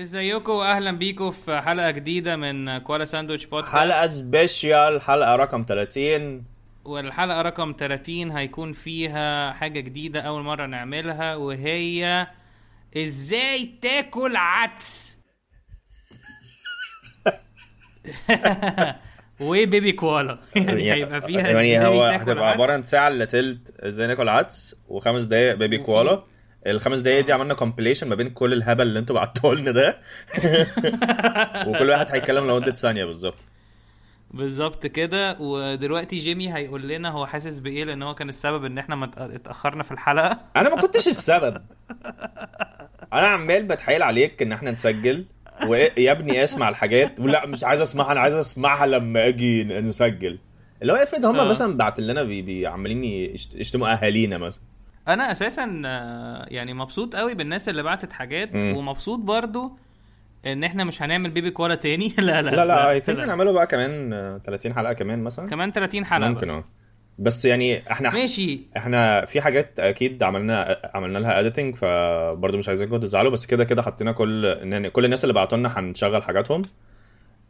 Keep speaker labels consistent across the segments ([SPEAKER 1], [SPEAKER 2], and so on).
[SPEAKER 1] ازيكم واهلا بيكم في حلقه جديده من كوالا ساندويتش بودكاست
[SPEAKER 2] حلقة سبيشيال حلقة رقم 30
[SPEAKER 1] والحلقه رقم 30 هيكون فيها حاجه جديده اول مره نعملها وهي ازاي تاكل عدس وبيبي كوالا يعني هيبقى فيها
[SPEAKER 2] يعني
[SPEAKER 1] إزاي
[SPEAKER 2] هو
[SPEAKER 1] تاكل
[SPEAKER 2] هتبقى عبارة
[SPEAKER 1] عدس.
[SPEAKER 2] عن ساعة إلا تلت ازاي ناكل عدس وخمس دقايق بيبي كوالا الخمس دقايق دي
[SPEAKER 1] آه.
[SPEAKER 2] عملنا كومبليشن ما بين كل الهبل اللي انتوا بعتوه لنا ده وكل واحد هيتكلم لمدة ثانية بالظبط
[SPEAKER 1] بالظبط كده ودلوقتي جيمي هيقول لنا هو حاسس بايه لان هو كان السبب ان احنا ما اتأ- اتاخرنا في الحلقه
[SPEAKER 2] انا ما كنتش السبب انا عمال بتحايل عليك ان احنا نسجل ويا ابني اسمع الحاجات ولا مش عايز اسمعها انا عايز اسمعها لما اجي ن- نسجل اللي هو افرض هم
[SPEAKER 1] آه.
[SPEAKER 2] مثلا بعت لنا بي- بي- عمالين يشت- يشتموا اهالينا مثلا
[SPEAKER 1] انا اساسا آه، يعني مبسوط قوي بالناس اللي بعتت حاجات
[SPEAKER 2] مم.
[SPEAKER 1] ومبسوط برضو ان احنا مش هنعمل بيبي كوالا تاني لا لا
[SPEAKER 2] لا لا اي ثينك
[SPEAKER 1] لا.
[SPEAKER 2] نعمله بقى كمان آه، 30 حلقه كمان مثلا
[SPEAKER 1] كمان 30 حلقه
[SPEAKER 2] ممكن
[SPEAKER 1] بقى.
[SPEAKER 2] اه بس يعني احنا
[SPEAKER 1] ماشي
[SPEAKER 2] احنا في حاجات اكيد عملنا آه، عملنا لها اديتنج فبرضه مش عايزينكم تزعلوا بس كده كده حطينا كل يعني كل الناس اللي بعتوا لنا هنشغل حاجاتهم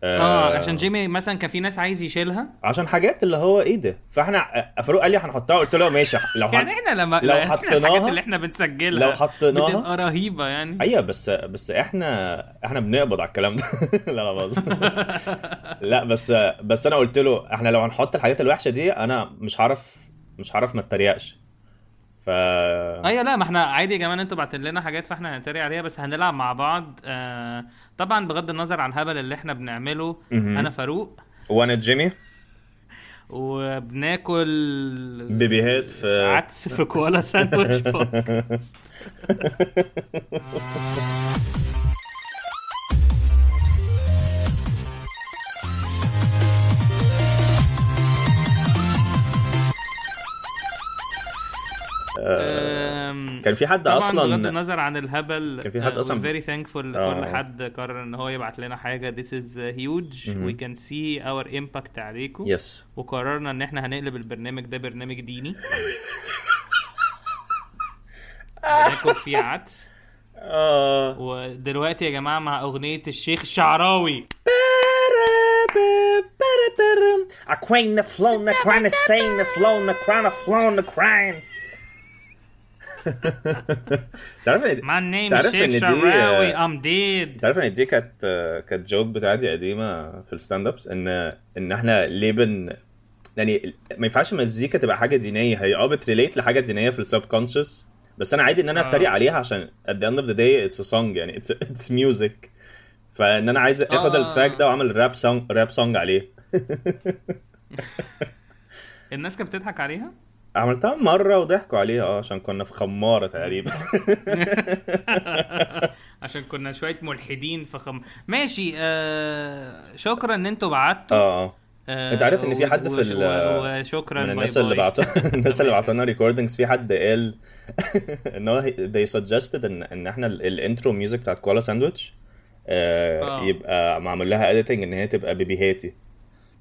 [SPEAKER 2] آه.
[SPEAKER 1] اه عشان جيمي مثلا كان في ناس عايز يشيلها
[SPEAKER 2] عشان حاجات اللي هو ايه ده فاحنا فاروق قال لي هنحطها قلت له ماشي لو
[SPEAKER 1] يعني
[SPEAKER 2] هن...
[SPEAKER 1] احنا لما
[SPEAKER 2] لو
[SPEAKER 1] إحنا الحاجات
[SPEAKER 2] حطيناها-
[SPEAKER 1] اللي احنا بنسجلها
[SPEAKER 2] لو حطيناها-
[SPEAKER 1] بتبقى رهيبه يعني
[SPEAKER 2] ايوه بس بس احنا احنا بنقبض على الكلام ده لا لا بهزر لا بس بس انا قلت له احنا لو هنحط الحاجات الوحشه دي انا مش هعرف مش هعرف ما اتريقش ف آه.
[SPEAKER 1] ايوه لا ما احنا عادي يا جماعه انتوا بعتوا لنا حاجات فاحنا هنتريق عليها بس هنلعب مع بعض آه طبعا بغض النظر عن الهبل اللي احنا بنعمله
[SPEAKER 2] مهم.
[SPEAKER 1] انا فاروق
[SPEAKER 2] وانا جيمي
[SPEAKER 1] وبناكل
[SPEAKER 2] بيبيهات في-
[SPEAKER 1] عدس في كوالا ساندويتش بودكاست. أم،
[SPEAKER 2] آه، كان في حد
[SPEAKER 1] طبعا
[SPEAKER 2] أصلاً-
[SPEAKER 1] بغض النظر عن الهبل
[SPEAKER 2] كان في حد أصلاً-
[SPEAKER 1] فيري ثانكفول
[SPEAKER 2] آه.
[SPEAKER 1] لكل حد قرر ان هو يبعت لنا حاجه this is huge we can see our impact عليكم
[SPEAKER 2] يس
[SPEAKER 1] وقررنا ان احنا هنقلب البرنامج ده برنامج ديني ناكل فيه عدس
[SPEAKER 2] اه
[SPEAKER 1] ودلوقتي يا جماعه مع اغنيه الشيخ الشعراوي
[SPEAKER 2] اكوين فلون كراين سين فلون كراين فلون كراين تعرف ان
[SPEAKER 1] my name is آه.
[SPEAKER 2] تعرف
[SPEAKER 1] الشيخ
[SPEAKER 2] إن دي-
[SPEAKER 1] الشعراوي I'm dead
[SPEAKER 2] تعرف ان دي كانت كانت جوك بتاعتي قديمه في الستاند ابس ان ان احنا ليه بن يعني ما ينفعش المزيكا تبقى حاجه دينيه هي اه بتريليت لحاجه دينيه في السب كونشس بس انا عادي ان انا
[SPEAKER 1] آه.
[SPEAKER 2] اتريق عليها عشان at the end of the day it's a song يعني it's it's music فان انا عايز اخد
[SPEAKER 1] آه.
[SPEAKER 2] التراك ده واعمل راب سونج راب سونج عليه
[SPEAKER 1] الناس كانت بتضحك عليها
[SPEAKER 2] عملتها مرة وضحكوا عليها اه عشان كنا في خمارة تقريبا
[SPEAKER 1] عشان كنا شويه ملحدين فخم ماشي آه شكرا ان انتوا بعتوا
[SPEAKER 2] اه اه
[SPEAKER 1] آه
[SPEAKER 2] انت عارف ان في حد في
[SPEAKER 1] وش-
[SPEAKER 2] ال-
[SPEAKER 1] و- وشكرا
[SPEAKER 2] من
[SPEAKER 1] باي
[SPEAKER 2] الناس
[SPEAKER 1] باي.
[SPEAKER 2] اللي بعتوا الناس اللي بعتوا لنا ريكوردنجز في حد قال ان هو they suggested ان ان احنا ال- الانترو ميوزك بتاعت كوالا ساندويتش آه
[SPEAKER 1] آه.
[SPEAKER 2] يبقى معمول لها اديتنج ان هي تبقى بيبيهاتي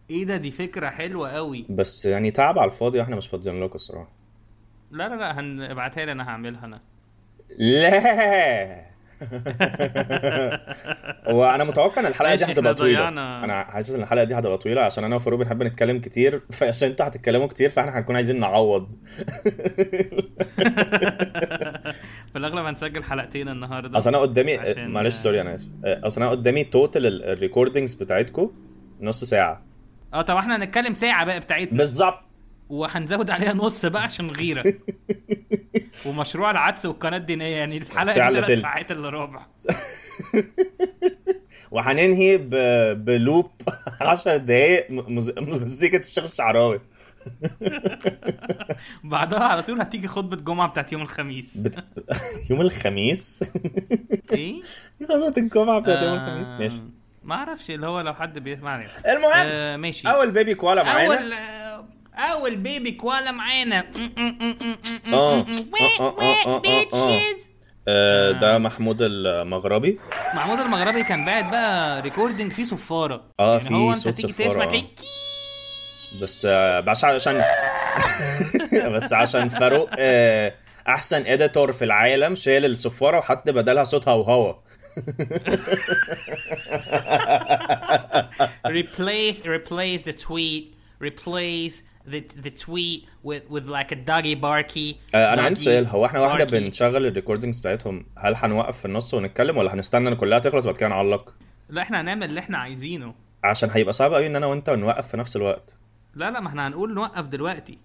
[SPEAKER 1] ايه ده دي فكره حلوه قوي
[SPEAKER 2] بس يعني تعب على الفاضي واحنا مش فاضيين لكم الصراحة
[SPEAKER 1] لا لا لا هنبعتها لي انا هعملها انا
[SPEAKER 2] لا وانا متوقع ان الحلقه
[SPEAKER 1] ماشي،
[SPEAKER 2] دي هتبقى
[SPEAKER 1] احنا
[SPEAKER 2] طويله
[SPEAKER 1] ضيعنا-
[SPEAKER 2] انا حاسس ان الحلقه دي هتبقى طويله عشان انا وفاروق بنحب نتكلم كتير فعشان انتوا هتتكلموا كتير فاحنا هنكون عايزين نعوض
[SPEAKER 1] في الاغلب هنسجل حلقتين النهارده
[SPEAKER 2] اصل انا قدامي آه،
[SPEAKER 1] عشان-
[SPEAKER 2] معلش سوري انا اسف اصل انا آه، قدامي توتال الريكوردنجز بتاعتكم نص ساعه
[SPEAKER 1] اه طب احنا هنتكلم ساعه بقى بتاعتنا
[SPEAKER 2] بالظبط
[SPEAKER 1] وهنزود عليها نص بقى عشان غيره ومشروع العدس والقناه الدينيه يعني
[SPEAKER 2] ساعة
[SPEAKER 1] الحلقه
[SPEAKER 2] إلا
[SPEAKER 1] دي ثلاث
[SPEAKER 2] تلت.
[SPEAKER 1] ساعات الا ربع
[SPEAKER 2] وهننهي ب... بلوب 10 دقايق م- مز- مزيكه الشيخ الشعراوي
[SPEAKER 1] بعدها على طول هتيجي خطبه جمعه بتاعت يوم الخميس
[SPEAKER 2] بت... يوم الخميس
[SPEAKER 1] ايه
[SPEAKER 2] خلاص الجمعه بتاعت يوم الخميس ماشي
[SPEAKER 1] آه، ما اعرفش اللي هو لو حد بيسمعني
[SPEAKER 2] المهم
[SPEAKER 1] آه ماشي
[SPEAKER 2] اول بيبي كوالا معانا
[SPEAKER 1] اول آه، اول بيبي كوالا معانا
[SPEAKER 2] اه آه، آه، آه، آه، آه. آه، ده محمود المغربي
[SPEAKER 1] محمود المغربي كان باعت بقى ريكوردنج فيه صفاره
[SPEAKER 2] آه،
[SPEAKER 1] يعني
[SPEAKER 2] في
[SPEAKER 1] هو انت
[SPEAKER 2] صوت
[SPEAKER 1] تيجي
[SPEAKER 2] صفارة،
[SPEAKER 1] تسمع
[SPEAKER 2] آه.
[SPEAKER 1] تلاقي
[SPEAKER 2] بس آه، بس عشان بس عشان فاروق آه، احسن اديتور في العالم شال الصفاره وحط بدلها صوت هوهوة
[SPEAKER 1] replace replace the tweet replace the the tweet with with like a doggy barky
[SPEAKER 2] آه، انا عندي
[SPEAKER 1] doggy
[SPEAKER 2] سؤال هو احنا واحنا
[SPEAKER 1] barky.
[SPEAKER 2] بنشغل الريكوردنجز بتاعتهم هل هنوقف في النص ونتكلم ولا هنستنى ان كلها تخلص بعد كده نعلق
[SPEAKER 1] لا احنا هنعمل اللي احنا عايزينه
[SPEAKER 2] عشان هيبقى صعب قوي ان انا وانت نوقف في نفس الوقت
[SPEAKER 1] لا لا ما احنا هنقول نوقف دلوقتي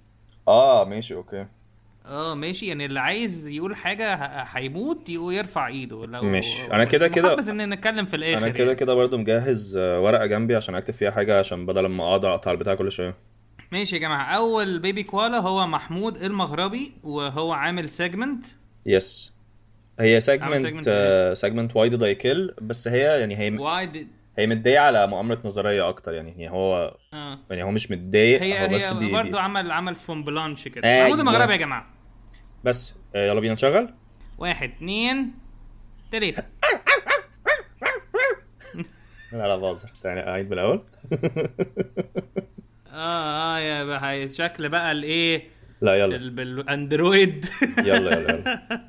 [SPEAKER 2] اه ماشي اوكي
[SPEAKER 1] اه ماشي يعني اللي عايز يقول حاجه ه- هيموت يقول يرفع ايده لو
[SPEAKER 2] ماشي. أنا كده كده-
[SPEAKER 1] بس ان نتكلم في الاخر
[SPEAKER 2] انا كده
[SPEAKER 1] يعني.
[SPEAKER 2] كده برضو مجهز آه، ورقه جنبي عشان اكتب فيها حاجه عشان بدل ما اقعد اقطع البتاع كل شويه
[SPEAKER 1] ماشي يا جماعه اول بيبي كوالا هو محمود المغربي وهو عامل سيجمنت
[SPEAKER 2] يس هي آه،
[SPEAKER 1] عامل segment
[SPEAKER 2] سيجمنت سيجمنت واي ديد اي كيل بس هي يعني هي
[SPEAKER 1] واي دي
[SPEAKER 2] هي متضايقه على مؤامره نظريه اكتر يعني يعني هو
[SPEAKER 1] اه
[SPEAKER 2] يعني هو مش متضايق
[SPEAKER 1] هي
[SPEAKER 2] هو بس
[SPEAKER 1] هي
[SPEAKER 2] بي
[SPEAKER 1] برضه
[SPEAKER 2] بي
[SPEAKER 1] عمل عمل فون بلانش كده
[SPEAKER 2] أيوة.
[SPEAKER 1] محمود المغربي يا جماعه
[SPEAKER 2] بس آه، يلا بينا نشغل
[SPEAKER 1] واحد اتنين تلاته
[SPEAKER 2] لا يعني لا بهزر تعالى اعيد من الاول
[SPEAKER 1] اه اه يا بقى شكل بقى الايه
[SPEAKER 2] لا يلا
[SPEAKER 1] ال- بالاندرويد
[SPEAKER 2] يلا يلا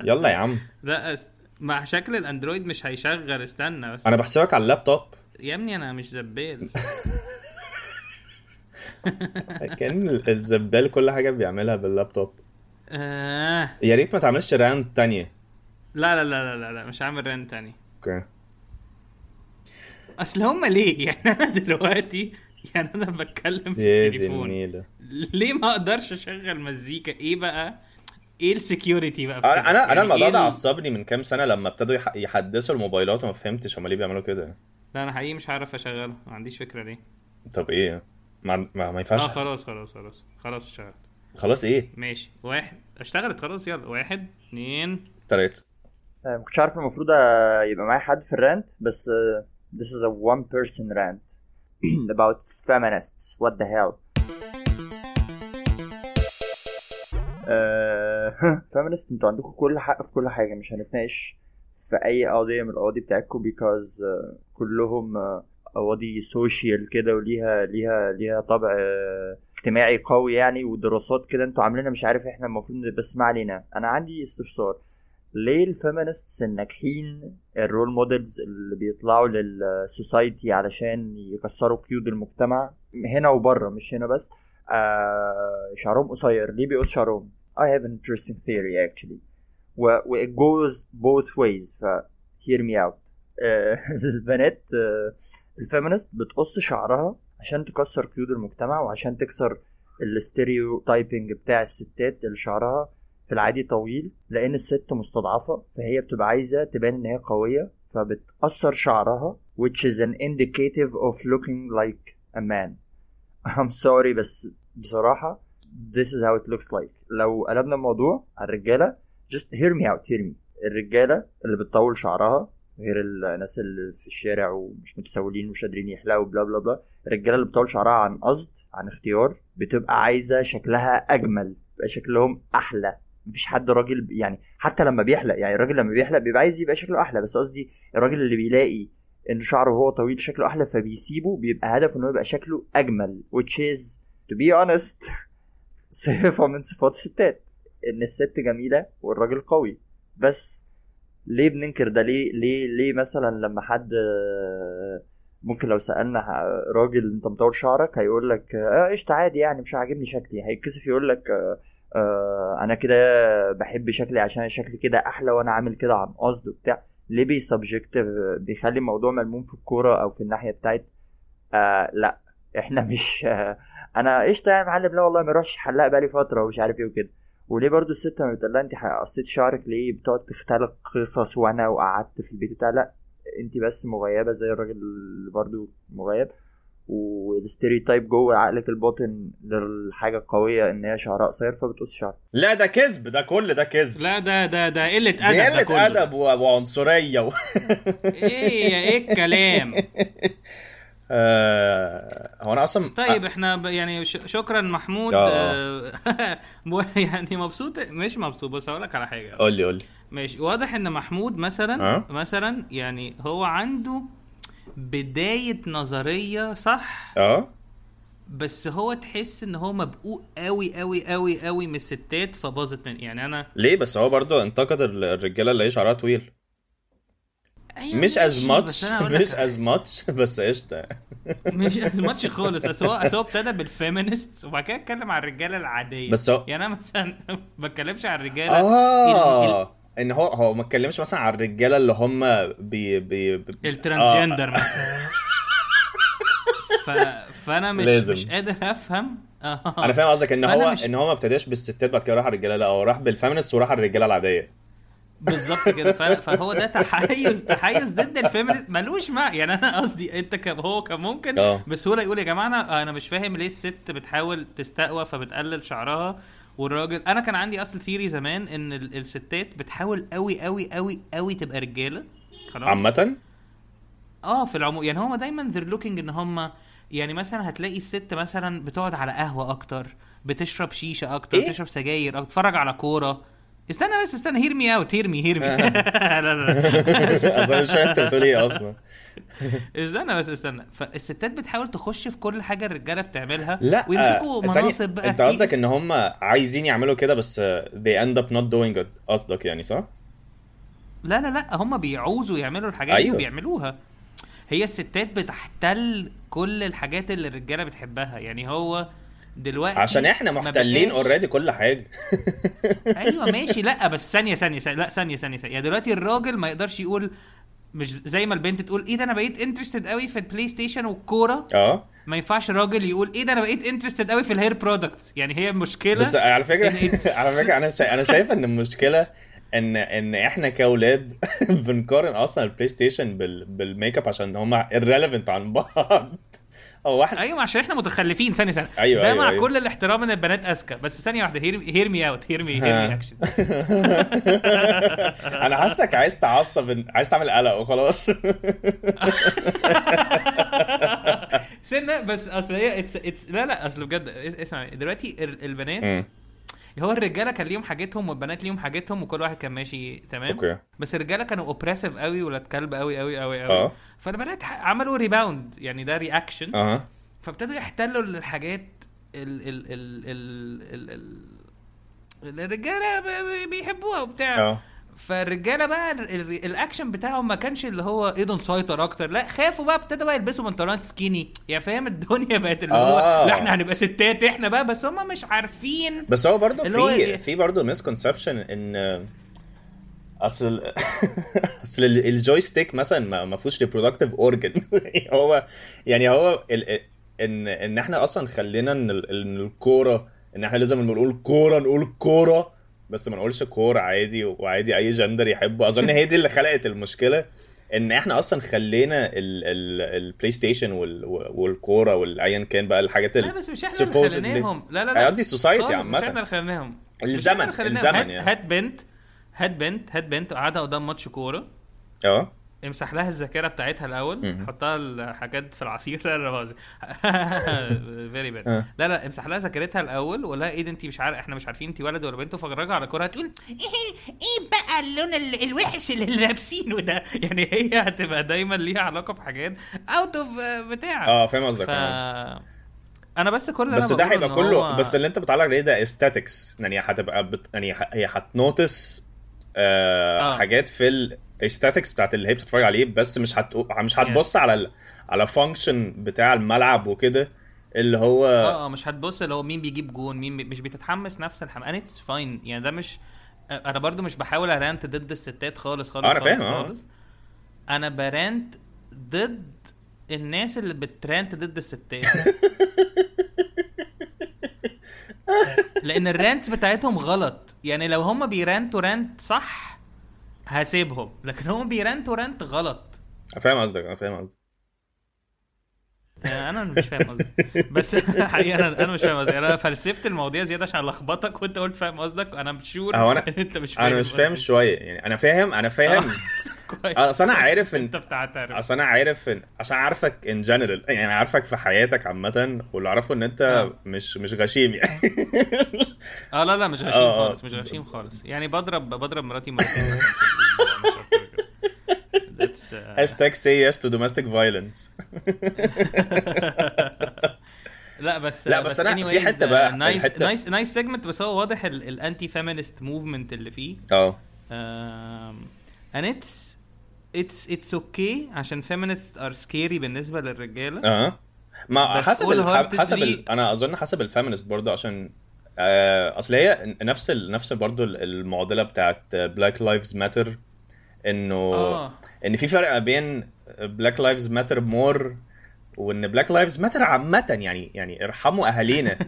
[SPEAKER 2] يلا يلا يا عم
[SPEAKER 1] لا أست... مع شكل الاندرويد مش هيشغل استنى بس
[SPEAKER 2] انا بحسبك على اللابتوب
[SPEAKER 1] يا ابني انا مش زبال
[SPEAKER 2] كان ال- الزبال كل حاجه بيعملها باللابتوب
[SPEAKER 1] آه.
[SPEAKER 2] يا ريت ما تعملش راند تانية
[SPEAKER 1] لا لا لا لا لا, لا مش هعمل رن تاني
[SPEAKER 2] اوكي
[SPEAKER 1] اصل هما ليه يعني انا دلوقتي يعني انا بتكلم في
[SPEAKER 2] يا دي
[SPEAKER 1] التليفون
[SPEAKER 2] النيلة
[SPEAKER 1] ليه ما اقدرش اشغل مزيكا ايه بقى ايه السكيورتي بقى في كده؟
[SPEAKER 2] انا انا
[SPEAKER 1] يعني
[SPEAKER 2] انا الموضوع
[SPEAKER 1] إيه
[SPEAKER 2] ده
[SPEAKER 1] ال-
[SPEAKER 2] عصبني من كام سنه لما ابتدوا يح- يحدثوا الموبايلات وما فهمتش هم ليه بيعملوا كده
[SPEAKER 1] لا انا حقيقي مش عارف اشغله ما عنديش فكره ليه
[SPEAKER 2] طب ايه ما ما, ما
[SPEAKER 1] اه
[SPEAKER 2] ينفعش
[SPEAKER 1] خلاص خلاص خلاص خلاص اشتغلت
[SPEAKER 2] خلاص ايه
[SPEAKER 1] ماشي واحد اشتغلت خلاص يلا واحد اتنين
[SPEAKER 2] تلاتة
[SPEAKER 3] آه، ما كنتش عارف المفروض آه، يبقى معايا حد في الرانت بس آه، this is a one person rant about feminists what the hell آه، feminists انتوا عندكم كل حق في كل حاجة مش هنتناقش في أي قضية من القواضي بتاعتكم because آه، كلهم آه، قواضي سوشيال كده وليها ليها ليها طبع آه، اجتماعي قوي يعني ودراسات كده انتوا عاملينها مش عارف احنا المفروض بس ما علينا انا عندي استفسار ليه الفيمينستس الناجحين الرول مودلز اللي بيطلعوا للسوسايتي علشان يكسروا قيود المجتمع هنا وبره مش هنا بس آه شعرهم قصير ليه بيقص شعرهم I have an interesting theory actually و, و it goes both ways ف hear me out آه البنات آه الفيمينست بتقص شعرها عشان تكسر قيود المجتمع وعشان تكسر الاستيريو تايبنج بتاع الستات اللي شعرها في العادي طويل لان الست مستضعفه فهي بتبقى عايزه تبان ان هي قويه فبتقصر شعرها which is an indicative of looking like a man I'm sorry بس بصراحه this is how it looks like لو قلبنا الموضوع على الرجاله just hear me out hear me الرجاله اللي بتطول شعرها غير الناس اللي في الشارع ومش متسولين ومش قادرين يحلقوا بلا بلا بلا الرجاله اللي بتطول شعرها عن قصد عن اختيار بتبقى عايزه شكلها اجمل بيبقى شكلهم احلى مفيش حد راجل ب- يعني حتى لما بيحلق يعني الراجل لما بيحلق بيبقى عايز يبقى شكله احلى بس قصدي الراجل اللي بيلاقي ان شعره هو طويل شكله احلى فبيسيبه بيبقى هدفه انه يبقى شكله اجمل which is to be honest صفه من صفات الستات ان الست جميله والراجل قوي بس ليه بننكر ده ليه ليه ليه مثلا لما حد آه، ممكن لو سالنا ح- راجل انت مطول شعرك هيقول لك اه قشطه عادي يعني مش عاجبني شكلي هيتكسف يقول لك آه آه، انا كده بحب شكلي عشان شكلي كده احلى وانا عامل كده عن قصد وبتاع ليه بيسبجكتيف بيخلي الموضوع ملموم في الكوره او في الناحيه بتاعت آه لا احنا مش آه انا قشطه يا معلم لا والله ما اروحش حلاق بقالي فتره ومش عارف ايه وكده وليه برضو الست لما بتقول لها انت قصيت شعرك ليه بتقعد تختلق قصص وانا وقعدت في البيت بتاع لا انت بس مغيبه زي الراجل اللي برضو مغيب والستيريوتايب جوه عقلك الباطن للحاجه القويه ان هي شعرها قصير فبتقص شعرها
[SPEAKER 2] لا ده كذب ده كل ده كذب
[SPEAKER 1] لا ده ده ده قله ادب
[SPEAKER 2] دي
[SPEAKER 1] ده كله.
[SPEAKER 2] قله ادب و- وعنصريه و...
[SPEAKER 1] ايه يا ايه الكلام
[SPEAKER 2] آه، هو انا اصلا
[SPEAKER 1] طيب احنا ب... يعني ش... شكرا محمود
[SPEAKER 2] آه.
[SPEAKER 1] آه، مو- يعني مبسوط مش مبسوط بس هقول لك على حاجه
[SPEAKER 2] قول لي قول لي
[SPEAKER 1] ماشي واضح ان محمود مثلا
[SPEAKER 2] آه.
[SPEAKER 1] مثلا يعني هو عنده بدايه نظريه صح
[SPEAKER 2] اه
[SPEAKER 1] بس هو تحس ان هو مبقوق قوي قوي قوي قوي من الستات فباظت من يعني انا
[SPEAKER 2] ليه بس هو برضو انتقد ال- الرجاله اللي هي شعرها طويل
[SPEAKER 1] أيوة
[SPEAKER 2] مش
[SPEAKER 1] ماشي،
[SPEAKER 2] از ماتش
[SPEAKER 1] بس أنا هقول لك إيه
[SPEAKER 2] مش از ماتش بس قشطه
[SPEAKER 1] مش از ماتش خالص اصل هو اصل هو ابتدى بالفيمينست وبعد كده اتكلم عن الرجاله العاديه
[SPEAKER 2] بس هو-
[SPEAKER 1] يعني انا مثلا ما بتكلمش عن الرجاله ال-
[SPEAKER 2] اه ان هو هو ما اتكلمش مثلا عن الرجاله اللي هم بي بي, بي آه.
[SPEAKER 1] ال- الترانسجندر مثلا ف... فانا مش
[SPEAKER 2] لازم.
[SPEAKER 1] مش قادر افهم
[SPEAKER 2] آه. انا فاهم قصدك ان
[SPEAKER 1] أه. فأنا
[SPEAKER 2] هو
[SPEAKER 1] مش-
[SPEAKER 2] ان هو ما ابتداش بالستات بعد كده راح على الرجاله لا هو راح بالفيمينست وراح على الرجاله العاديه
[SPEAKER 1] أه. بالظبط كده ف- فهو ده تحيز تحيز ضد الفيمينست ملوش مع يعني انا قصدي انت كم هو كان ممكن
[SPEAKER 2] آه.
[SPEAKER 1] بسهوله يقول يا جماعه انا انا مش فاهم ليه الست بتحاول تستقوى فبتقلل شعرها والراجل انا كان عندي اصل ثيري زمان ان ال- الستات بتحاول قوي قوي قوي قوي تبقى رجاله خلاص
[SPEAKER 2] عامه
[SPEAKER 1] اه في العموم يعني هما دايما ذير لوكينج ان هما يعني مثلا هتلاقي الست مثلا بتقعد على قهوه اكتر بتشرب شيشه اكتر
[SPEAKER 2] إيه؟
[SPEAKER 1] بتشرب سجاير اكتر بتتفرج على كوره استنى بس استنى هير مي اوت هير مي هير مي لا لا لا
[SPEAKER 2] اصلا مش فاهم انت بتقول ايه اصلا
[SPEAKER 1] استنى بس استنى فالستات بتحاول تخش في كل حاجه الرجاله بتعملها
[SPEAKER 2] لا آه،
[SPEAKER 1] ويمسكوا
[SPEAKER 2] ثانية،
[SPEAKER 1] مناصب بقى
[SPEAKER 2] انت
[SPEAKER 1] كتير.
[SPEAKER 2] قصدك ان هم عايزين يعملوا كده بس آه، they end up not doing it قصدك يعني صح؟
[SPEAKER 1] لا لا لا هم بيعوزوا يعملوا الحاجات أيوة. دي
[SPEAKER 2] أيوة.
[SPEAKER 1] وبيعملوها هي الستات بتحتل كل الحاجات اللي الرجاله بتحبها يعني هو دلوقتي
[SPEAKER 2] عشان احنا
[SPEAKER 1] يعني ما
[SPEAKER 2] محتلين
[SPEAKER 1] بقاش-
[SPEAKER 2] اوريدي كل حاجه
[SPEAKER 1] ايوه ماشي لا بس ثانيه ثانيه ثانية- لا ثانيه ثانيه ثانيه يعني دلوقتي الراجل ما يقدرش يقول مش زي ما البنت تقول ايه ده انا بقيت انترستد قوي في البلاي ستيشن والكوره
[SPEAKER 2] اه
[SPEAKER 1] ما ينفعش الراجل يقول ايه ده انا بقيت انترستد قوي في الهير برودكتس يعني هي مشكله
[SPEAKER 2] بس على فكره
[SPEAKER 1] إن it's-
[SPEAKER 2] على فكره انا شا... انا شايف ان المشكله ان ان احنا كاولاد بنقارن اصلا البلاي ستيشن بال... بالميك اب عشان هم irrelevant عن بعض هو احنا
[SPEAKER 1] ايوه عشان احنا متخلفين ثانيه ثانيه
[SPEAKER 2] أيوة،
[SPEAKER 1] ده
[SPEAKER 2] أيوة،
[SPEAKER 1] مع
[SPEAKER 2] أيوة.
[SPEAKER 1] كل الاحترام ان البنات اذكى بس ثانيه واحده هير مي اوت هير مي هير مي
[SPEAKER 2] ها.
[SPEAKER 1] اكشن
[SPEAKER 2] انا حاسك عايز تعصب عايز تعمل قلق وخلاص
[SPEAKER 1] سنه بس اصل هي it's, it's لا لا اصل بجد اس- اسمع دلوقتي ال- البنات
[SPEAKER 2] مم.
[SPEAKER 1] هو الرجاله كان ليهم حاجتهم والبنات ليهم حاجتهم وكل واحد كان ماشي تمام
[SPEAKER 2] أوكي.
[SPEAKER 1] بس الرجاله كانوا اوبريسيف قوي ولاد كلب قوي قوي قوي قوي
[SPEAKER 2] آه.
[SPEAKER 1] فالبنات ح- عملوا ريباوند يعني ده رياكشن
[SPEAKER 2] اها
[SPEAKER 1] فابتدوا يحتلوا الحاجات ال ال ال ال ال ال الرجاله ب- ب- بيحبوها وبتاع
[SPEAKER 2] اه.
[SPEAKER 1] فالرجاله بقى ال- ال- الاكشن بتاعهم ما كانش اللي هو ايدن سيطر اكتر لا خافوا بقى ابتدوا بقى يلبسوا بنطلونات سكيني يا فاهم الدنيا بقت اللي هو
[SPEAKER 2] آه.
[SPEAKER 1] لا احنا هنبقى ستات احنا بقى بس هم مش عارفين
[SPEAKER 2] بس هو برضه
[SPEAKER 1] اللي هو إيه؟
[SPEAKER 2] في
[SPEAKER 1] ي-
[SPEAKER 2] في برضه مسكونسبشن ان اصل ال- اصل ال- الجويستيك مثلا ما ما فيهوش ريبرودكتيف اورجن هو يعني هو ال... ال- ان ان احنا اصلا خلينا ان ال- ان الكوره ان احنا لازم لما نقول كوره نقول كوره بس ما نقولش كوره عادي وعادي اي جندر يحبه اظن هي دي اللي خلقت المشكله ان احنا اصلا خلينا ال- ال- البلاي ستيشن وال- والكوره والايا كان بقى الحاجات
[SPEAKER 1] لا بس مش احنا اللي
[SPEAKER 2] supposedly-
[SPEAKER 1] خليناهم لا لا لا
[SPEAKER 2] أنا قصدي السوسايتي
[SPEAKER 1] خالص مش
[SPEAKER 2] عامة.
[SPEAKER 1] احنا اللي خليناهم مش
[SPEAKER 2] الزمن-
[SPEAKER 1] إحنا اللي خليناهم.
[SPEAKER 2] الزمن
[SPEAKER 1] هات-
[SPEAKER 2] يعني.
[SPEAKER 1] هات بنت هات بنت هات بنت قعدها قدام ماتش كوره
[SPEAKER 2] اه
[SPEAKER 1] امسح لها الذاكره بتاعتها الاول حطها الحاجات في العصير لا لا بهزر فيري باد
[SPEAKER 2] آه.
[SPEAKER 1] لا لا امسح لها ذاكرتها الاول ولا ايه ده انت مش عارف احنا مش عارفين انت ولد ولا بنت فخرجها على كورها هتقول ايه ايه بقى اللون ال- الوحش اللي لابسينه ده يعني هي هتبقى دايما ليها علاقه بحاجات اوت اوف بتاع
[SPEAKER 2] اه فاهم قصدك
[SPEAKER 1] ف...
[SPEAKER 2] آه.
[SPEAKER 1] انا بس كل اللي
[SPEAKER 2] بس
[SPEAKER 1] أنا
[SPEAKER 2] ده
[SPEAKER 1] بقوله
[SPEAKER 2] هيبقى
[SPEAKER 1] إن
[SPEAKER 2] كله
[SPEAKER 1] هو-
[SPEAKER 2] بس اللي انت بتعلق عليه ده استاتكس يعني هتبقى بت... يعني ه- هي هتنوتس آه
[SPEAKER 1] آه.
[SPEAKER 2] آه. حاجات في الاستاتكس بتاعت اللي هي بتتفرج عليه بس مش هت... مش هتبص على ال... على فانكشن بتاع الملعب وكده اللي هو
[SPEAKER 1] اه اه مش هتبص اللي هو مين بيجيب جون مين بي... مش بتتحمس نفس الحمام اتس فاين يعني ده مش آه، انا برضو مش بحاول ارانت ضد الستات خالص خالص
[SPEAKER 2] آه، أنا
[SPEAKER 1] خالص,
[SPEAKER 2] فاهم، آه.
[SPEAKER 1] خالص انا برانت ضد الناس اللي بترانت ضد الستات لان الرانتس بتاعتهم غلط يعني لو هم بيرانتوا رانت صح هسيبهم لكن هم بيرانتوا رانت غلط
[SPEAKER 2] فاهم قصدك انا فاهم قصدك
[SPEAKER 1] انا آه، مش فاهم قصدك بس حقيقه انا انا مش فاهم قصدك انا فلسفت المواضيع زياده عشان لخبطك وانت قلت فاهم قصدك انا مشور
[SPEAKER 2] هو انا
[SPEAKER 1] ان انت مش فاهم
[SPEAKER 2] انا مش فاهم
[SPEAKER 1] قصدي. آه. طيب.
[SPEAKER 2] شويه يعني انا فاهم انا فاهم
[SPEAKER 1] كويس.
[SPEAKER 2] أصل أنا عارف إن-
[SPEAKER 1] انت بتعترف
[SPEAKER 2] اصل انا عارف ان عشان عارفك ان جنرال يعني عارفك في حياتك عامه واللي اعرفه ان انت
[SPEAKER 1] آه.
[SPEAKER 2] مش مش غشيم يعني
[SPEAKER 1] اه لا لا مش غشيم
[SPEAKER 2] آه، آه.
[SPEAKER 1] خالص مش غشيم خالص يعني بضرب بضرب مراتي مرتين That's, uh,
[SPEAKER 2] هاشتاج سي يس تو دوماستيك فايلنس
[SPEAKER 1] لا بس آه،
[SPEAKER 2] لا، بس أنا في حتة بقى،
[SPEAKER 1] نايس
[SPEAKER 2] الحتة-
[SPEAKER 1] نايس نايس سيجمنت بس هو واضح ال- الانتي فيمينست موفمنت اللي فيه
[SPEAKER 2] اه
[SPEAKER 1] um, and it's اتس اتس اوكي عشان فيمينست ار سكيري بالنسبه للرجاله
[SPEAKER 2] اه ما
[SPEAKER 1] بس
[SPEAKER 2] حسب ال-
[SPEAKER 1] wholeheartedly-
[SPEAKER 2] حسب ال... انا اظن حسب الفيمينست برضه عشان آه اصل هي نفس ال... نفس برضه ال- المعضله بتاعت بلاك لايفز ماتر انه
[SPEAKER 1] اه
[SPEAKER 2] ان في فرق بين بلاك لايفز ماتر مور وان بلاك لايفز ماتر عامه يعني يعني ارحموا اهالينا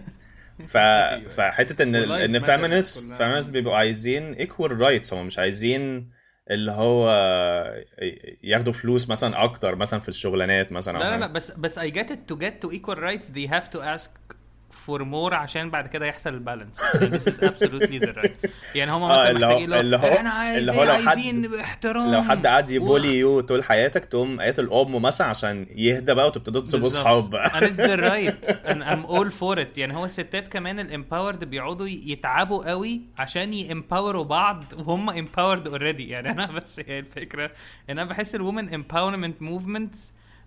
[SPEAKER 2] ف
[SPEAKER 1] أيوة.
[SPEAKER 2] فحته ان
[SPEAKER 1] وlives
[SPEAKER 2] ان
[SPEAKER 1] matter
[SPEAKER 2] فيمينست
[SPEAKER 1] كلها.
[SPEAKER 2] فيمينست بيبقوا عايزين ايكوال رايتس هم مش عايزين اللي هو ياخدوا فلوس مثلا اكتر مثلا في الشغلانات مثلا أو
[SPEAKER 1] لا لا لا
[SPEAKER 2] حاجة.
[SPEAKER 1] بس بس I get it to get to equal rights they have to ask for more عشان بعد كده يحصل البالانس this is absolutely the right يعني هما
[SPEAKER 2] آه،
[SPEAKER 1] مثلا
[SPEAKER 2] اللي هو-
[SPEAKER 1] محتاجين
[SPEAKER 2] اللي هو-
[SPEAKER 1] احنا عايزين
[SPEAKER 2] اللي هو لو حد-
[SPEAKER 1] إيه؟ عايزين احترام
[SPEAKER 2] لو حد قعد
[SPEAKER 1] واخ.
[SPEAKER 2] يبولي يو طول حياتك تقوم قاتل امه مثلا عشان يهدى بقى وتبتدوا تسيبوا
[SPEAKER 1] بالظبط.
[SPEAKER 2] اصحاب بقى
[SPEAKER 1] and it's the right and I'm all for it يعني هو الستات كمان الامباورد بيقعدوا يتعبوا قوي عشان يامباوروا بعض وهم امباورد اوريدي يعني انا بس هي الفكره ان انا بحس الومن امباورمنت موفمنت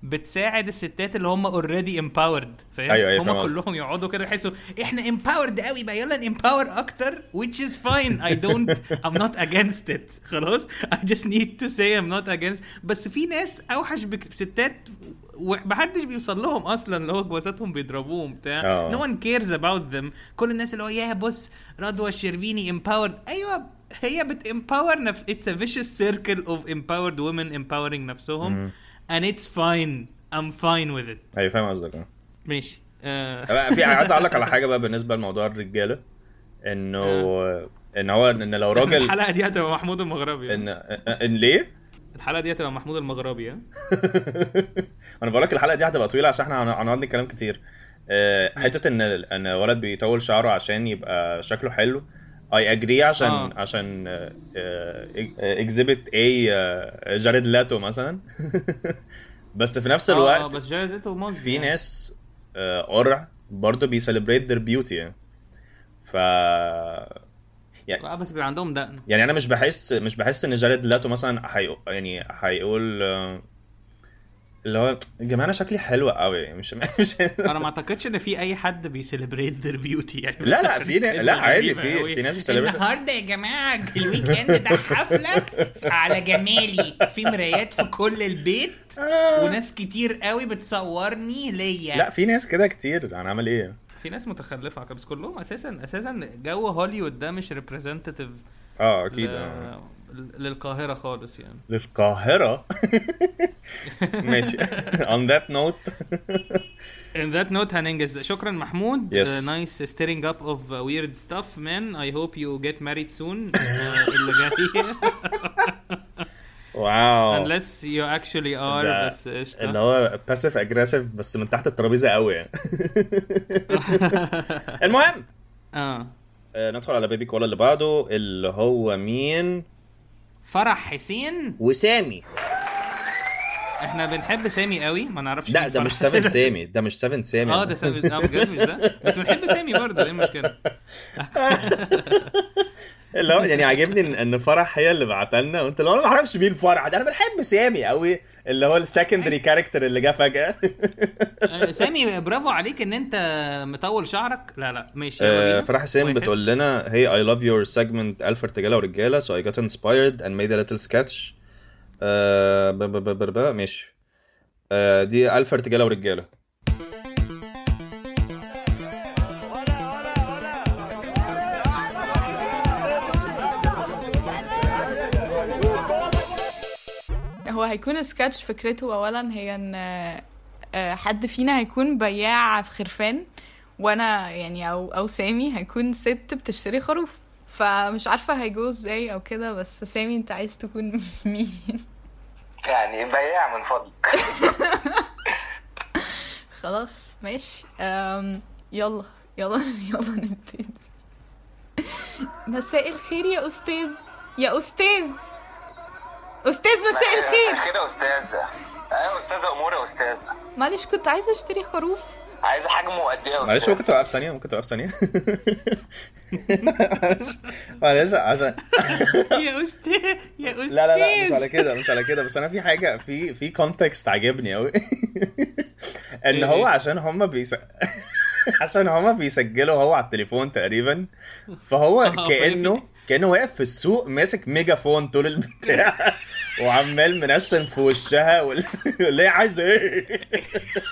[SPEAKER 1] بتساعد الستات اللي هم اوريدي امباورد فاهم
[SPEAKER 2] أيوة، أيوة، فاهم
[SPEAKER 1] هم
[SPEAKER 2] قصدي.
[SPEAKER 1] كلهم يقعدوا كده يحسوا احنا امباورد قوي بقى يلا امباور اكتر which is fine I don't I'm not against it خلاص I just need to say I'm not against بس في ناس اوحش بك- بستات ومحدش بيوصل لهم اصلا اللي هو جوازاتهم بيضربوهم بتاع
[SPEAKER 2] آه.
[SPEAKER 1] no one cares about them كل الناس اللي هو يا بص رضوى الشربيني empowered ايوه هي بت empower نفس it's a vicious circle of empowered women empowering نفسهم and it's fine I'm fine with it
[SPEAKER 2] ايوه فاهم قصدك آه.
[SPEAKER 1] ماشي آه.
[SPEAKER 2] بقى في عايز اقول لك على حاجه بقى بالنسبه لموضوع الرجاله انه ان هو ان لو راجل
[SPEAKER 1] الحلقه آه. دي هتبقى محمود المغربي
[SPEAKER 2] ان ان ليه؟
[SPEAKER 1] الحلقه دي هتبقى محمود المغربي آه. ها؟
[SPEAKER 2] انا بقول لك الحلقه دي هتبقى طويله عشان احنا هن- هنقعد نتكلم كتير آه، حته ان ان ولد بيطول شعره عشان يبقى شكله حلو اي اجري عشان
[SPEAKER 1] آه.
[SPEAKER 2] عشان آه، اكزيبت اي جاريد لاتو مثلا بس في نفس
[SPEAKER 1] آه،
[SPEAKER 2] الوقت
[SPEAKER 1] بس جارد ليتو موز
[SPEAKER 2] في
[SPEAKER 1] يعني.
[SPEAKER 2] ناس آه، قرع برضه بيسليبريت ذير بيوتي يعني ف
[SPEAKER 1] اه بس بيبقى عندهم دقن
[SPEAKER 2] يعني انا مش بحس مش بحس ان جاريد لاتو مثلا هيقو- يعني هيقول آه، اللي هو يا جماعه انا شكلي حلو قوي مش مش
[SPEAKER 1] انا ما اعتقدش ان في اي حد بيسليبريت ذير بيوتي يعني
[SPEAKER 2] لا، لا، في نا- لا، عادي، في- في ناس بتسليبريت.
[SPEAKER 1] بيسليبريت النهارده يا جماعه الويك اند ده حفله على جمالي في مرايات في كل البيت وناس كتير قوي بتصورني ليا
[SPEAKER 2] آه. لا في ناس كده كتير انا عامل ايه
[SPEAKER 1] في ناس متخلفه على كده، بس كلهم اساسا اساسا جو هوليوود ده مش ريبريزنتيف
[SPEAKER 2] اه اكيد آه.
[SPEAKER 1] للقاهره خالص يعني
[SPEAKER 2] للقاهره ماشي on that note
[SPEAKER 1] In that note هننجز شكرا محمود
[SPEAKER 2] Yes.
[SPEAKER 1] uh, nice stirring up of uh, weird stuff man I hope you get married soon uh, اللي جاي
[SPEAKER 2] واو
[SPEAKER 1] unless you actually are
[SPEAKER 2] ده
[SPEAKER 1] بس
[SPEAKER 2] اللي
[SPEAKER 1] قشطة
[SPEAKER 2] هو باسيف اجريسيف بس من تحت الترابيزه قوي يعني المهم
[SPEAKER 1] اه
[SPEAKER 2] آه، ندخل على بيبي كولا اللي بعده اللي هو مين
[SPEAKER 1] فرح حسين
[SPEAKER 2] وسامي
[SPEAKER 1] احنا بنحب سامي قوي ما نعرفش
[SPEAKER 2] لا
[SPEAKER 1] مين
[SPEAKER 2] ده
[SPEAKER 1] فرح
[SPEAKER 2] مش 7
[SPEAKER 1] حسين.
[SPEAKER 2] سامي ده مش 7 سامي
[SPEAKER 1] اه ده سامي اه بجد مش ده بس بنحب سامي برضه ايه المشكله
[SPEAKER 2] اللي هو يعني عاجبني ان ان فرح هي اللي بعتها لنا وانت لو انا ما اعرفش مين فرح ده انا بنحب سامي قوي اللي هو
[SPEAKER 1] أيوة.
[SPEAKER 2] السكندري كاركتر اللي جه فجاه
[SPEAKER 1] آه، سامي برافو عليك ان انت مطول شعرك لا لا ماشي يلا
[SPEAKER 2] آه،
[SPEAKER 1] بينا.
[SPEAKER 2] فرح حسين
[SPEAKER 1] واحد.
[SPEAKER 2] بتقول لنا hey I love your segment ألف ارتجالة ورجالة so I got inspired and made a little sketch آه، ب- ب- ب- ب- ب- ماشي آه، دي ألف ارتجالة ورجالة
[SPEAKER 4] هو هيكون سكتش فكرته اولا هي ان آه، حد فينا هيكون بياع في خرفان وانا يعني او او سامي هيكون ست بتشتري خروف فمش عارفه هيجوز ازاي او كده بس سامي انت عايز تكون مين
[SPEAKER 5] يعني بياع من فضلك
[SPEAKER 4] خلاص ماشي أم، يلا يلا يلا نبتدي مساء الخير يا استاذ يا استاذ استاذ مساء الخير
[SPEAKER 5] خير يا استاذه ايوه استاذه امور يا استاذه
[SPEAKER 4] معلش كنت عايزه اشتري خروف
[SPEAKER 5] عايزه حاجه
[SPEAKER 4] إيه
[SPEAKER 5] مؤديه يا استاذه
[SPEAKER 2] معلش ممكن توقف ثانية ممكن توقف ثانية معلش- معلش عشان
[SPEAKER 1] يا استاذ يا استاذ
[SPEAKER 2] لا لا لا مش على كده مش على كده بس انا في حاجه في في كونتكست عاجبني قوي ان
[SPEAKER 1] إيه؟
[SPEAKER 2] هو عشان هما بيس عشان هما بيسجلوا هو على التليفون تقريبا فهو
[SPEAKER 1] فهي
[SPEAKER 2] كانه كانه واقف في السوق ماسك ميجافون طول البتاع وعمال منشن في وشها وال- يقول ليه عايزه ايه؟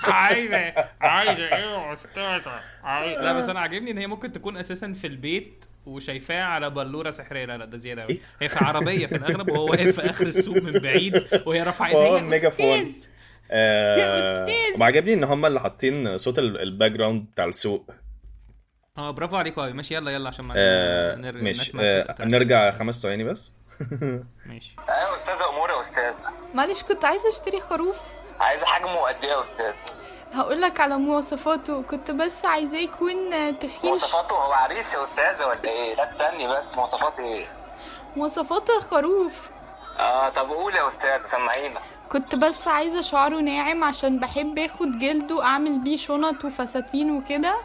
[SPEAKER 1] عايزه عايزه ايه يا استاذه عايزة- لا بس انا عاجبني ان هي ممكن تكون اساسا في البيت وشايفاه على بلوره سحريه لا لا ده زياده
[SPEAKER 2] إيه؟
[SPEAKER 1] أوي. هي في عربيه في الاغلب وهو واقف في اخر السوق من بعيد وهي رافعه
[SPEAKER 2] وهو
[SPEAKER 1] ايديها يا
[SPEAKER 2] الميجافون.
[SPEAKER 1] أستاذ.
[SPEAKER 2] آه،
[SPEAKER 1] أستاذ.
[SPEAKER 2] وعجبني ان هم اللي حاطين صوت الباك جراوند بتاع السوق
[SPEAKER 1] اه برافو عليكوا قوي ماشي يلا يلا عشان ما
[SPEAKER 2] آه،
[SPEAKER 1] نر-
[SPEAKER 2] ماشي
[SPEAKER 1] نسمع
[SPEAKER 2] آه،
[SPEAKER 1] التتر.
[SPEAKER 2] نرجع خمس ثواني بس
[SPEAKER 1] ماشي
[SPEAKER 5] ايوه يا استاذه امور يا استاذه
[SPEAKER 4] معلش كنت عايزه اشتري خروف
[SPEAKER 5] عايزه حجمه قد ايه يا استاذه
[SPEAKER 4] هقول لك على مواصفاته كنت بس عايزاه يكون آه، تخين ش-
[SPEAKER 5] مواصفاته هو عريس يا استاذه ولا ايه لا استني بس مواصفات ايه
[SPEAKER 4] مواصفات الخروف
[SPEAKER 5] اه طب قول يا استاذه سمعينا
[SPEAKER 4] كنت بس عايزه شعره ناعم عشان بحب اخد جلده اعمل بيه شنط وفساتين وكده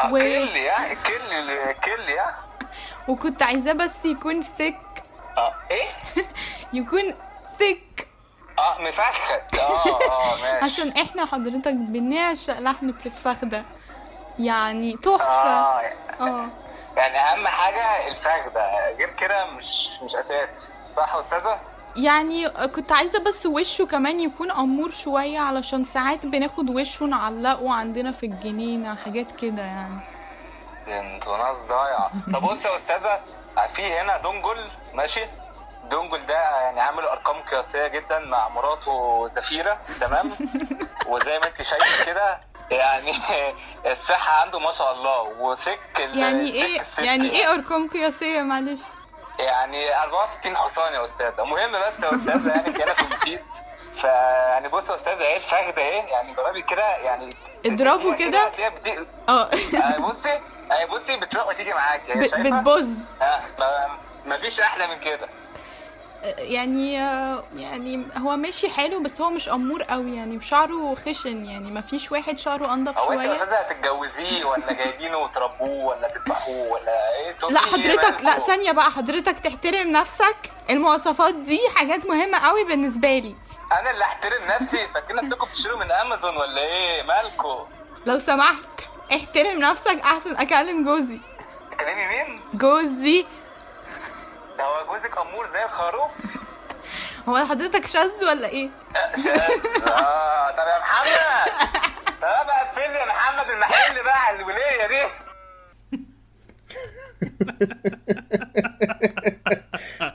[SPEAKER 5] آه،
[SPEAKER 4] و-
[SPEAKER 5] كل يا كل كل يا
[SPEAKER 4] وكنت عايزاه بس يكون ثيك
[SPEAKER 5] اه ايه
[SPEAKER 4] يكون ثيك
[SPEAKER 5] اه مفخد اه اه ماشي
[SPEAKER 4] عشان احنا حضرتك بنعشق لحمه الفخده يعني تحفه
[SPEAKER 5] اه
[SPEAKER 4] اه
[SPEAKER 5] يعني اهم حاجه الفخده غير كده مش مش اساسي صح يا استاذه
[SPEAKER 4] يعني كنت عايزة بس وشه كمان يكون أمور شوية علشان ساعات بناخد وشه نعلقه عندنا في الجنينة حاجات كده يعني
[SPEAKER 5] ده انتوا ناس ضايعه طب بص يا استاذه في هنا دونجل ماشي دونجل ده يعني عامل ارقام قياسيه جدا مع مراته زفيره تمام وزي ما انت شايفه كده يعني الصحه عنده ما شاء الله وثك ال-
[SPEAKER 4] يعني
[SPEAKER 5] ثك
[SPEAKER 4] ايه
[SPEAKER 5] الست
[SPEAKER 4] يعني ايه أرقام قياسية معلش
[SPEAKER 5] يعني 64 حصان يا استاذه المهم بس يا استاذه يعني كده في المفيد فيعني بص يا استاذه ايه الفخده ايه يعني جربي كده يعني
[SPEAKER 4] اضربه كده؟
[SPEAKER 5] هتلاقيها بتي-
[SPEAKER 4] اه
[SPEAKER 5] آه، بصي آه، بصي بتروح وتيجي معاك يعني
[SPEAKER 4] ب-
[SPEAKER 5] شايفه
[SPEAKER 4] بتبز
[SPEAKER 5] آه، ما- مفيش احلى من كده
[SPEAKER 4] يعني آه، يعني هو ماشي حلو بس هو مش أمور قوي يعني وشعره خشن يعني مفيش واحد شعره أنضف
[SPEAKER 5] هو انت يا
[SPEAKER 4] شوية
[SPEAKER 5] استاذه هتتجوزيه ولا جايبينه وتربوه ولا تذبحوه ولا ايه تقولي
[SPEAKER 4] لا
[SPEAKER 5] إيه
[SPEAKER 4] حضرتك لا
[SPEAKER 5] مالكوا؟
[SPEAKER 4] ثانية بقى حضرتك تحترم نفسك المواصفات دي حاجات مهمة قوي بالنسبة لي
[SPEAKER 5] انا اللي احترم نفسي فاكرين نفسكم بتشتروا من امازون ولا ايه مالكوا
[SPEAKER 4] لو سمحت احترم نفسك احسن اكلم جوزي
[SPEAKER 5] تكلمي مين
[SPEAKER 4] جوزي
[SPEAKER 5] ده هو جوزك امور زي الخروف
[SPEAKER 4] هو حضرتك شاذ ولا ايه
[SPEAKER 5] اه آه، طب يا محمد طب بقى اقفل يا محمد المحل بقى على الوليه دي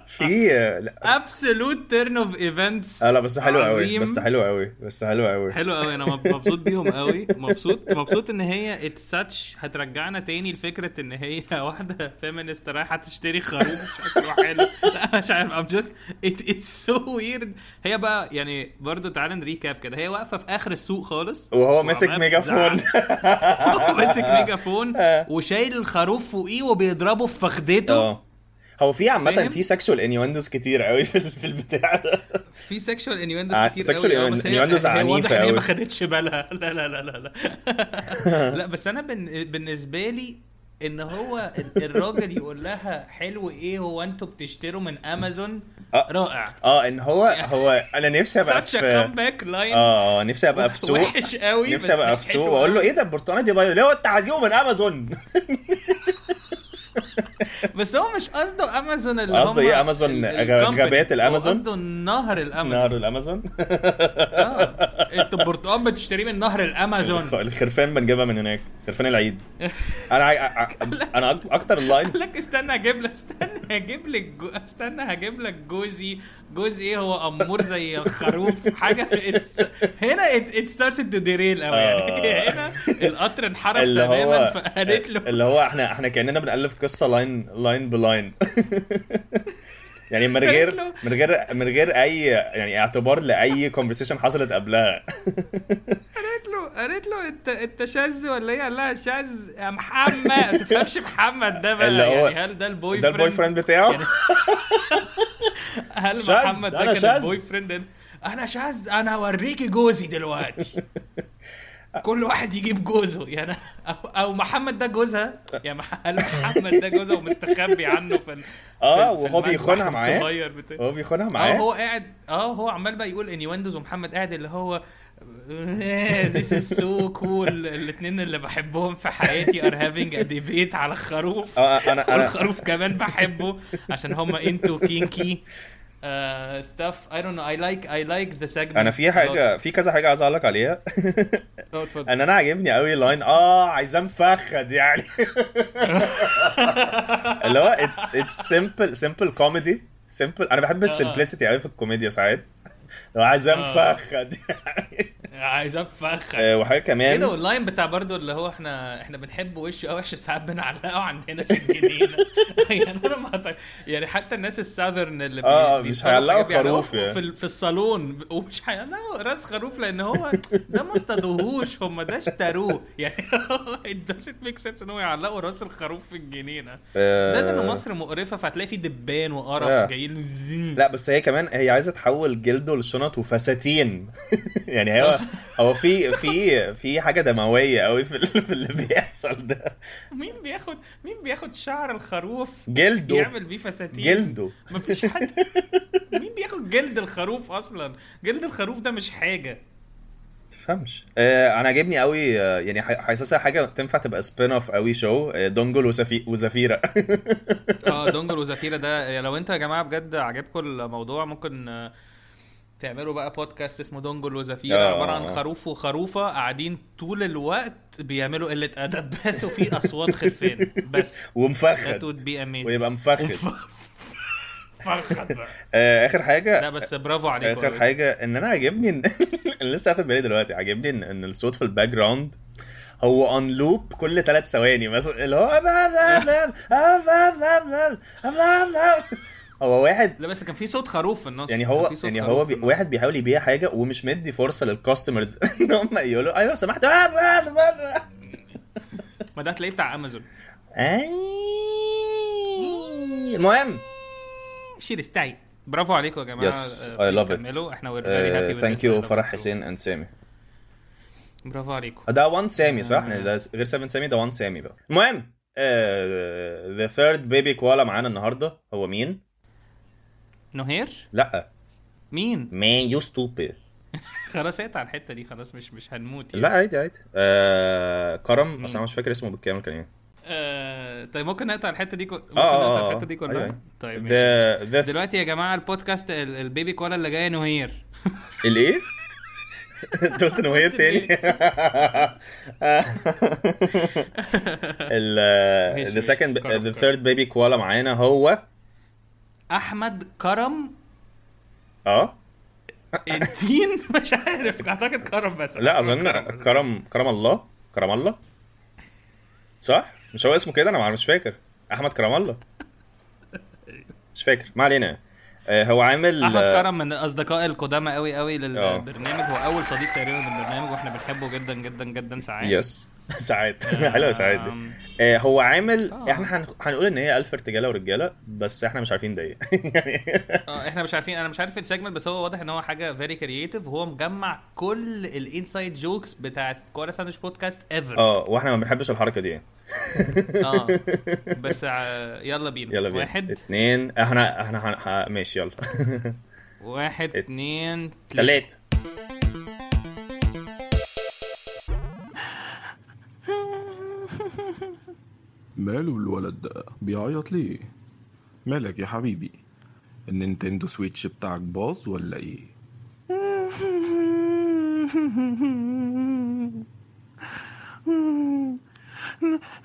[SPEAKER 2] في آه، لا
[SPEAKER 1] ابسولوت تيرن اوف ايفنتس
[SPEAKER 2] آه، لا بس حلو قوي بس حلو قوي بس حلو قوي
[SPEAKER 1] حلو قوي انا مب- مبسوط بيهم قوي مبسوط مبسوط ان هي اتس ساتش هترجعنا تاني لفكره ان هي واحده فيمينست رايحه تشتري خروف شكله حلو لا مش عارف ام جاست ات اتس سو ويرد هي بقى يعني برضو تعالى نريكاب كده هي واقفه في اخر السوق خالص
[SPEAKER 2] وهو ماسك
[SPEAKER 1] وعمالة
[SPEAKER 2] ميجافون
[SPEAKER 1] بتزعق. هو ماسك ميجافون
[SPEAKER 2] آه.
[SPEAKER 1] وشايل الخروف فوقيه وبيضربه في فخدته
[SPEAKER 2] اه هو في عامة
[SPEAKER 1] فاهم؟
[SPEAKER 2] في سكشوال انيوندوز كتير قوي في ال- في البتاع ده
[SPEAKER 1] في سكشوال انيوندوز
[SPEAKER 2] آه،
[SPEAKER 1] كتير
[SPEAKER 2] sexual
[SPEAKER 1] قوي آه، بس هي- هي
[SPEAKER 2] innuendos
[SPEAKER 1] واضح
[SPEAKER 2] عنيفة
[SPEAKER 1] ان هي
[SPEAKER 2] قوي.
[SPEAKER 1] ما خدتش بالها لا لا لا لا لا لا بس انا بن... بالنسبه لي ان هو ال- الراجل يقول لها حلو ايه هو انتوا بتشتروا من امازون
[SPEAKER 2] آه.
[SPEAKER 1] رائع يعني
[SPEAKER 2] اه ان هو هو انا نفسي ابقى
[SPEAKER 1] such a
[SPEAKER 2] في
[SPEAKER 1] comeback line
[SPEAKER 2] اه آه، نفسي ابقى في سوق
[SPEAKER 1] وحش قوي
[SPEAKER 2] نفسي
[SPEAKER 1] بس
[SPEAKER 2] ابقى في سوق
[SPEAKER 1] حلو
[SPEAKER 2] واقول له
[SPEAKER 1] قوي.
[SPEAKER 2] ايه ده البرتقانه دي بايظه ليه انت هتجيبه من امازون
[SPEAKER 1] بس هو مش قصده امازون اللي
[SPEAKER 2] قصده
[SPEAKER 1] هم
[SPEAKER 2] ايه أمازون؟
[SPEAKER 1] ال-
[SPEAKER 2] غ-
[SPEAKER 1] الcompany.
[SPEAKER 2] غابات
[SPEAKER 1] هو
[SPEAKER 2] الأمازون؟
[SPEAKER 1] قصده نهر الامازون
[SPEAKER 2] نهر الامازون
[SPEAKER 1] آه. انت البرتقال بتشتريه من نهر الامازون
[SPEAKER 2] الخ- الخرفان بنجيبها من هناك خرفان العيد انا عاي... ع- ع- انا أك- اكتر اللاين
[SPEAKER 1] قال لك استنى هجيب لك استنى هجيب لك جو... استنى هجيب لك جوزي جوز ايه هو امور زي الخروف حاجه it's... هنا ات ستارتد تو ديريل قوي يعني
[SPEAKER 2] آه.
[SPEAKER 1] هنا القطر انحرف
[SPEAKER 2] اللي
[SPEAKER 1] تماما
[SPEAKER 2] هو
[SPEAKER 1] فقالت له
[SPEAKER 2] اللي هو احنا احنا كاننا بنالف قصه لاين لاين بلاين يعني من غير
[SPEAKER 1] له-
[SPEAKER 2] من غير من غير اي يعني اعتبار لاي كونفرسيشن حصلت قبلها
[SPEAKER 1] قالت له قالت له انت انت شاذ ولا ايه؟ قال لها شاذ يا محمد ما تفهمش محمد ده بقى
[SPEAKER 2] اللي هو-
[SPEAKER 1] يعني هل ده يعني البوي
[SPEAKER 2] ده البوي فريند بتاعه
[SPEAKER 1] هل
[SPEAKER 2] شاذ،
[SPEAKER 1] محمد
[SPEAKER 2] أنا
[SPEAKER 1] ده كان
[SPEAKER 2] شاذ.
[SPEAKER 1] البوي فريند انا شاذ انا اوريكي جوزي دلوقتي كل واحد يجيب جوزه يعني او, أو محمد ده جوزها يا مح- هل محمد ده جوزها ومستخبي عنه في ال-
[SPEAKER 2] اه
[SPEAKER 1] في- في
[SPEAKER 2] وهو
[SPEAKER 1] المدفع
[SPEAKER 2] بيخونها معاه
[SPEAKER 1] الصغير بتاع-
[SPEAKER 2] هو بيخونها
[SPEAKER 1] اه
[SPEAKER 2] معاه
[SPEAKER 1] هو قاعد اه هو عمال بقى يقول انيوندوز ومحمد قاعد اللي هو "إيه، ذيس از سو كول الاثنين اللي بحبهم في حياتي ار هافينج ديبيت
[SPEAKER 2] آه،
[SPEAKER 1] على الخروف
[SPEAKER 2] اه انا انا
[SPEAKER 1] والخروف كمان بحبه عشان هما انتو كينكي uh, stuff. I don't know. I like I like the segment.
[SPEAKER 2] انا في حاجه في كذا حاجه عايز اعلق عليها ان انا عاجبني قوي لاين اه عايزاه مفخد يعني اللي هو اتس اتس سمبل سمبل كوميدي سمبل انا
[SPEAKER 1] آه.
[SPEAKER 2] بحب السمبلسيتي قوي في الكوميديا ساعات لو عايزاه مفخد يعني
[SPEAKER 1] عايز افخ
[SPEAKER 2] آه، وحاجه
[SPEAKER 1] كده
[SPEAKER 2] كمان
[SPEAKER 1] واللاين بتاع برضو اللي هو احنا احنا بنحب وشه قوي عشان ساعات بنعلقه عندنا في الجنينه يعني انا ما أعتقد- يعني حتى الناس الساذرن اللي بي-
[SPEAKER 2] آه، مش
[SPEAKER 1] بيشتغلوا
[SPEAKER 2] هيعلقوا
[SPEAKER 1] حاجة بيعلقوها
[SPEAKER 2] خروف
[SPEAKER 1] في-
[SPEAKER 2] يعني.
[SPEAKER 1] في, ال- في الصالون ومش هيعلقوا راس خروف لان هو ده ما اصطادوهوش هم ده اشتروه يعني it doesn't make sense ان هو يعلقوا راس الخروف في الجنينه
[SPEAKER 2] آه.
[SPEAKER 1] زائد ان مصر مقرفه فهتلاقي في دبان
[SPEAKER 2] آه.
[SPEAKER 1] وقرف جايين
[SPEAKER 2] لا بس هي كمان هي عايزه تحول جلده لشنط وفساتين يعني هو هو في في في حاجه دمويه قوي في ال- في اللي بيحصل ده
[SPEAKER 1] مين بياخد مين بياخد شعر الخروف
[SPEAKER 2] جلده
[SPEAKER 1] يعمل بيه فساتين
[SPEAKER 2] جلده
[SPEAKER 1] مفيش حد مين بياخد جلد الخروف اصلا جلد الخروف ده مش حاجه
[SPEAKER 2] تفهمش آه انا عاجبني قوي آه يعني ح- حاسسها حاجه تنفع تبقى سبين اوف قوي شو آه دونجل وزفي وزفيره
[SPEAKER 1] اه دونجل وزفيره ده لو انتوا يا جماعه بجد عجبكم الموضوع ممكن آه، تعملوا بقى بودكاست اسمه دونجل وزفيره
[SPEAKER 2] آه.
[SPEAKER 1] عباره عن خروف وخروفه قاعدين طول الوقت بيعملوا قله ادب بس وفي اصوات خرفان بس that
[SPEAKER 2] ومفخد
[SPEAKER 1] would be amazing
[SPEAKER 2] ويبقى مفخد
[SPEAKER 1] فرخت بقى
[SPEAKER 2] آه اخر حاجه
[SPEAKER 1] لا بس برافو عليكم
[SPEAKER 2] اخر حاجه ان انا عاجبني ان اللي لسه واخد بالي دلوقتي عاجبني ان, إن الصوت في الباك جراوند هو اون لوب كل ثلاث ثواني مثلا اللي هو هو واحد
[SPEAKER 1] لا بس كان في صوت خروف في النص
[SPEAKER 2] يعني
[SPEAKER 1] كان
[SPEAKER 2] هو
[SPEAKER 1] في صوت
[SPEAKER 2] يعني
[SPEAKER 1] خروف
[SPEAKER 2] هو
[SPEAKER 1] في
[SPEAKER 2] بي
[SPEAKER 1] النص.
[SPEAKER 2] واحد بيحاول يبيع حاجه ومش مدي فرصه للكاستمرز ان هم يقولوا ايوه لو سمحت
[SPEAKER 1] ما ده هتلاقيه بتاع امازون
[SPEAKER 2] آه، المهم
[SPEAKER 1] شير ستاي برافو عليكم يا جماعه
[SPEAKER 2] Yes,
[SPEAKER 1] آه،
[SPEAKER 2] I
[SPEAKER 1] please
[SPEAKER 2] love it. آه،
[SPEAKER 1] كملوا احنا we're very happy with this.
[SPEAKER 2] ثانك
[SPEAKER 1] I
[SPEAKER 2] يو
[SPEAKER 1] love
[SPEAKER 2] فرح
[SPEAKER 1] it too.
[SPEAKER 2] حسين اند سامي
[SPEAKER 1] برافو عليكم
[SPEAKER 2] ده 1 سامي
[SPEAKER 1] Mm.
[SPEAKER 2] صح؟ ده غير 7 سامي ده 1 سامي بقى. المهم uh, ذا ثيرد بيبي كوالا معانا النهارده هو مين؟
[SPEAKER 1] نهير
[SPEAKER 2] لا
[SPEAKER 1] مين
[SPEAKER 2] مان يو ستوبيد
[SPEAKER 1] خلاص اقطع الحته دي خلاص مش مش هنموت يعني.
[SPEAKER 2] لا عادي عادي آه،
[SPEAKER 1] Mm.
[SPEAKER 2] كرم بس انا مش فاكر اسمه بالكامل كان ايه
[SPEAKER 1] آه، طيب ممكن نقطع الحته دي كل... ممكن
[SPEAKER 2] اه
[SPEAKER 1] نقطع
[SPEAKER 2] اه
[SPEAKER 1] الحته دي كلها طيب ماشي
[SPEAKER 2] ذا ذا
[SPEAKER 1] دلوقتي يا جماعه البودكاست ال- البيبي كولا اللي جايه نهير
[SPEAKER 2] الايه؟ انت قلت نوير تاني ال ذا
[SPEAKER 1] إيه. ماشي.
[SPEAKER 2] سكند
[SPEAKER 1] كرم،
[SPEAKER 2] ذا
[SPEAKER 1] كرم.
[SPEAKER 2] ثيرد بيبي كوالا معانا هو
[SPEAKER 1] احمد كرم
[SPEAKER 2] اه
[SPEAKER 1] الدين مش عارف اعتقد كرم بس
[SPEAKER 2] لا
[SPEAKER 1] أعتقد
[SPEAKER 2] اظن
[SPEAKER 1] كرم بس.
[SPEAKER 2] كرم كرم الله كرم الله صح مش هو اسمه كده انا مش فاكر احمد كرم الله مش فاكر ما علينا آه، هو عامل
[SPEAKER 1] احمد كرم من الاصدقاء القدامى قوي قوي
[SPEAKER 2] آه.
[SPEAKER 1] للبرنامج هو اول صديق تقريبا للبرنامج واحنا بنحبه جدا جدا جدا ساعات
[SPEAKER 2] يس ساعات حلوه ساعات دي
[SPEAKER 1] آم.
[SPEAKER 2] آه، هو عامل
[SPEAKER 1] آه.
[SPEAKER 2] احنا هن- هنقول ان هي الف ارتجاله ورجاله بس احنا مش عارفين ده ايه يعني
[SPEAKER 1] اه احنا مش عارفين انا مش عارف السيجمنت بس هو واضح ان هو حاجه فيري كرييتيف هو مجمع كل الانسايد جوكس بتاعت كوره ساندويتش بودكاست ايفر
[SPEAKER 2] اه واحنا ما بنحبش الحركه دي
[SPEAKER 1] اه بس ع- آه، يلا بينا
[SPEAKER 2] يلا بينا
[SPEAKER 1] واحد
[SPEAKER 2] اتنين احنا احنا هن- ه- ماشي يلا
[SPEAKER 1] واحد اتنين تلاته
[SPEAKER 2] تلاتة
[SPEAKER 6] ماله الولد ده بيعيط ليه مالك يا حبيبي النينتندو سويتش بتاعك باظ ولا ايه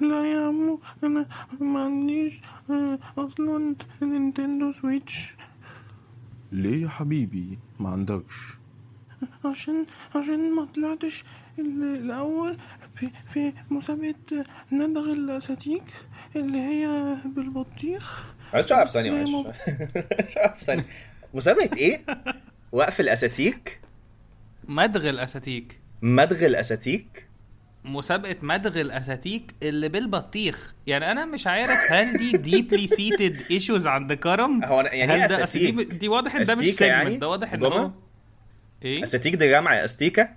[SPEAKER 6] لا يا عمو انا ما عنديش اصلا نينتندو سويتش ليه يا حبيبي ما عندكش عشان عشان ما طلعتش ال- الأول في, في مسابقة ندغ الأساتيك اللي هي بالبطيخ
[SPEAKER 2] معلش شعر في طيب، ثانية معلش شعر في ثانية مسابقة ايه؟ وقف الاساتيك
[SPEAKER 1] مدغ الاساتيك
[SPEAKER 2] مدغ الاساتيك
[SPEAKER 1] مسابقة مدغ الاساتيك اللي بالبطيخ يعني انا مش عارف هل دي ديبلي سيتد ايشوز عند كرم
[SPEAKER 2] هو أنا- يعني
[SPEAKER 1] هل
[SPEAKER 2] إيه
[SPEAKER 1] ده- أصل دي,
[SPEAKER 2] أساتيك؟
[SPEAKER 1] دي واضح ان ده مش
[SPEAKER 2] أستيكة
[SPEAKER 1] سيجمنت
[SPEAKER 2] يعني؟
[SPEAKER 1] ده واضح ان
[SPEAKER 2] جمعة؟
[SPEAKER 1] هو ايه
[SPEAKER 2] اساتيك دي جامعة استيكة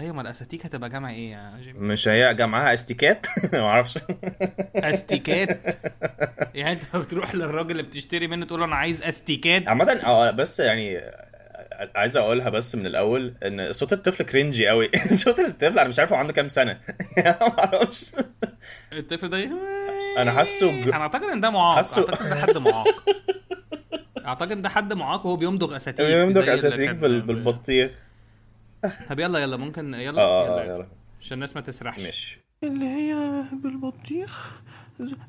[SPEAKER 1] ايوه ما الاساتيك هتبقى جامعه ايه يا جيمي
[SPEAKER 2] مش هي جامعة استيكات معرفش
[SPEAKER 1] استيكات يعني انت بتروح للراجل اللي بتشتري منه تقول له انا عايز استيكات
[SPEAKER 2] عامة اه بس يعني عايز اقولها بس من الاول ان صوت الطفل كرنجي قوي صوت الطفل انا مش عارف هو عنده كام سنه ما اعرفش
[SPEAKER 1] الطفل ده
[SPEAKER 2] أنا حاسه ج-
[SPEAKER 1] انا اعتقد ان ده معاق
[SPEAKER 2] حاسه-
[SPEAKER 1] اعتقد ان ده حد معاق اعتقد ده حد معاق وهو بيمضغ اساتيك
[SPEAKER 2] بيمدك
[SPEAKER 1] زي اللي
[SPEAKER 2] اساتيك
[SPEAKER 1] كان-
[SPEAKER 2] بال- بالبطيخ
[SPEAKER 1] طب يلا يلا ممكن يلا
[SPEAKER 2] اه
[SPEAKER 1] يلا
[SPEAKER 2] يلا
[SPEAKER 1] عشان الناس ما تسرحش
[SPEAKER 2] ماشي
[SPEAKER 6] اللي هي بالبطيخ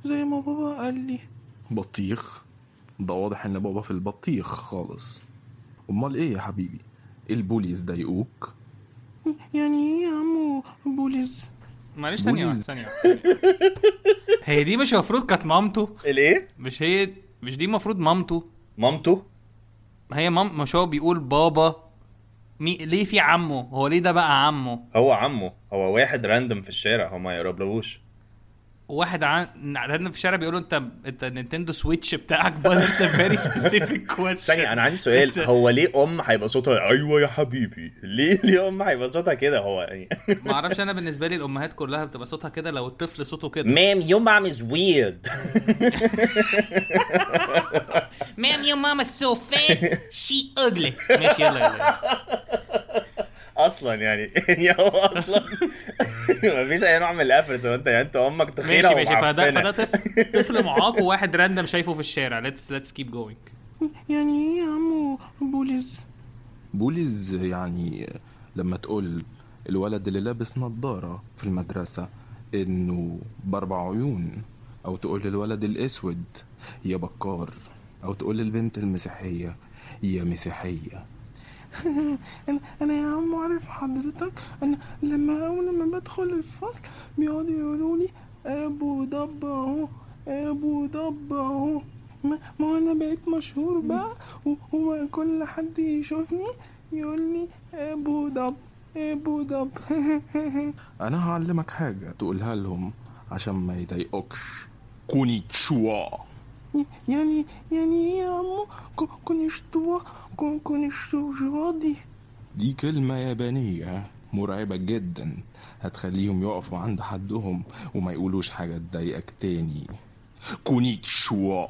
[SPEAKER 6] زي ما بابا قال لي بطيخ ده واضح ان بابا في البطيخ خالص امال ايه يا حبيبي البوليس ضايقوك يعني ايه يا عمو بوليس
[SPEAKER 1] معلش ثانية واحدة
[SPEAKER 6] بوليز.
[SPEAKER 1] ثانية واحدة. هي دي مش المفروض كانت مامته
[SPEAKER 2] الايه؟
[SPEAKER 1] مش هي مش دي المفروض مامته
[SPEAKER 2] مامته
[SPEAKER 1] ما هي مام مش هو بيقول بابا مي... ليه في عمه هو ليه ده بقى عمه
[SPEAKER 2] هو عمه هو واحد راندوم في الشارع هو ما يقربلهوش
[SPEAKER 1] واحد عن عندنا في الشارع بيقولوا انت انت نينتندو سويتش بتاعك بس فيري سبيسيفيك
[SPEAKER 2] ثانية أنا عندي سؤال هو ليه أم هيبقى صوتها أيوه يا حبيبي ليه ليه أم هيبقى صوتها كده هو يعني
[SPEAKER 1] ما اعرفش انا بالنسبه لي الامهات كلها بتبقى صوتها كده لو الطفل صوته كده
[SPEAKER 2] مام يور مام از ويرد
[SPEAKER 1] مام يو ماما سو فات شي اجلي ماشي يلا يلا
[SPEAKER 2] أصلا يعني يعني هو أصلا مفيش أي نوع من الأفرتس هو أنت يعني أنت أمك تخينة
[SPEAKER 1] ماشي ماشي فده
[SPEAKER 2] ومعفنة.
[SPEAKER 1] فده طفل طفل معاق وواحد راندم شايفه في الشارع ليتس ليتس كيب جوينج
[SPEAKER 6] يعني ايه يا عمو بوليس بوليس يعني لما تقول الولد اللي لابس نظارة في المدرسة انه باربع عيون او تقول للولد الاسود يا بكار او تقول للبنت المسيحية يا مسيحية انا انا يا عم عارف حضرتك انا لما اول ما بدخل الفصل بيقعدوا يقولوا لي ابو ضب اهو ابو ضب اهو ما ما هو انا بقيت مشهور بقى و- وبقى كل حد يشوفني يقول لي ابو ضب ابو ضب انا هعلمك حاجه تقولها لهم عشان ما يضايقوكش كونيتشوا يعني يعني ايه يا عمو كو- كونيشتوا كو- كونيشتوا دي دي كلمة يابانية مرعبة جدا هتخليهم يقفوا عند حدهم وما يقولوش حاجة تضايقك تاني كونيتشوا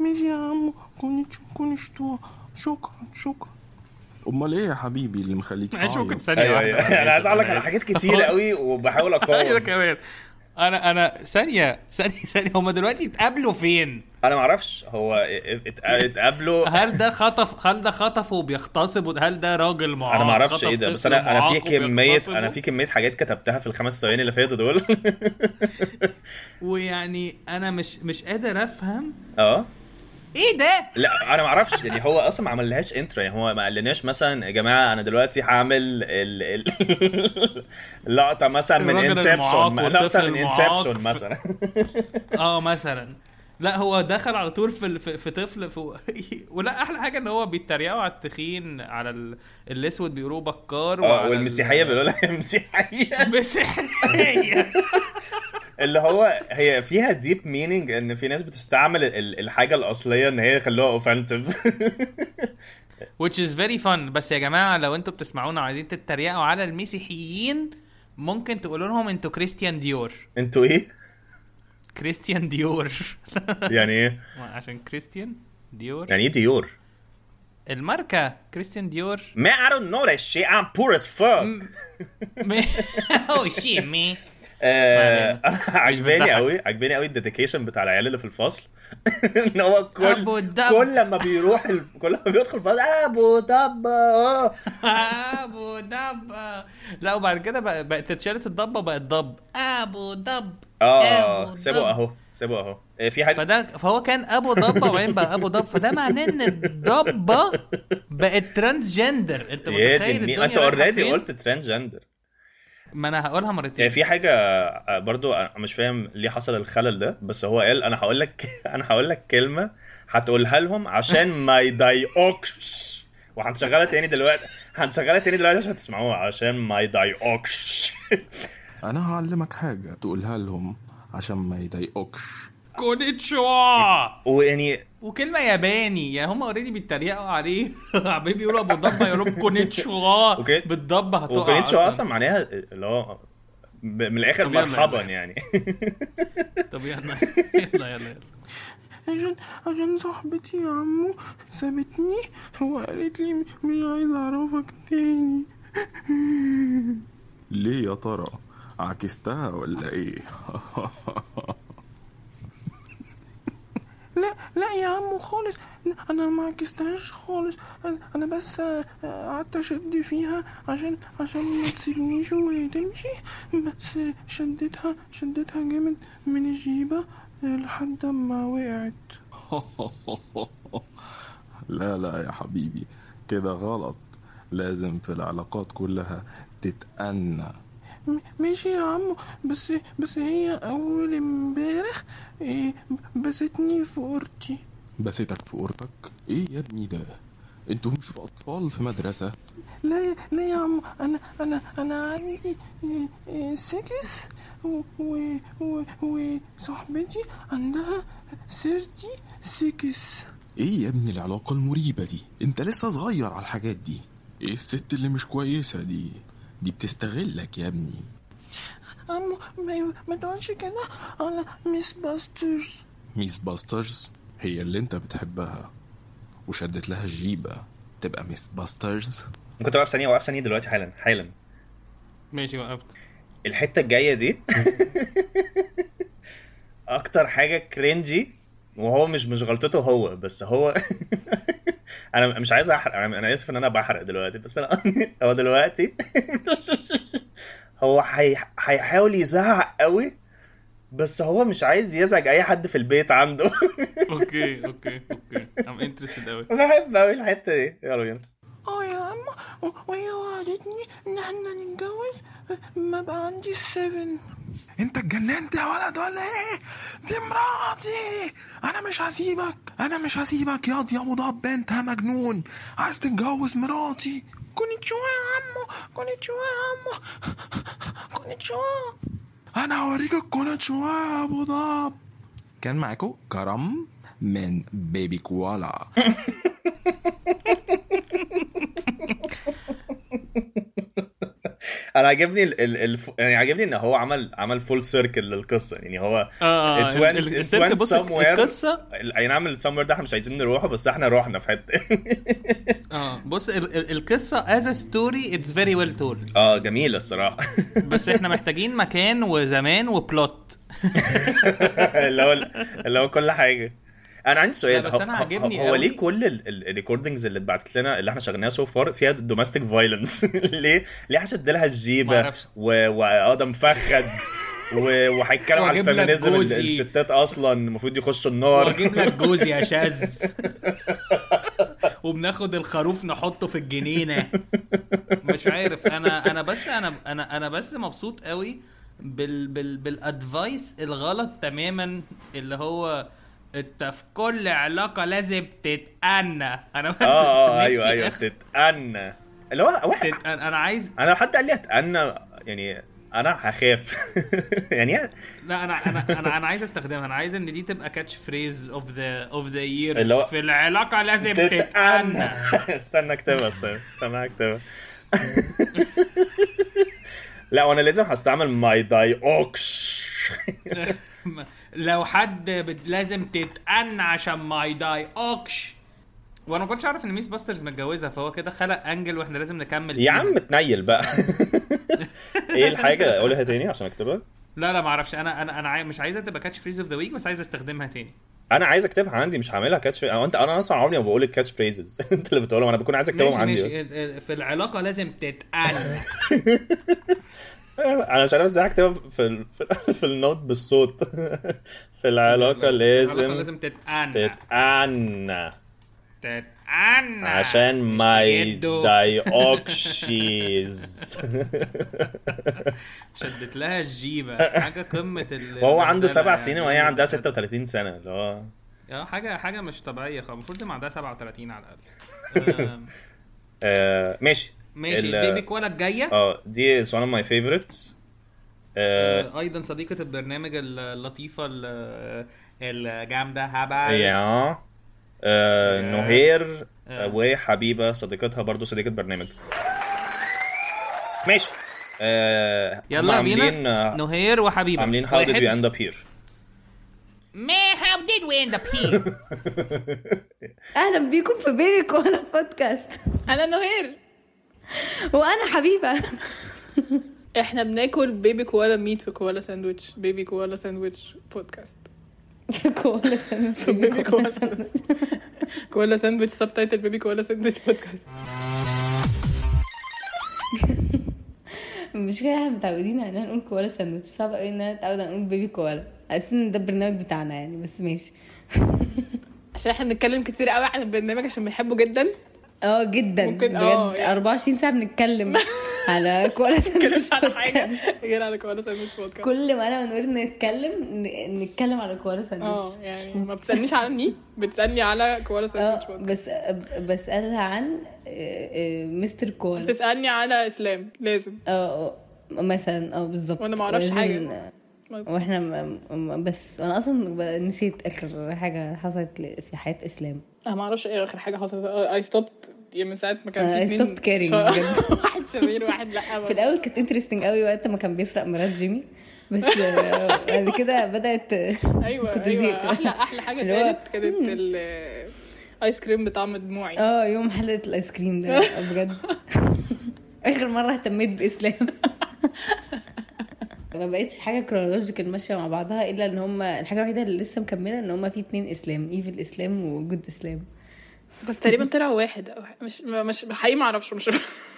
[SPEAKER 6] ماشي يا عمو كونيتشوا شكرا شكرا امال ايه يا حبيبي اللي مخليك
[SPEAKER 1] معلش ممكن
[SPEAKER 6] تعيط
[SPEAKER 1] ثانيه
[SPEAKER 2] أيوه
[SPEAKER 1] واحده
[SPEAKER 2] أيوه أنا عايز أقول لك على
[SPEAKER 1] آسف.
[SPEAKER 2] حاجات كتير قوي وبحاول
[SPEAKER 1] انا
[SPEAKER 2] أقاوم
[SPEAKER 1] كمان انا انا ثانيه ثانيه ثانيه هما دلوقتي اتقابلوا فين؟
[SPEAKER 2] أنا معرفش هو ات- ات- اتقابلوا
[SPEAKER 1] هل ده خطف هل ده خطفه وبيغتصبه هل ده راجل معاق
[SPEAKER 2] انا ما اعرفش
[SPEAKER 1] آه، خطف
[SPEAKER 2] ايه ده بس
[SPEAKER 1] طفل
[SPEAKER 2] انا انا في
[SPEAKER 1] معاق
[SPEAKER 2] كميه
[SPEAKER 1] وبيغتصبه؟
[SPEAKER 2] انا في كميه حاجات كتبتها في الخمس ثواني اللي فاتوا دول
[SPEAKER 1] ويعني انا مش مش قادر افهم
[SPEAKER 2] اه
[SPEAKER 1] ايه ده؟
[SPEAKER 2] لا انا ما اعرفش يعني هو اصلا ما عملهاش انترو يعني هو ما قالناش مثلا يا جماعه انا دلوقتي هعمل ال ال- اللقطه مثلا من
[SPEAKER 1] الراجل المعاق
[SPEAKER 2] انسبشن لقطه
[SPEAKER 1] والطفل
[SPEAKER 2] من
[SPEAKER 1] المعاق
[SPEAKER 2] انسبشن
[SPEAKER 1] في-
[SPEAKER 2] مثلا
[SPEAKER 1] اه مثلا لا هو دخل على طول في في, في طفل في ولا احلى حاجه ان هو بيتريقوا على التخين على ال... الاسود بيقولوه بكار
[SPEAKER 2] اه
[SPEAKER 1] وعلى ال-
[SPEAKER 2] والمسيحيه بيقولوا لها المسيحيه
[SPEAKER 1] المسيحيه
[SPEAKER 2] اللي هو هي فيها ديب مينينج ان في ناس بتستعمل ال- الحاجه الاصليه ان هي يخلوها اوفنسيف
[SPEAKER 1] which is very fun بس يا جماعه لو انتوا بتسمعونا وعايزين تتريقوا على المسيحيين ممكن تقولوا لهم انتوا كريستيان ديور
[SPEAKER 2] انتوا ايه؟
[SPEAKER 1] كريستيان ديور
[SPEAKER 2] يعني ايه؟
[SPEAKER 1] عشان كريستيان ديور
[SPEAKER 2] يعني ايه ديور؟
[SPEAKER 1] الماركه كريستيان ديور
[SPEAKER 2] Man, I don't know that shit. I'm poor as fuck.
[SPEAKER 1] Mm. او شي مي
[SPEAKER 2] آه،
[SPEAKER 1] ما
[SPEAKER 2] انا عجباني
[SPEAKER 1] بتضحك.
[SPEAKER 2] قوي عجباني قوي الديديكيشن بتاع العيال اللي في الفصل ان هو كل
[SPEAKER 1] أبو دب.
[SPEAKER 2] كل لما بيروح ال... كل لما بيدخل الفصل ابو دب آه.
[SPEAKER 1] ابو دب لا وبعد كده بقى- بقت اتشالت الضبه بقت ضب ابو دب
[SPEAKER 2] اه
[SPEAKER 1] أبو
[SPEAKER 2] سيبه
[SPEAKER 1] دب.
[SPEAKER 2] اهو سيبه اهو آه، في حاجه
[SPEAKER 1] فده فهو كان ابو ضبه وبعدين بقى ابو ضب فده معناه ان الضبه بقت ترانس جندر انت
[SPEAKER 2] يا دي
[SPEAKER 1] متخيل
[SPEAKER 2] النيل.
[SPEAKER 1] الدنيا
[SPEAKER 2] انت
[SPEAKER 1] رايحة
[SPEAKER 2] اوريدي
[SPEAKER 1] فين؟
[SPEAKER 2] قلت ترانس جندر
[SPEAKER 1] ما انا هقولها
[SPEAKER 2] آه،
[SPEAKER 1] مرتين
[SPEAKER 2] في حاجه آه، برضو انا مش فاهم ليه حصل الخلل ده بس هو قال انا هقول لك انا هقول لك كلمه هتقولها لهم عشان ما يضايقوكش وهنشغلها تاني دلوقتي هنشغلها تاني دلوقتي عشان تسمعوها عشان ما يضايقوكش
[SPEAKER 6] انا هعلمك حاجه تقولها لهم عشان ما يضايقوكش
[SPEAKER 1] كونيتشوا
[SPEAKER 2] ويعني
[SPEAKER 1] وكلمه ياباني يعني هم اوريدي بيتريقوا عليه عمالين بيقولوا ابو ضبه يقولوا لهم كونيتشوا
[SPEAKER 2] أوكي.
[SPEAKER 1] بالضبه هتقع
[SPEAKER 2] وكونيتشوا اصلا, أصلا معناها اللي هو ب- من الاخر
[SPEAKER 1] طب يلا
[SPEAKER 2] مرحبا
[SPEAKER 1] يلا.
[SPEAKER 2] يعني
[SPEAKER 1] طب يلا يلا يلا, يلا.
[SPEAKER 6] عشان عشان صاحبتي يا عمو سابتني وقالت لي مش عايز اعرفك تاني ليه يا ترى عكستها ولا ايه لا لا لا يا عمو خالص انا ما عكستهاش خالص انا أنا بس آه، قعدت اشد فيها عشان عشان ما تسيبنيش وما تمشي بس شدتها شدتها جامد من الجيبه لحد ما وقعت لا لا يا حبيبي كده غلط لازم في العلاقات كلها تتأنى ماشي يا عمو بس بس هي أول امبارح إيه، بستني في أورتي بستك في أورتك؟ إيه يا ابني ده؟ انتوا مش في أطفال في مدرسة لا لا يا عمو أنا أنا أنا عندي سكس e, وصاحبتي عندها سيرتي سكس ايه يا ابني العلاقة المريبة دي؟ انت لسه صغير على الحاجات دي ايه الست اللي مش كويسة دي؟ دي بتستغلك يا ابني عمو ما, ما تقولش كده على ميس باسترز ميس باسترز هي اللي انت بتحبها وشدت لها الجيبة تبقى ميس باسترز
[SPEAKER 2] ممكن توقف ثانيه وقف ثانيه دلوقتي حالا حالا
[SPEAKER 1] ماشي وقفت
[SPEAKER 2] الحته الجايه دي اكتر حاجه كرنجي وهو مش مش غلطته هو بس هو انا مش عايز احرق انا أنا اسف ان انا بحرق دلوقتي بس انا هو دلوقتي هو هي- هيحاول يزعق قوي بس هو مش عايز يزعج اي حد في البيت عنده
[SPEAKER 1] اوكي اوكي اوكي ام انترستد قوي
[SPEAKER 2] بحب قوي الحته دي يلا بينا
[SPEAKER 6] اه يا عم وهي وعدتني ان احنا نتجوز ما بقى عندي السفن انت اتجننت يا ولد ولا ايه دي مراتي انا مش هسيبك انا مش هسيبك ياض يا ابو ضب انت مجنون عايز تتجوز مراتي كنت شوية يا عمو كنت شوية يا عمو كنت شوية انا هوريك الكونت شوية يا ابو ضب كان معاكم كرم من بيبي كوالا
[SPEAKER 2] انا عاجبني ال ال ال يعني عاجبني ان هو عمل عمل فول سيركل للقصه يعني هو
[SPEAKER 1] اه
[SPEAKER 2] It
[SPEAKER 1] ال-
[SPEAKER 2] went-
[SPEAKER 1] ال-
[SPEAKER 2] it
[SPEAKER 1] السيرك
[SPEAKER 2] went
[SPEAKER 1] بص
[SPEAKER 2] somewhere.
[SPEAKER 1] القصه
[SPEAKER 2] ال- اي نعم السمر ده احنا مش عايزين نروحه بس احنا رحنا في حته
[SPEAKER 1] اه بص ال- ال- القصه از ستوري اتس فيري ويل تولد
[SPEAKER 2] اه جميله الصراحه
[SPEAKER 1] بس احنا محتاجين مكان وزمان وبلوت
[SPEAKER 2] اللي هو اللي هو كل حاجه انا عندي سؤال
[SPEAKER 1] لا، بس
[SPEAKER 2] هو-
[SPEAKER 1] أنا
[SPEAKER 2] هو-
[SPEAKER 1] عاجبني
[SPEAKER 2] هو ليه
[SPEAKER 1] قوي.
[SPEAKER 2] كل الريكوردنجز اللي اتبعتت لنا اللي احنا شغلناها سو فار فيها دوماستيك فايلنس ليه ليه هشد لها الجيبه
[SPEAKER 1] معرفش.
[SPEAKER 2] و- وادم مفخد و- وهيتكلم على
[SPEAKER 1] وأجيب لك
[SPEAKER 2] الفيمينيزم ال-
[SPEAKER 1] جوزي.
[SPEAKER 2] الستات اصلا المفروض يخشوا النار
[SPEAKER 1] واجيب لك جوز يا شاذ وبناخد الخروف نحطه في الجنينه مش عارف انا انا بس انا انا انا بس مبسوط قوي بال بال بالادفايس الغلط تماما اللي هو انت في كل علاقه لازم تتأنى انا بس
[SPEAKER 2] اه اه
[SPEAKER 1] نفسي
[SPEAKER 2] ايوه ايوه
[SPEAKER 1] آخد-
[SPEAKER 2] تتأنى اللي هو واحد
[SPEAKER 1] تت- انا أنا عايز
[SPEAKER 2] انا لو حد قال لي اتأنى يعني انا هخاف يعني
[SPEAKER 1] لا انا انا انا انا عايز استخدمها انا عايز ان دي تبقى كاتش فريز اوف ذا اوف ذا
[SPEAKER 2] اللي
[SPEAKER 1] يير
[SPEAKER 2] هو-
[SPEAKER 1] في العلاقه لازم
[SPEAKER 2] تتأنى
[SPEAKER 1] تتأنى
[SPEAKER 2] استنى اكتبها طيب استنى اكتبها لا وانا لازم هستعمل ماي داي اوكش
[SPEAKER 1] لو حد بت- لازم تتأن عشان ما يداي اوكش وانا ما كنتش عارف ان ميس باسترز متجوزه فهو كده خلق انجل واحنا لازم نكمل
[SPEAKER 2] يا
[SPEAKER 1] فيه.
[SPEAKER 2] عم تنيل بقى ايه الحاجه قولها تاني عشان اكتبها
[SPEAKER 1] لا لا ما اعرفش انا انا انا عاي- مش عايزها تبقى كاتش فريز اوف ذا ويك بس عايز استخدمها تاني
[SPEAKER 2] انا عايز اكتبها عندي مش هعملها كاتش فريز انت انا اصلا عمري ما بقول الكاتش فريزز انت اللي بتقولهم انا بكون عايز اكتبهم
[SPEAKER 1] ماشي
[SPEAKER 2] عندي
[SPEAKER 1] ماشي
[SPEAKER 2] إيه بس.
[SPEAKER 1] ال- ال- في العلاقه لازم تتأن
[SPEAKER 2] انا مش عارف ازاي هكتبها في ال... في- في النوت بالصوت في العلاقه
[SPEAKER 1] العلاقة
[SPEAKER 2] لازم
[SPEAKER 1] لازم تتأن
[SPEAKER 2] تتأنى
[SPEAKER 1] تتأن
[SPEAKER 2] عشان
[SPEAKER 1] نعم. مش
[SPEAKER 2] ما
[SPEAKER 1] تجده.
[SPEAKER 2] يدايوكشيز
[SPEAKER 1] شدت لها الجيبه حاجه قمه ال
[SPEAKER 2] وهو عنده سبع
[SPEAKER 1] البهدلة
[SPEAKER 2] سنين
[SPEAKER 1] يعني.
[SPEAKER 2] وهي عندها 36 سنه اللي هو
[SPEAKER 1] اه حاجه حاجه مش طبيعيه خالص المفروض تبقى عندها 37 على الاقل آم.
[SPEAKER 2] آه، ماشي
[SPEAKER 1] ماشي
[SPEAKER 2] ال-
[SPEAKER 1] البيبي كوالا الجايه
[SPEAKER 2] اه دي is one of my favorites آه،
[SPEAKER 1] آه، ايضا صديقه البرنامج اللطيفه ال- الجامده هبه
[SPEAKER 2] يا آه، نهير
[SPEAKER 1] آه.
[SPEAKER 2] وحبيبه صديقتها برضو صديقه برنامج ماشي آه، هم
[SPEAKER 1] يلا
[SPEAKER 2] عاملين
[SPEAKER 1] بينا
[SPEAKER 2] آه،
[SPEAKER 1] نهير وحبيبه
[SPEAKER 2] عاملين how did we end up here
[SPEAKER 1] ما هاو ديد وي اند اب هير
[SPEAKER 7] اهلا بيكم في بيبي كوالا بودكاست
[SPEAKER 4] انا نهير
[SPEAKER 7] وانا حبيبه
[SPEAKER 8] احنا بناكل بيبي كوالا ميت في كوالا ساندويتش بيبي كوالا ساندويتش بودكاست
[SPEAKER 7] كولا ساندوتش
[SPEAKER 8] بيبي كولا ساندوتش كولا ساندويتش سب تايتل بيبي كولا ساندويتش بودكاست
[SPEAKER 7] مش كده احنا متعودين على ان نقول كوالا ساندوتش صعب قوي ان انا اتعود على نقول بيبي كوالا حاسس ان ده البرنامج بتاعنا يعني بس ماشي
[SPEAKER 8] عشان احنا بنتكلم كتير قوي عن البرنامج عشان بنحبه جدا
[SPEAKER 7] اه جدا
[SPEAKER 8] ممكن-
[SPEAKER 7] بجد
[SPEAKER 8] آه، يعني.
[SPEAKER 7] 24 ساعه بنتكلم على كوالا
[SPEAKER 8] نتكلم
[SPEAKER 7] ساندوتش
[SPEAKER 8] على حاجه غير على كوالا ساندويتش بودكاست
[SPEAKER 7] كل ما انا ونور نتكلم ن- نتكلم على كوالا ساندوتش
[SPEAKER 8] اه يعني ما بتسالنيش عني بتسالني على كوالا ساندويتش
[SPEAKER 7] اه
[SPEAKER 8] بودكاست
[SPEAKER 7] بس بسألها عن آه، آه، مستر كوالا
[SPEAKER 8] بتسالني على اسلام لازم
[SPEAKER 7] اه اه مثلا اه بالظبط
[SPEAKER 8] وأنا ما أعرفش
[SPEAKER 7] ولازم-
[SPEAKER 8] حاجة.
[SPEAKER 7] واحنا م- م- بس انا اصلا ب- نسيت اخر حاجه حصلت ل- في حياه اسلام
[SPEAKER 8] انا ما اعرفش ايه اخر حاجه حصلت اي ستوبت من ساعه ما كان
[SPEAKER 7] آه، I
[SPEAKER 8] في اتنين
[SPEAKER 7] stopped caring
[SPEAKER 8] شا-
[SPEAKER 7] بجد.
[SPEAKER 8] واحد شرير وواحد لا
[SPEAKER 7] في الاول كانت انترستنج قوي وقت ما كان بيسرق مرات جيمي بس آه، بعد كده بدات
[SPEAKER 8] ايوه
[SPEAKER 7] كنت
[SPEAKER 8] ايوه
[SPEAKER 7] زهقت.
[SPEAKER 8] احلى احلى حاجه
[SPEAKER 7] اللي هو-
[SPEAKER 8] كانت كانت الايس كريم بطعم دموعي
[SPEAKER 7] اه يوم حلقه الايس كريم ده بجد اخر مره اهتميت باسلام ما بقتش حاجه كرونولوجيكال ماشيه مع بعضها الا ان هم الحاجه الوحيده اللي لسه مكمله ان هم في اتنين اسلام ايفل اسلام وجود اسلام
[SPEAKER 8] بس تقريبا طلع واحد او مش مش حقيقي ما اعرفش مش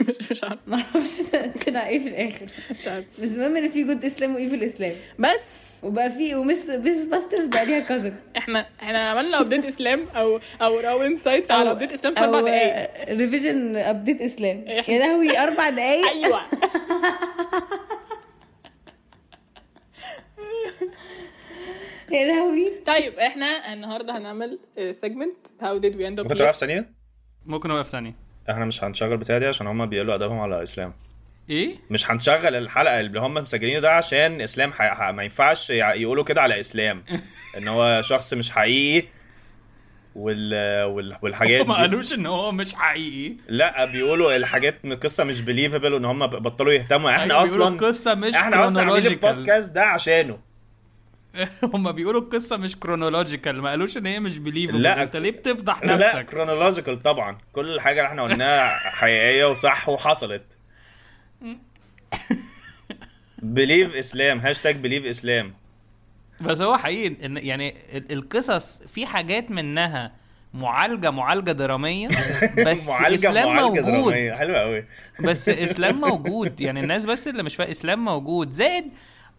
[SPEAKER 8] مش مش عارف
[SPEAKER 7] ما اعرفش ده طلع ايه في الاخر
[SPEAKER 8] مش عارف
[SPEAKER 7] بس المهم ان في جود اسلام وايفل اسلام
[SPEAKER 8] بس
[SPEAKER 7] وبقى في ومس بس باسترز بقى ليها كازن
[SPEAKER 8] احنا احنا عملنا ابديت اسلام او او او انسايتس على ابديت اسلام في اربع دقايق
[SPEAKER 7] ريفيجن ابديت اسلام
[SPEAKER 8] إحنا-
[SPEAKER 7] يا لهوي اربع دقايق
[SPEAKER 8] ايوه
[SPEAKER 7] يا لهوي
[SPEAKER 8] طيب احنا النهارده هنعمل آه، سيجمنت هاو ديد وي اند
[SPEAKER 2] ممكن توقف
[SPEAKER 8] اب
[SPEAKER 2] ثانيه
[SPEAKER 1] ممكن اوقف ثانيه
[SPEAKER 2] احنا مش هنشغل بتاع دي عشان هم بيقولوا ادبهم على اسلام
[SPEAKER 1] ايه
[SPEAKER 2] مش هنشغل الحلقه اللي هم مسجلينه ده عشان اسلام ح... ح... ما ينفعش يع- يقولوا كده على اسلام ان هو شخص مش حقيقي وال... وال... والحاجات
[SPEAKER 1] ما
[SPEAKER 2] دي
[SPEAKER 1] قالوش ان هو مش حقيقي
[SPEAKER 2] لا بيقولوا الحاجات من القصه مش بليفبل وان هم بطلوا يهتموا احنا
[SPEAKER 1] أيوة، بيقولوا
[SPEAKER 2] اصلا
[SPEAKER 1] القصه مش
[SPEAKER 2] احنا اصلا عاملين
[SPEAKER 1] كرونولوجيكال
[SPEAKER 2] البودكاست ده عشانه
[SPEAKER 1] هم بيقولوا القصه مش كرونولوجيكال ما قالوش ان هي مش بليفبل
[SPEAKER 2] لا.
[SPEAKER 1] انت ليه بتفضح
[SPEAKER 2] لا
[SPEAKER 1] نفسك
[SPEAKER 2] كرونولوجيكال طبعا كل حاجه اللي احنا قلناها حقيقيه وصح وحصلت بليف اسلام هاشتاج بليف اسلام
[SPEAKER 1] بس هو حقيقي ان يعني ال- القصص في حاجات منها معالجه معالجه دراميه بس اسلام موجود
[SPEAKER 2] درامية. حلوه قوي
[SPEAKER 1] بس اسلام موجود يعني الناس بس اللي مش فاهم اسلام موجود زائد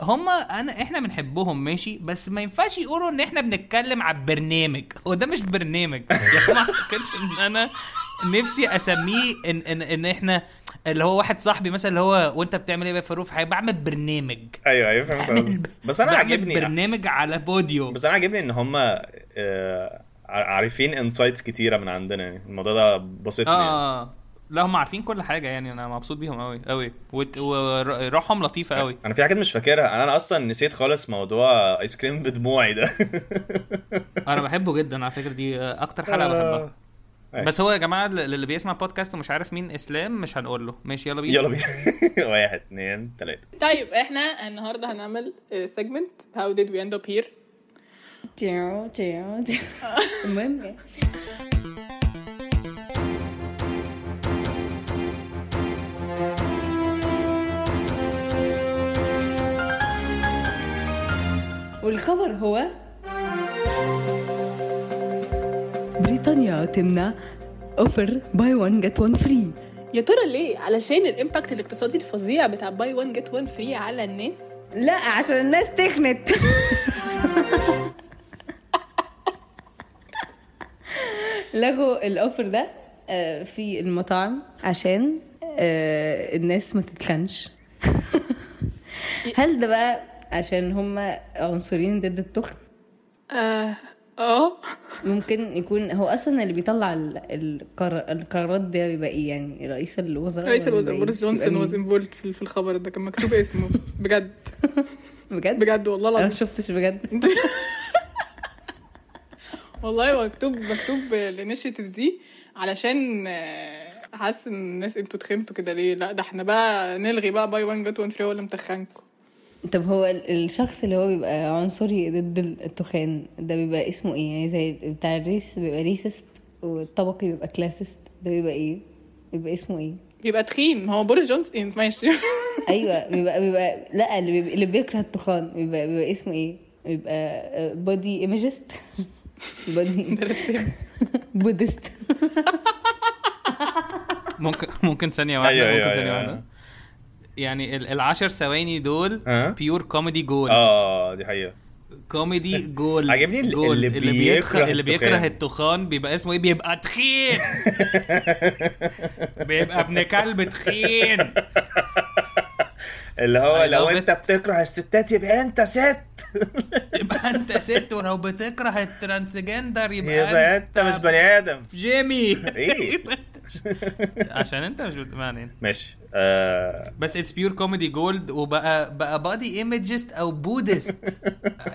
[SPEAKER 1] هما انا احنا بنحبهم ماشي بس ما ينفعش يقولوا ان احنا بنتكلم على البرنامج هو ده مش برنامج يعني ما كانش ان انا نفسي اسميه ان ان ان احنا اللي هو واحد صاحبي مثلا اللي هو وانت بتعمل ايه يا فاروق في حاجه بعمل برنامج
[SPEAKER 2] ايوه ايوه فهمت قصدك. بس انا
[SPEAKER 1] يعني بعمل
[SPEAKER 2] عاجبني
[SPEAKER 1] برنامج على بوديو
[SPEAKER 2] بس انا عاجبني ان هم آه، عارفين انسايتس كتيره من عندنا يعني الموضوع ده بسطني يعني.
[SPEAKER 1] اه آه. لا هم عارفين كل حاجه يعني انا مبسوط بيهم قوي قوي وروحهم لطيفه قوي
[SPEAKER 2] انا في حاجات مش فاكرها انا اصلا نسيت خالص موضوع ايس كريم بدموعي ده
[SPEAKER 1] انا بحبه جدا على فكره دي اكتر حلقه بحبها
[SPEAKER 2] آه. ماشي.
[SPEAKER 1] بس هو يا جماعه ل- اللي بيسمع بودكاست ومش عارف مين اسلام مش هنقول له ماشي يلا بينا
[SPEAKER 2] يلا بينا واحد اتنين تلاته
[SPEAKER 8] طيب احنا النهارده هنعمل آه، سيجمنت هاو ديد وي اند اب هير
[SPEAKER 7] تيو تيو تيو. المهم يعني. والخبر هو بريطانيا تمنع اوفر باي 1 جت 1 فري
[SPEAKER 8] يا ترى ليه علشان الامباكت الاقتصادي الفظيع بتاع باي 1 جيت 1 فري على الناس
[SPEAKER 7] لا عشان الناس تخنت لغوا الاوفر ده آه، في المطاعم عشان آه، الناس ما تتخنش هل ده بقى عشان هم عنصريين ضد التخن
[SPEAKER 8] اه اه
[SPEAKER 7] ممكن يكون هو اصلا اللي بيطلع ال- القرار- القرارات ده بيبقى ايه يعني رئيس الوزراء
[SPEAKER 8] رئيس
[SPEAKER 7] ولا
[SPEAKER 8] الوزراء
[SPEAKER 7] بيبقى
[SPEAKER 8] بوريس
[SPEAKER 7] إيه؟
[SPEAKER 8] جونسون
[SPEAKER 7] بيبقى
[SPEAKER 8] واز
[SPEAKER 7] مين؟
[SPEAKER 8] انفولد في في الخبر ده كان مكتوب اسمه بجد
[SPEAKER 7] بجد بجد
[SPEAKER 8] بجد والله
[SPEAKER 7] انا
[SPEAKER 8] العظيم
[SPEAKER 7] ما شفتش بجد
[SPEAKER 8] والله مكتوب مكتوب الانيشيتيف دي علشان آه، حاسس ان الناس انتوا اتخنتوا كده ليه لا ده احنا بقى نلغي بقى باي 1 جت 1 فري ولا متخنكم
[SPEAKER 7] طب هو ال- الشخص اللي هو بيبقى عنصري ضد ال- التخان ده بيبقى اسمه ايه يعني زي بتاع الريس بيبقى ريسست والطبقي بيبقى كلاسست ده بيبقى ايه بيبقى اسمه ايه
[SPEAKER 8] يبقى تخين هو بوريس جونسون إيه، ماشي
[SPEAKER 7] ايوه بيبقى بيبقى لا اللي, بيبقى اللي بيكره التخان بيبقى, بيبقى اسمه ايه يبقى بودي ايمجست بودي
[SPEAKER 8] ده رسام.
[SPEAKER 7] بودست
[SPEAKER 1] ممكن ممكن ثانيه واحده
[SPEAKER 2] أيوة، أيوة،
[SPEAKER 1] ممكن ثانيه
[SPEAKER 2] أيوة.
[SPEAKER 1] واحده يعني ال- العشر ثواني دول
[SPEAKER 2] أه.
[SPEAKER 1] بيور كوميدي جول
[SPEAKER 2] اه دي حقيقه
[SPEAKER 1] كوميدي جول
[SPEAKER 2] عاجبني ال-
[SPEAKER 1] جول.
[SPEAKER 2] اللي
[SPEAKER 1] اللي بيكره
[SPEAKER 2] بيكره
[SPEAKER 1] اللي بيكره
[SPEAKER 2] التخان.
[SPEAKER 1] التخان بيبقى اسمه ايه بيبقى تخين بيبقى ابن كلب تخين
[SPEAKER 2] اللي هو
[SPEAKER 1] I
[SPEAKER 2] لو
[SPEAKER 1] love
[SPEAKER 2] انت
[SPEAKER 1] it.
[SPEAKER 2] بتكره الستات يبقى انت ست
[SPEAKER 1] يبقى انت ست ولو بتكره الترانسجندر يبقى,
[SPEAKER 2] يبقى انت مش بني ادم
[SPEAKER 1] جيمي
[SPEAKER 2] إيه؟
[SPEAKER 1] يبقى أنت- عشان انت مش بتمعني
[SPEAKER 2] ماشي آه
[SPEAKER 1] بس اتس بيور كوميدي جولد وبقى بقى بادي ايمجست او بودست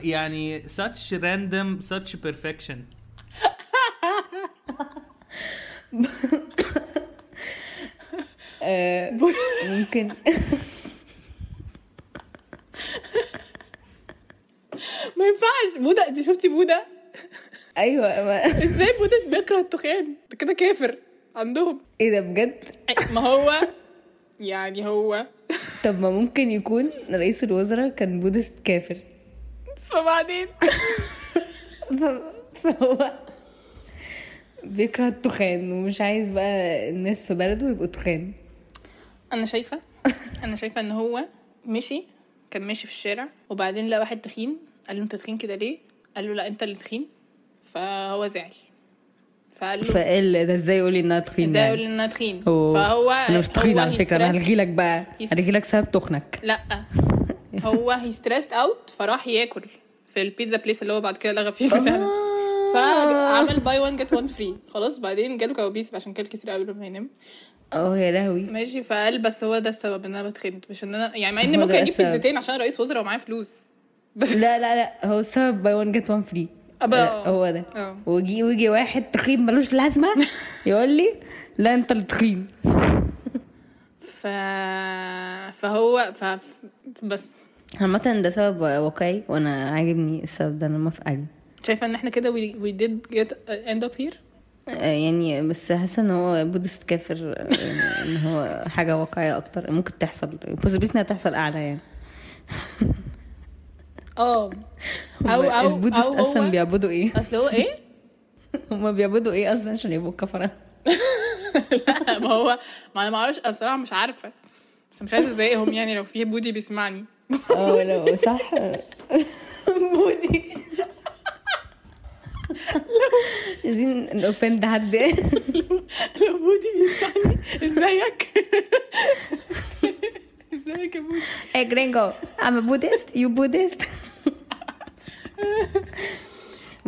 [SPEAKER 1] يعني such random such perfection
[SPEAKER 7] آه، ممكن
[SPEAKER 8] ما ينفعش بودا انت شفتي بودا
[SPEAKER 7] ايوه ما...
[SPEAKER 8] ازاي بودا بيكره التخان ده كده كافر عندهم
[SPEAKER 7] ايه ده بجد
[SPEAKER 8] ما هو يعني هو
[SPEAKER 7] طب ما ممكن يكون رئيس الوزراء كان بودست كافر
[SPEAKER 8] فبعدين
[SPEAKER 7] ف- فهو بيكره التخان ومش عايز بقى الناس في بلده يبقوا تخان
[SPEAKER 8] انا شايفه انا شايفه ان هو مشي كان ماشي في الشارع وبعدين لقى واحد تخين قال له انت تخين كده ليه قال له لا انت اللي تخين فهو زعل فقال له
[SPEAKER 7] فقال ده ازاي يقولي انها تخين
[SPEAKER 8] ازاي
[SPEAKER 7] يعني؟
[SPEAKER 8] اقول انها تخين
[SPEAKER 7] هو-
[SPEAKER 8] فهو
[SPEAKER 7] انا مش تخين
[SPEAKER 8] هو
[SPEAKER 7] على
[SPEAKER 8] he
[SPEAKER 7] فكره انا
[SPEAKER 8] stressed.
[SPEAKER 7] هلغي لك بقى
[SPEAKER 8] يس-
[SPEAKER 7] هلغي لك سبب تخنك
[SPEAKER 8] لا هو هي ستريسد اوت فراح ياكل في البيتزا بليس اللي هو بعد كده لغى فيه البتاع فعمل باي وان جيت وان فري خلاص بعدين جاله كوابيس عشان كان كتير قوي لما ينام
[SPEAKER 7] اه يا لهوي
[SPEAKER 8] ماشي فقال بس هو ده السبب ان انا بتخنت مش ان انا يعني مع اني
[SPEAKER 7] هو ده
[SPEAKER 8] ممكن اجيب
[SPEAKER 7] السبب.
[SPEAKER 8] بيتزتين عشان رئيس وزراء ومعاه فلوس بس
[SPEAKER 7] لا لا لا هو السبب باي وان جيت وان فري
[SPEAKER 8] أبا-
[SPEAKER 7] آه، هو ده
[SPEAKER 8] اه.
[SPEAKER 7] ويجي ويجي واحد تخين ملوش لازمه يقول لي لا انت اللي تخين
[SPEAKER 8] ف... فهو ف... بس
[SPEAKER 7] عامة ده سبب واقعي وانا عاجبني السبب ده انا موافقه عليه
[SPEAKER 8] شايفه ان احنا كده we, we did get end up here
[SPEAKER 7] آه، يعني بس حاسه ان هو بودست كافر آه، يعني ان هو حاجه واقعيه اكتر ممكن تحصل possibility انها تحصل اعلى يعني
[SPEAKER 8] اه او او
[SPEAKER 7] البودست
[SPEAKER 8] او
[SPEAKER 7] اصلا
[SPEAKER 8] هو
[SPEAKER 7] بيعبدوا ايه
[SPEAKER 8] اصل هو ايه
[SPEAKER 7] هما بيعبدوا ايه اصلا عشان يبقوا كفره
[SPEAKER 8] لا ما هو ما انا ما اعرفش أنا بصراحه مش عارفه بس مش عايزه اضايقهم يعني لو في بودي بيسمعني
[SPEAKER 7] اه لو صح بودي عايزين نوفند حد
[SPEAKER 8] لو بودي بيسمعني ازيك ازيك يا بودي
[SPEAKER 7] اي ايه جرينجو ام بودست يو بودست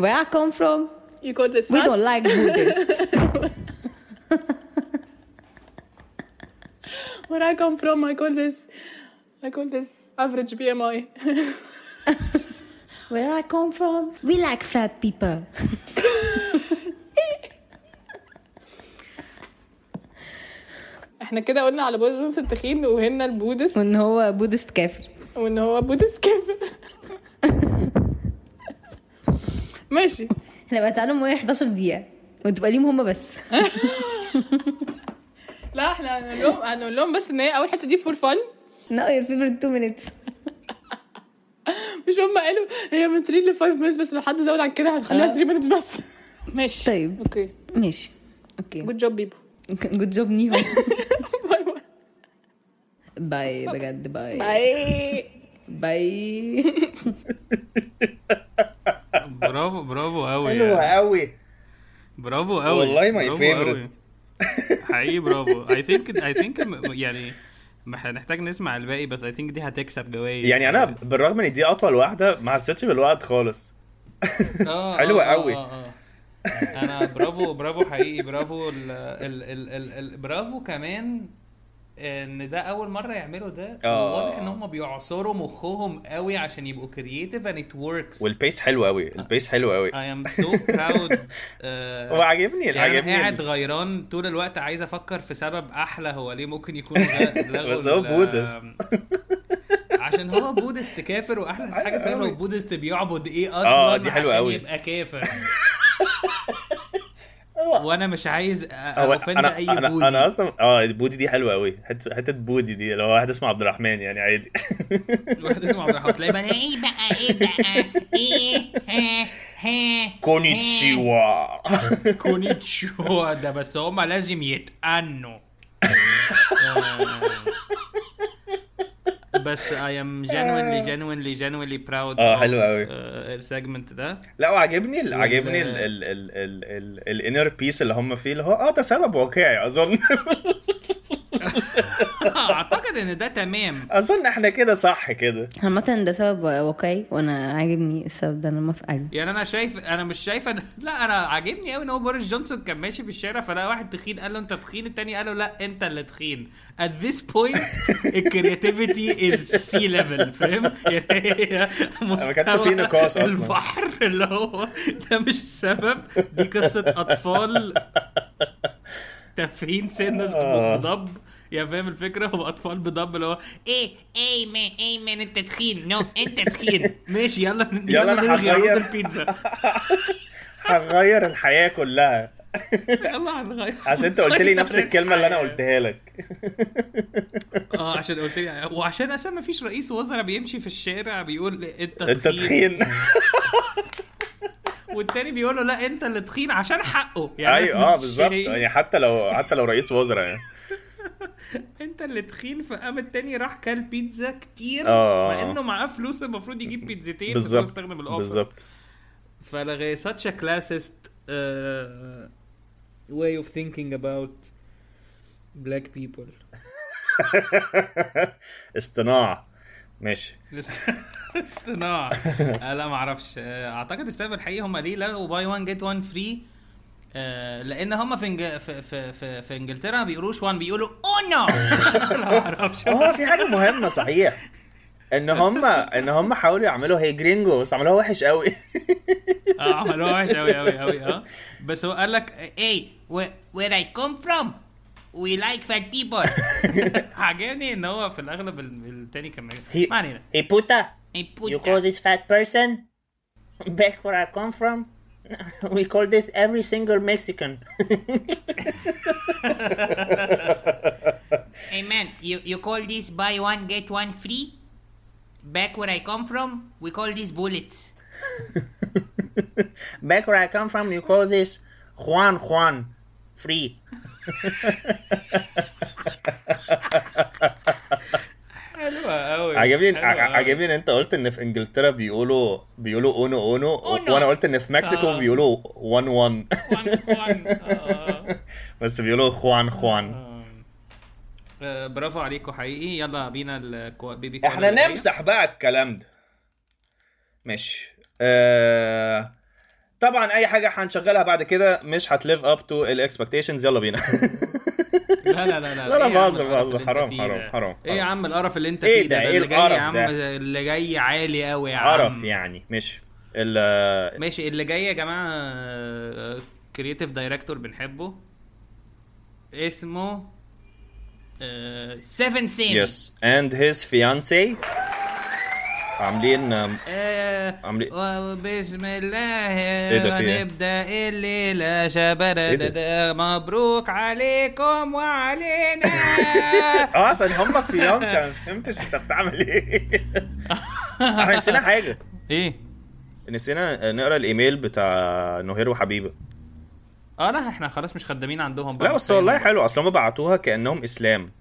[SPEAKER 7] Where I come from,
[SPEAKER 8] you call this
[SPEAKER 7] we
[SPEAKER 8] fat?
[SPEAKER 7] don't like Buddhists.
[SPEAKER 8] Where I come from, I call this I call this average BMI.
[SPEAKER 7] Where I come from, we like fat people.
[SPEAKER 8] احنا كده قلنا على بوز جونسون التخين وهنا البودست
[SPEAKER 7] وان هو بودست كافر
[SPEAKER 8] وان هو بودست كافر ماشي
[SPEAKER 7] احنا بقى تعالوا مويه 11 دقيقة وتبقى ليهم هما بس
[SPEAKER 8] لا احنا هنقول لهم هنقول لهم بس ان هي اول حته دي فور فن
[SPEAKER 7] No your favorite two minutes
[SPEAKER 8] مش هم قالوا هي من 3 ل 5 minutes بس لو حد زود عن كده هنخليها
[SPEAKER 7] آه.
[SPEAKER 8] 3 minutes بس ماشي
[SPEAKER 7] طيب.
[SPEAKER 8] اوكي
[SPEAKER 7] ماشي اوكي
[SPEAKER 8] جود جوب بيبو
[SPEAKER 7] جود جوب نيهو
[SPEAKER 8] باي
[SPEAKER 7] باي
[SPEAKER 8] باي
[SPEAKER 7] بجد باي
[SPEAKER 8] باي
[SPEAKER 7] باي
[SPEAKER 1] برافو برافو قوي
[SPEAKER 2] حلوه
[SPEAKER 1] يعني.
[SPEAKER 2] قوي
[SPEAKER 1] برافو قوي
[SPEAKER 2] والله my
[SPEAKER 1] برافو قوي.
[SPEAKER 2] favorite.
[SPEAKER 1] حقيقي برافو اي ثينك اي ثينك يعني ما هنحتاج نسمع الباقي بس اي ثينك دي هتكسب جوائز
[SPEAKER 2] يعني انا بالرغم ان دي اطول واحده ما حسيتش بالوقت خالص
[SPEAKER 1] آه،
[SPEAKER 2] حلوة
[SPEAKER 1] آه، آه،
[SPEAKER 2] قوي.
[SPEAKER 1] آه، آه. انا برافو برافو حقيقي برافو ال ال ال ال ال برافو كمان ان ده اول مره يعملوا ده
[SPEAKER 2] آه.
[SPEAKER 1] واضح ان هم بيعصروا مخهم قوي عشان يبقوا كرييتيف and it works
[SPEAKER 2] والبيس حلو قوي البيس حلو قوي
[SPEAKER 1] I am so proud
[SPEAKER 2] هو
[SPEAKER 1] آه،
[SPEAKER 2] عاجبني
[SPEAKER 1] يعني انا
[SPEAKER 2] عاجبني
[SPEAKER 1] قاعد غيران طول الوقت عايز افكر في سبب احلى هو ليه ممكن يكون ده لغوا
[SPEAKER 2] بس هو
[SPEAKER 1] ال-
[SPEAKER 2] بودست.
[SPEAKER 1] عشان هو بودست كافر واحلى حاجه
[SPEAKER 2] أيوة
[SPEAKER 1] سهله
[SPEAKER 2] أوي.
[SPEAKER 1] هو بودست بيعبد ايه اصلا
[SPEAKER 2] آه، دي حلوة
[SPEAKER 1] عشان
[SPEAKER 2] أوي.
[SPEAKER 1] يبقى كافر وانا مش عايز أ-
[SPEAKER 2] هو
[SPEAKER 1] اوفند
[SPEAKER 2] انا
[SPEAKER 1] اي
[SPEAKER 2] انا
[SPEAKER 1] بودي
[SPEAKER 2] انا اصلا اه بودي دي حلوه قوي حته حته بودي دي لو واحد اسمه عبد الرحمن يعني عادي
[SPEAKER 1] واحد اسمه عبد الرحمن تلاقي بقى ايه بقى ايه بقى ايه ها ها
[SPEAKER 2] كونيتشيوا
[SPEAKER 1] كونيتشوا ده بس هما لازم يتقنوا Äh, آه. بس I am genuinely genuinely genuinely proud
[SPEAKER 2] آه،
[SPEAKER 1] of،
[SPEAKER 2] حلو أوي.
[SPEAKER 1] آه، السيجمنت ده
[SPEAKER 2] لا وعاجبني ال- عاجبني
[SPEAKER 1] وال-
[SPEAKER 2] الانر بيس اللي هم فيه اللي هو اه ده سبب واقعي اظن
[SPEAKER 1] اعتقد ان ده تمام
[SPEAKER 2] اظن احنا كده صح كده
[SPEAKER 7] عامة ده سبب واقعي وانا عاجبني السبب ده انا موافقة عليه
[SPEAKER 1] يعني انا شايف انا مش شايفه إن- لا انا عاجبني قوي ان هو بوريس جونسون كان ماشي في الشارع فلقى واحد تخين قال له انت تخين التاني قال له لا انت اللي تخين at this point الكرياتيفيتي is sea level فاهم يعني هي
[SPEAKER 2] ما كانش فيه نقاش أصلاً.
[SPEAKER 1] البحر اللي هو ده مش سبب دي قصه اطفال تافهين سن
[SPEAKER 2] آه.
[SPEAKER 1] بضب يا فاهم الفكره هو اطفال بضب اللي هو ايه ايه مان ايه مان انت تخين نو انت تخين ماشي يلا يلا
[SPEAKER 2] أنا
[SPEAKER 1] نلغي
[SPEAKER 2] هغير.
[SPEAKER 1] عروض البيتزا
[SPEAKER 2] هنغير الحياه كلها
[SPEAKER 1] يلا هنغير
[SPEAKER 2] عشان انت قلت لي نفس الكلمه اللي انا قلتها لك
[SPEAKER 1] اه عشان قلت لي وعشان اصلا ما فيش رئيس وزراء بيمشي في الشارع بيقول انت
[SPEAKER 2] انت تخين
[SPEAKER 1] والتاني بيقول له لا انت اللي تخين عشان حقه يعني
[SPEAKER 2] ايوه اه
[SPEAKER 1] مش
[SPEAKER 2] بالظبط
[SPEAKER 1] هي-
[SPEAKER 2] يعني حتى لو حتى لو رئيس وزراء يعني
[SPEAKER 1] انت اللي تخين فقام التاني راح كل بيتزا كتير
[SPEAKER 2] آه.
[SPEAKER 1] مع انه معاه فلوس المفروض يجيب بيتزتين بس هو
[SPEAKER 2] بالظبط
[SPEAKER 1] استخدم الاوفر
[SPEAKER 2] بالظبط
[SPEAKER 1] فلغي such a classist uh, way of thinking about black people
[SPEAKER 2] اصطناع ماشي
[SPEAKER 1] اصطناع آه، لا ما اعرفش آه، اعتقد السبب الحقيقي هم ليه لغوا باي 1 جيت 1 فري لان هم آه، في إنج- في في في, في انجلترا ما بيقولوش 1 بيقولوا اونو ما اعرفش
[SPEAKER 2] اه في حاجه مهمه صحيح ان هم ان هم حاولوا يعملوا هي جرينجو بس عملوها وحش قوي
[SPEAKER 1] اه عملوها وحش قوي قوي قوي اه بس هو قال لك ايه وير اي كوم فروم وي لايك فات بيبل عجبني ان هو في الاغلب ال- التاني كان
[SPEAKER 2] He-
[SPEAKER 1] ما علينا
[SPEAKER 2] Hey puta,
[SPEAKER 1] إيه
[SPEAKER 2] you
[SPEAKER 1] بوتا.
[SPEAKER 2] call this fat person? Back where I come from, we call this every single Mexican.
[SPEAKER 1] Hey man, you, you call this buy one get one free? Back where I come from, we call this bullets.
[SPEAKER 2] Back where I come from, you call this Juan Juan free.
[SPEAKER 1] حلوة طيب، أوي
[SPEAKER 2] عجبني ع- عجبني ان انت قلت ان في انجلترا بيقولوا بيقولوا اونو اونو
[SPEAKER 1] أونو.
[SPEAKER 2] وانا قلت ان في مكسيكو بيقولوا وان وان بس بيقولوا خوان خوان
[SPEAKER 1] آه، برافو عليكم حقيقي يلا بينا البيبي
[SPEAKER 2] احنا نمسح بقى الكلام ده ماشي آه... طبعا اي حاجه هنشغلها بعد كده مش هتليف اب تو الاكسبكتيشنز يلا بينا
[SPEAKER 1] لا لا لا لا
[SPEAKER 2] لا،
[SPEAKER 1] إيه يا عم
[SPEAKER 2] بهزر،
[SPEAKER 1] القرف
[SPEAKER 2] بهزر.
[SPEAKER 1] اللي أنت
[SPEAKER 2] حرام،
[SPEAKER 1] فيه
[SPEAKER 2] حرام،
[SPEAKER 1] ده؟
[SPEAKER 2] حرام،
[SPEAKER 1] ايه يا
[SPEAKER 2] حرام.
[SPEAKER 1] عم القرف اللي انت
[SPEAKER 2] إيه
[SPEAKER 1] فيه
[SPEAKER 2] ده؟
[SPEAKER 1] ده
[SPEAKER 2] إيه
[SPEAKER 1] اللي جاي
[SPEAKER 2] القرف
[SPEAKER 1] يا عم
[SPEAKER 2] ده؟
[SPEAKER 1] اللي جاي عالي قوي يا عم
[SPEAKER 2] قرف يعني ماشي ال
[SPEAKER 1] ماشي اللي جاي يا جماعه كرييتيف دايركتور بنحبه اسمه آه، سيفن سيمي
[SPEAKER 2] يس اند هيز فيانسي عاملين آم،
[SPEAKER 1] آه،
[SPEAKER 2] عاملين
[SPEAKER 1] وبسم الله
[SPEAKER 2] ده في ايه إيه؟
[SPEAKER 1] هنبدا الليله شبردة مبروك عليكم وعلينا
[SPEAKER 2] اه عشان هم فيانسي انا ما فهمتش انت بتعمل ايه احنا نسينا حاجه
[SPEAKER 1] ايه
[SPEAKER 2] نسينا نقرا الايميل بتاع نهير وحبيبه
[SPEAKER 1] اه لا احنا خلاص مش خدامين عندهم بقى
[SPEAKER 2] لا بس والله حلو اصل هم بعتوها كانهم اسلام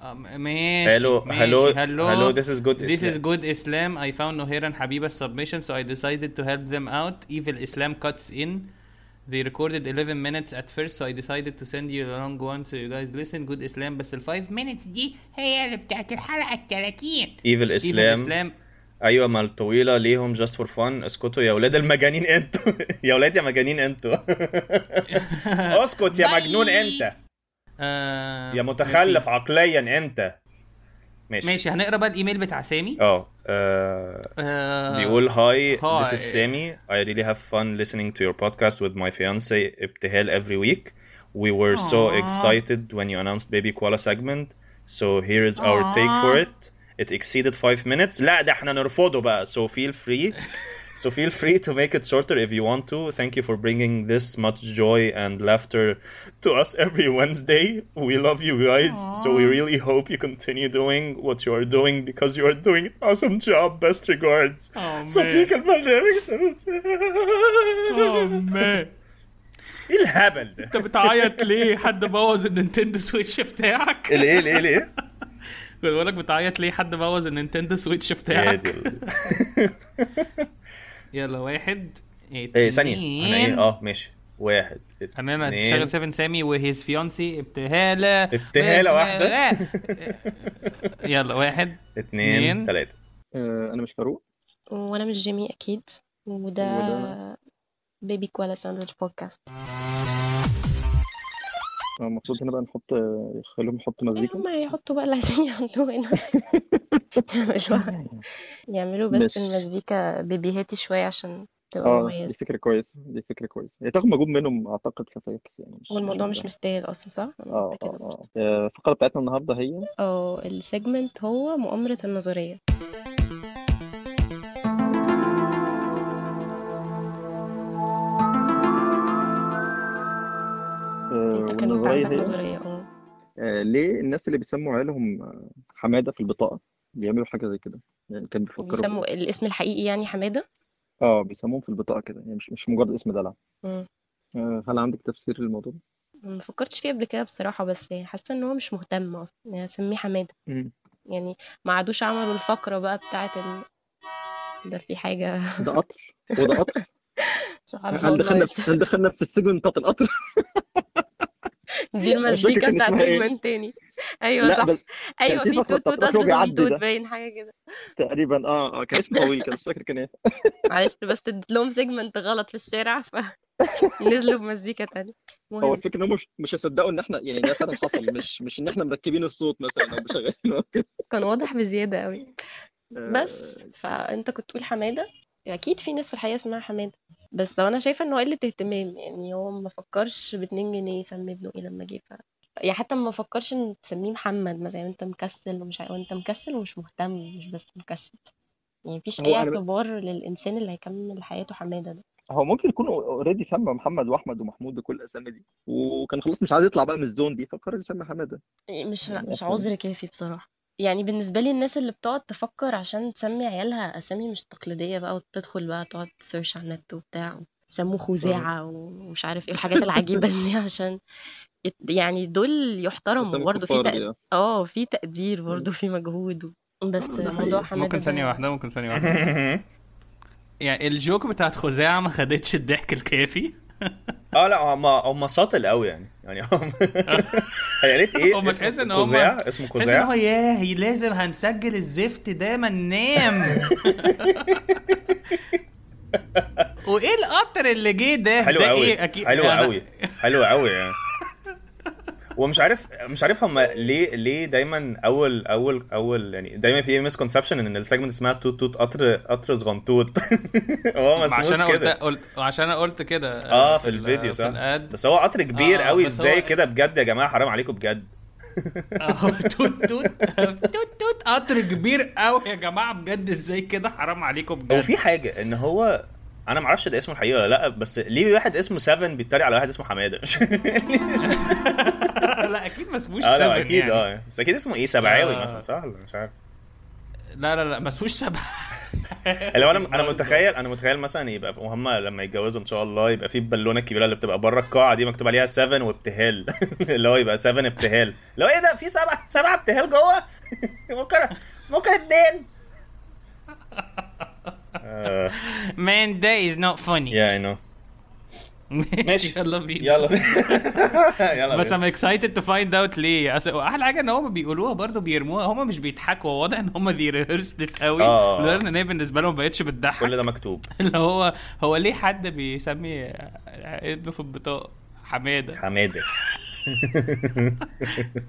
[SPEAKER 1] آه، ماشي
[SPEAKER 2] Hello-
[SPEAKER 1] ماشي.
[SPEAKER 2] hello-
[SPEAKER 1] hello
[SPEAKER 2] hello, this is good
[SPEAKER 1] this is
[SPEAKER 2] Islam.
[SPEAKER 1] good Islam I found Nohir and Habiba's submission so I decided to help them out evil Islam cuts in they recorded 11 minutes at first so I decided to send you a long one so you guys listen good Islam بس ال 5 minutes دي هي اللي بتاعت الحلقة ال 30
[SPEAKER 2] ايفل
[SPEAKER 1] evil
[SPEAKER 2] اسلام
[SPEAKER 1] Islam
[SPEAKER 2] ايوه ما الطويله ليهم جاست فور فان اسكتوا يا ولاد المجانين انتوا يا ولاد يا مجانين انتوا اسكت يا مجنون انت
[SPEAKER 1] آه
[SPEAKER 2] يا متخلف عقليا انت
[SPEAKER 1] ماشي.
[SPEAKER 2] ماشي
[SPEAKER 1] ماشي هنقرا بقى الايميل بتاع سامي
[SPEAKER 2] اه آه،
[SPEAKER 1] آه
[SPEAKER 2] بيقول هاي this
[SPEAKER 1] Hi.
[SPEAKER 2] is Sammy I really have fun listening to your podcast with my fiance ابتهال every week we were so excited when you announced baby koala segment so here is our take for it it exceeded 5 minutes لا ده احنا نرفضه بقى so feel free so feel free to make it shorter if you want to thank you for bringing this much joy and laughter to us every Wednesday we love you guys so we really hope you continue doing what you are doing because you are doing an awesome job best regards
[SPEAKER 1] Oh,
[SPEAKER 2] صديق
[SPEAKER 1] man.
[SPEAKER 2] البرنامج
[SPEAKER 1] اوه مان
[SPEAKER 2] ايه الهبل ده
[SPEAKER 1] انت بتعيط ليه حد بوظ النينتندو سويتش بتاعك
[SPEAKER 2] إيه ليه ليه ليه
[SPEAKER 1] كنت بقول لك بتعيط ليه حد بوظ النينتندو سويتش
[SPEAKER 2] عادي.
[SPEAKER 1] بتاعك يلا واحد
[SPEAKER 2] ايه ثانية انا ايه
[SPEAKER 1] اتنين.
[SPEAKER 2] اه ماشي واحد
[SPEAKER 1] انا انا
[SPEAKER 2] اتنين.
[SPEAKER 1] شغل 7 سامي وهيز فيونسي ابتهاله
[SPEAKER 2] ابتهالة واحدة.
[SPEAKER 1] بسم الله. يلا واحد اتنين.
[SPEAKER 2] اتنين تلاتة
[SPEAKER 9] آه، انا مش فاروق
[SPEAKER 10] وانا مش جيمي اكيد وده
[SPEAKER 9] وده-
[SPEAKER 10] بيبي كوالا ساندويتش بودكاست
[SPEAKER 9] آه، المفروض هنا بقى نحط آه، خليهم يحطوا مزيكا
[SPEAKER 10] هما يحطوا بقى اللي عايزين يحطوه هنا يعملوها يعملوا بس
[SPEAKER 9] ماشي.
[SPEAKER 10] المزيكا بيبيهاتي شوية عشان تبقى
[SPEAKER 9] اه
[SPEAKER 10] مميزة
[SPEAKER 9] دي فكره كويسه دي فكره كويسه هي تاخد مجهود منهم اعتقد كفاكس يعني مش
[SPEAKER 10] والموضوع مش
[SPEAKER 9] مش
[SPEAKER 10] مستاهل اصلا صح؟ انا
[SPEAKER 9] اه
[SPEAKER 10] قلت كده
[SPEAKER 9] اه
[SPEAKER 10] برضه
[SPEAKER 9] اه آه، الفقره بتاعتنا النهارده هي
[SPEAKER 10] اه السيجمنت هو مؤامرة النظرية
[SPEAKER 9] آه،
[SPEAKER 10] كانت
[SPEAKER 9] والنظريه
[SPEAKER 10] عندك
[SPEAKER 9] هي
[SPEAKER 10] نظرية اه
[SPEAKER 9] آه، ليه الناس اللي بيسموا عيالهم آه، حماده في البطاقه بيعملوا حاجه زي كده يعني كان بيفكروا
[SPEAKER 10] بيسموا الاسم الحقيقي يعني حمادة
[SPEAKER 9] اه بيسموهم في البطاقه كده يعني مش مش مجرد اسم دلع
[SPEAKER 10] مم.
[SPEAKER 9] آه، هل عندك تفسير للموضوع ده؟
[SPEAKER 10] ما فكرتش فيه قبل كده بصراحة بس يعني حاسة ان هو مش مهتم اصلا يعني اسميه حمادة
[SPEAKER 9] مم.
[SPEAKER 10] يعني ما عادوش عملوا الفقرة بقى بتاعة ال... ده في حاجة
[SPEAKER 9] ده قطر وده قطر
[SPEAKER 10] مش عارفة
[SPEAKER 9] هل
[SPEAKER 10] والله
[SPEAKER 9] دخلنا في هل دخلنا في السجن بتاعت القطر
[SPEAKER 10] دي
[SPEAKER 9] فاكر
[SPEAKER 10] المزيكا
[SPEAKER 9] كان
[SPEAKER 10] بتاعت
[SPEAKER 9] اسمها ايه؟
[SPEAKER 10] سيجمنت تاني ايوه
[SPEAKER 9] لا
[SPEAKER 10] صح
[SPEAKER 9] بس
[SPEAKER 10] ايوه
[SPEAKER 9] في
[SPEAKER 10] في
[SPEAKER 9] فقرة
[SPEAKER 10] توت توت
[SPEAKER 9] بتاعت رجل
[SPEAKER 10] أصل في
[SPEAKER 9] عبد
[SPEAKER 10] توت
[SPEAKER 9] ده.
[SPEAKER 10] باين حاجة كده
[SPEAKER 9] تقريبا اه اه كان اسم طويل كان مش فاكر كان ايه
[SPEAKER 10] معلش بس اديت لهم سيجمنت غلط في الشارع فنزلوا بمزيكا تانية
[SPEAKER 9] هو
[SPEAKER 10] المهم
[SPEAKER 9] الفكره ان هم مش مش هيصدقوا ان احنا يعني ده فعلا حصل مش مش ان احنا مركبين الصوت مثلا او مشغلينه أو كده
[SPEAKER 10] كان واضح بزيادة قوي
[SPEAKER 9] آه،
[SPEAKER 10] بس فانت كنت تقول حمادة اكيد في ناس في الحقيقة اسمها حمادة بس لو انا شايفة انه قلة اهتمام يعني هو ما فكرش باتنين جنيه يسمي ابنه ايه لما جه ف... يعني حتى ما فكرش ان تسميه محمد مثلا انت مكسل ومش عارف انت مكسل ومش مهتم مش بس مكسل يعني مفيش
[SPEAKER 9] هو
[SPEAKER 10] اي
[SPEAKER 9] أنا ب-
[SPEAKER 10] اعتبار للانسان اللي هيكمل حياته حمادة ده
[SPEAKER 9] هو ممكن يكون اوريدي سمى محمد واحمد ومحمود وكل الاسامي دي وكان خلاص مش عايز يطلع بقى من الزون دي فقرر يسمى حماده
[SPEAKER 10] إيه، مش
[SPEAKER 9] يعني
[SPEAKER 10] مش
[SPEAKER 9] أصلاً-
[SPEAKER 10] عذر كافي بصراحة يعني بالنسبة لي الناس اللي بتقعد تفكر عشان تسمي عيالها أسامي مش تقليدية بقى وتدخل بقى تقعد تسيرش على النت وبتاع سموه خزاعة ومش عارف ايه الحاجات العجيبة دي عشان يت- يعني دول يحترموا
[SPEAKER 9] اسامي
[SPEAKER 10] برضه في
[SPEAKER 9] الكفار
[SPEAKER 10] تق-
[SPEAKER 9] دي آه.
[SPEAKER 10] اه في تقدير برضه في مجهود و... بس
[SPEAKER 9] ده
[SPEAKER 10] موضوع
[SPEAKER 9] حقيقي.
[SPEAKER 10] حمادة
[SPEAKER 1] ممكن
[SPEAKER 10] ده
[SPEAKER 1] ثانية واحدة ممكن ثانية واحدة يعني الجوك بتاعت خزاعة ما خدتش الضحك الكافي
[SPEAKER 2] اه لا هم هم ساطل قوي يعني يعني هم يا ريت ايه
[SPEAKER 1] هم
[SPEAKER 2] اسمه
[SPEAKER 1] تحس إن هم-
[SPEAKER 2] قزاع اسمه
[SPEAKER 1] تحس ان
[SPEAKER 2] قزاع
[SPEAKER 1] هو ياه لازم هنسجل الزفت ده ما ننام وايه القطر اللي جه ده
[SPEAKER 2] حلو
[SPEAKER 1] ده
[SPEAKER 2] قوي
[SPEAKER 1] ايه اكيد
[SPEAKER 2] حلو
[SPEAKER 1] أنا-
[SPEAKER 2] قوي حلو قوي يعني ومش عارف مش عارف هم ليه ليه دايما اول اول اول يعني دايما في مسكونسبشن ان السيجمنت اسمها توت توت قطر قطر صغنطوط هو ما
[SPEAKER 1] عشان
[SPEAKER 2] اسموش
[SPEAKER 1] انا قلت
[SPEAKER 2] كده
[SPEAKER 1] قلت عشان انا قلت كده
[SPEAKER 2] اه في
[SPEAKER 1] ال-
[SPEAKER 2] الفيديو
[SPEAKER 1] في
[SPEAKER 2] صح
[SPEAKER 1] الاد
[SPEAKER 2] بس هو قطر كبير
[SPEAKER 1] آه،
[SPEAKER 2] قوي
[SPEAKER 1] بس هو-
[SPEAKER 2] ازاي كده بجد يا جماعه حرام عليكم بجد
[SPEAKER 1] اهو توت توت توت توت قطر كبير قوي يا جماعه بجد ازاي كده حرام عليكم
[SPEAKER 2] هو
[SPEAKER 1] بجد
[SPEAKER 2] في حاجه ان هو انا ما اعرفش ده اسمه الحقيقي ولا لا بس ليه واحد اسمه 7 بيتريق على واحد اسمه آه، حماده
[SPEAKER 1] لا اكيد ما اسموش
[SPEAKER 2] اه
[SPEAKER 1] سبع
[SPEAKER 2] لا اكيد
[SPEAKER 1] يعني.
[SPEAKER 2] اه بس اكيد اسمه ايه سبعاوي
[SPEAKER 1] آه.
[SPEAKER 2] مثلا صح ولا مش عارف
[SPEAKER 1] لا لا لا ما اسموش سبع
[SPEAKER 2] اللي هو انا انا متخيل انا متخيل مثلا يبقى وهم لما يتجوزوا ان شاء الله يبقى في البالونه الكبيره اللي بتبقى بره القاعه دي مكتوب عليها 7 وابتهال اللي هو يبقى 7 ابتهال اللي هو ايه ده في سبعه سبعه ابتهال جوه ممكن ممكن اتنين
[SPEAKER 1] مان ده از نوت فاني
[SPEAKER 2] يا اي نو
[SPEAKER 1] ماشي
[SPEAKER 2] ماشي.
[SPEAKER 1] يلا بينا
[SPEAKER 2] يلا بينا. يلا
[SPEAKER 1] بس
[SPEAKER 2] بينا.
[SPEAKER 1] ام اكسايتد تو فايند اوت ليه أصل احلى حاجه ان هم بيقولوها برضه بيرموها هم مش بيضحكوا هو واضح ان هم دي ريهرست قوي
[SPEAKER 2] آه.
[SPEAKER 1] لدرجه ان هي بالنسبه لهم ما بقتش بتضحك
[SPEAKER 2] كل ده مكتوب
[SPEAKER 1] اللي هو هو ليه حد بيسمي ابنه في البطاقه حماده
[SPEAKER 2] حماده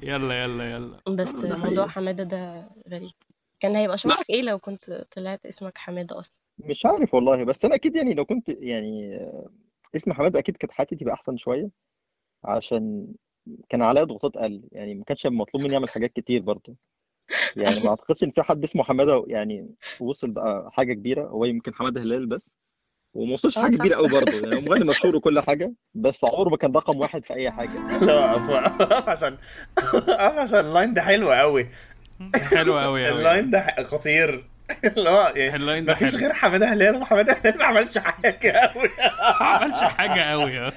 [SPEAKER 1] يلا يلا يلا
[SPEAKER 10] بس موضوع حمادة ده غريب كان هيبقى شعورك ايه لو كنت طلعت اسمك حمادة اصلا
[SPEAKER 9] مش عارف والله بس انا اكيد يعني لو كنت يعني آه، اسم حماده اكيد كانت حياتي تبقى احسن شويه عشان كان عليا ضغوطات اقل يعني ما كانش مطلوب مني اعمل حاجات كتير برضه يعني ما اعتقدش ان في حد اسمه حماده يعني وصل بقى حاجه كبيره هو يمكن حماده هلال بس وما وصلش
[SPEAKER 10] آه،
[SPEAKER 9] حاجه
[SPEAKER 10] صح.
[SPEAKER 9] كبيره قوي برضه يعني هو مغني مشهور وكل حاجه بس عمره كان رقم واحد في اي حاجه
[SPEAKER 2] لا اقف اقف عشان اقف عشان اللاين ده حلو قوي
[SPEAKER 1] حلو قوي قوي
[SPEAKER 2] اللاين ده ح- خطير اللي هو يعني
[SPEAKER 1] اللاين ده
[SPEAKER 2] مفيش
[SPEAKER 1] حلو
[SPEAKER 2] غير حماده هلال وحماده هلال ما عملش حاجه قوي
[SPEAKER 1] ما عملش حاجه قوي
[SPEAKER 2] آه.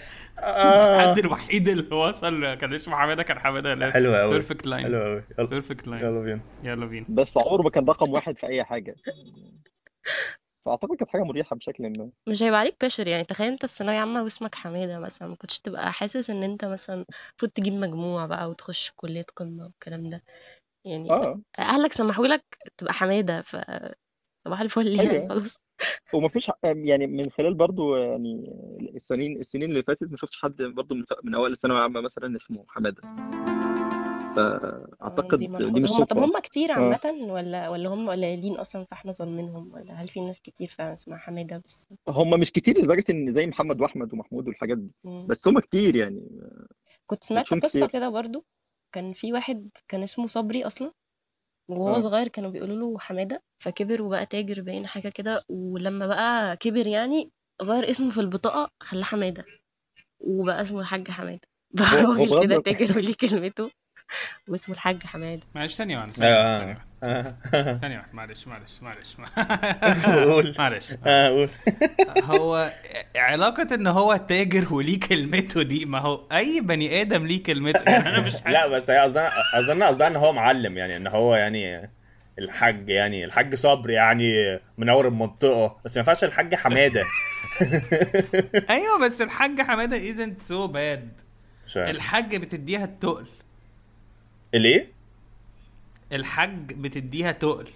[SPEAKER 1] الحد الوحيد اللي وصل كان اسمه حماده كان حماده
[SPEAKER 2] حلو قوي
[SPEAKER 1] بيرفكت
[SPEAKER 2] حلو
[SPEAKER 1] لاين
[SPEAKER 2] قوي يلا
[SPEAKER 1] بيرفكت لاين
[SPEAKER 2] يلا بينا
[SPEAKER 1] يلا بينا
[SPEAKER 9] بس عمره كان رقم واحد في اي حاجه فاعتقد كانت حاجه مريحه بشكل ما
[SPEAKER 10] مش هيبقى عليك بريشر يعني تخيل انت في ثانوية عامة واسمك حمادة مثلا ما كنتش تبقى حاسس ان انت مثلا المفروض تجيب مجموع بقى وتخش كلية قمة والكلام ده يعني
[SPEAKER 9] اه
[SPEAKER 10] اهلك سمحولك تبقى حمادة ف صباح الفل يعني
[SPEAKER 9] أيوة.
[SPEAKER 10] خلاص
[SPEAKER 9] ومفيش يعني من خلال برضو يعني السنين السنين اللي فاتت ما شفتش حد برضو من, من اوائل الثانويه العامه مثلا اسمه حماده
[SPEAKER 10] آه،
[SPEAKER 9] فاعتقد
[SPEAKER 10] يعني دي
[SPEAKER 9] دي
[SPEAKER 10] ملحوظة
[SPEAKER 9] مش
[SPEAKER 10] هم طب
[SPEAKER 9] صدفه
[SPEAKER 10] هم كتير
[SPEAKER 9] آه.
[SPEAKER 10] عامة ولا ولا هم قليلين اصلا فاحنا ظالمينهم ولا هل في ناس كتير فعلا اسمها حمادة بس
[SPEAKER 9] هم مش كتير لدرجه ان زي محمد واحمد ومحمود والحاجات دي
[SPEAKER 10] مم.
[SPEAKER 9] بس هم كتير يعني
[SPEAKER 10] كنت سمعت
[SPEAKER 9] بتشوفهم
[SPEAKER 10] قصة
[SPEAKER 9] كتير
[SPEAKER 10] كده برضو كان في واحد كان اسمه صبري أصلا وهو
[SPEAKER 9] اه
[SPEAKER 10] صغير كانوا بيقولوا له حمادة فكبر وبقى تاجر باين حاجة كده ولما بقى كبر يعني غير اسمه في البطاقة خلاه حمادة وبقى اسمه الحاج حمادة بقى
[SPEAKER 9] هو هو
[SPEAKER 10] راجل كده
[SPEAKER 9] صغير
[SPEAKER 10] تاجر وليه كلمته واسمه الحاج حمادة
[SPEAKER 1] معلش ثانية واحدة ثانية واحدة، ثانية
[SPEAKER 2] آه،
[SPEAKER 1] واحدة،
[SPEAKER 2] آه.
[SPEAKER 1] ثانية واحدة معلش معلش معلش
[SPEAKER 2] قول.
[SPEAKER 1] معلش
[SPEAKER 2] آه، قول
[SPEAKER 1] هو علاقة ان هو تاجر وليه كلمته دي ما هو اي بني ادم ليه كلمته يعني انا مش
[SPEAKER 2] لا
[SPEAKER 1] حاسس
[SPEAKER 2] بس هي قصدنا قصدنا قصدها ان هو معلم يعني ان هو يعني الحاج يعني الحاج صبر يعني منور المنطقه بس ما ينفعش الحاج حماده
[SPEAKER 1] ايوه بس الحاج حمادة isn't so bad
[SPEAKER 2] مش عارف.
[SPEAKER 1] الحاج بتديها التقل
[SPEAKER 2] الايه؟
[SPEAKER 1] الحاج بتديها تقل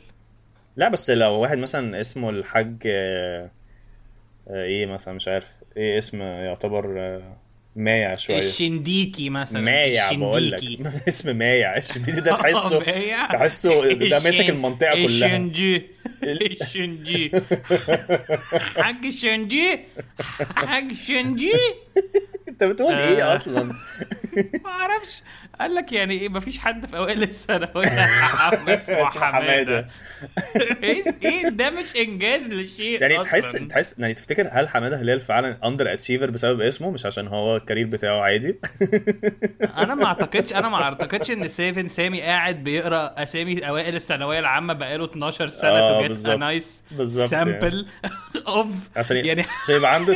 [SPEAKER 2] لا بس لو واحد مثلا اسمه الحاج آه، آه، ايه مثلا مش عارف ايه اسم يعتبر آه، مايع شويه
[SPEAKER 1] الشنديكي مثلا
[SPEAKER 2] مايع بقول لك
[SPEAKER 1] الشنديكي
[SPEAKER 2] اسم مايع الشبيدي ده تحسه
[SPEAKER 1] مايع.
[SPEAKER 2] تحسه ده ماسك
[SPEAKER 1] الشن-
[SPEAKER 2] المنطقه كلها
[SPEAKER 1] الشنجي الشنجي حاج الشنجي حاج الشنجي
[SPEAKER 2] انت بتقول ايه
[SPEAKER 1] آه.
[SPEAKER 2] اصلا؟
[SPEAKER 1] ما اعرفش قال لك يعني ايه مفيش حد في اوائل الثانويه العامة اسمه حماده
[SPEAKER 2] اسمه حمادة.
[SPEAKER 1] ايه ايه ده مش انجاز لشيء
[SPEAKER 2] يعني
[SPEAKER 1] اصلا
[SPEAKER 2] تحس تحس يعني تفتكر هل حماده هلال فعلا اندر اتشيفر بسبب اسمه مش عشان هو الكارير بتاعه عادي
[SPEAKER 1] انا ما اعتقدش انا ما اعتقدش ان سيفن سامي قاعد بيقرا اسامي اوائل الثانويه العامه بقاله 12 سنه تو
[SPEAKER 2] آه،
[SPEAKER 1] جيت ا
[SPEAKER 2] بالظبط.
[SPEAKER 1] نايس
[SPEAKER 2] بالظبط يعني.
[SPEAKER 1] سامبل اوف
[SPEAKER 2] عشان
[SPEAKER 1] يعني
[SPEAKER 2] يعني عشان يبقى عنده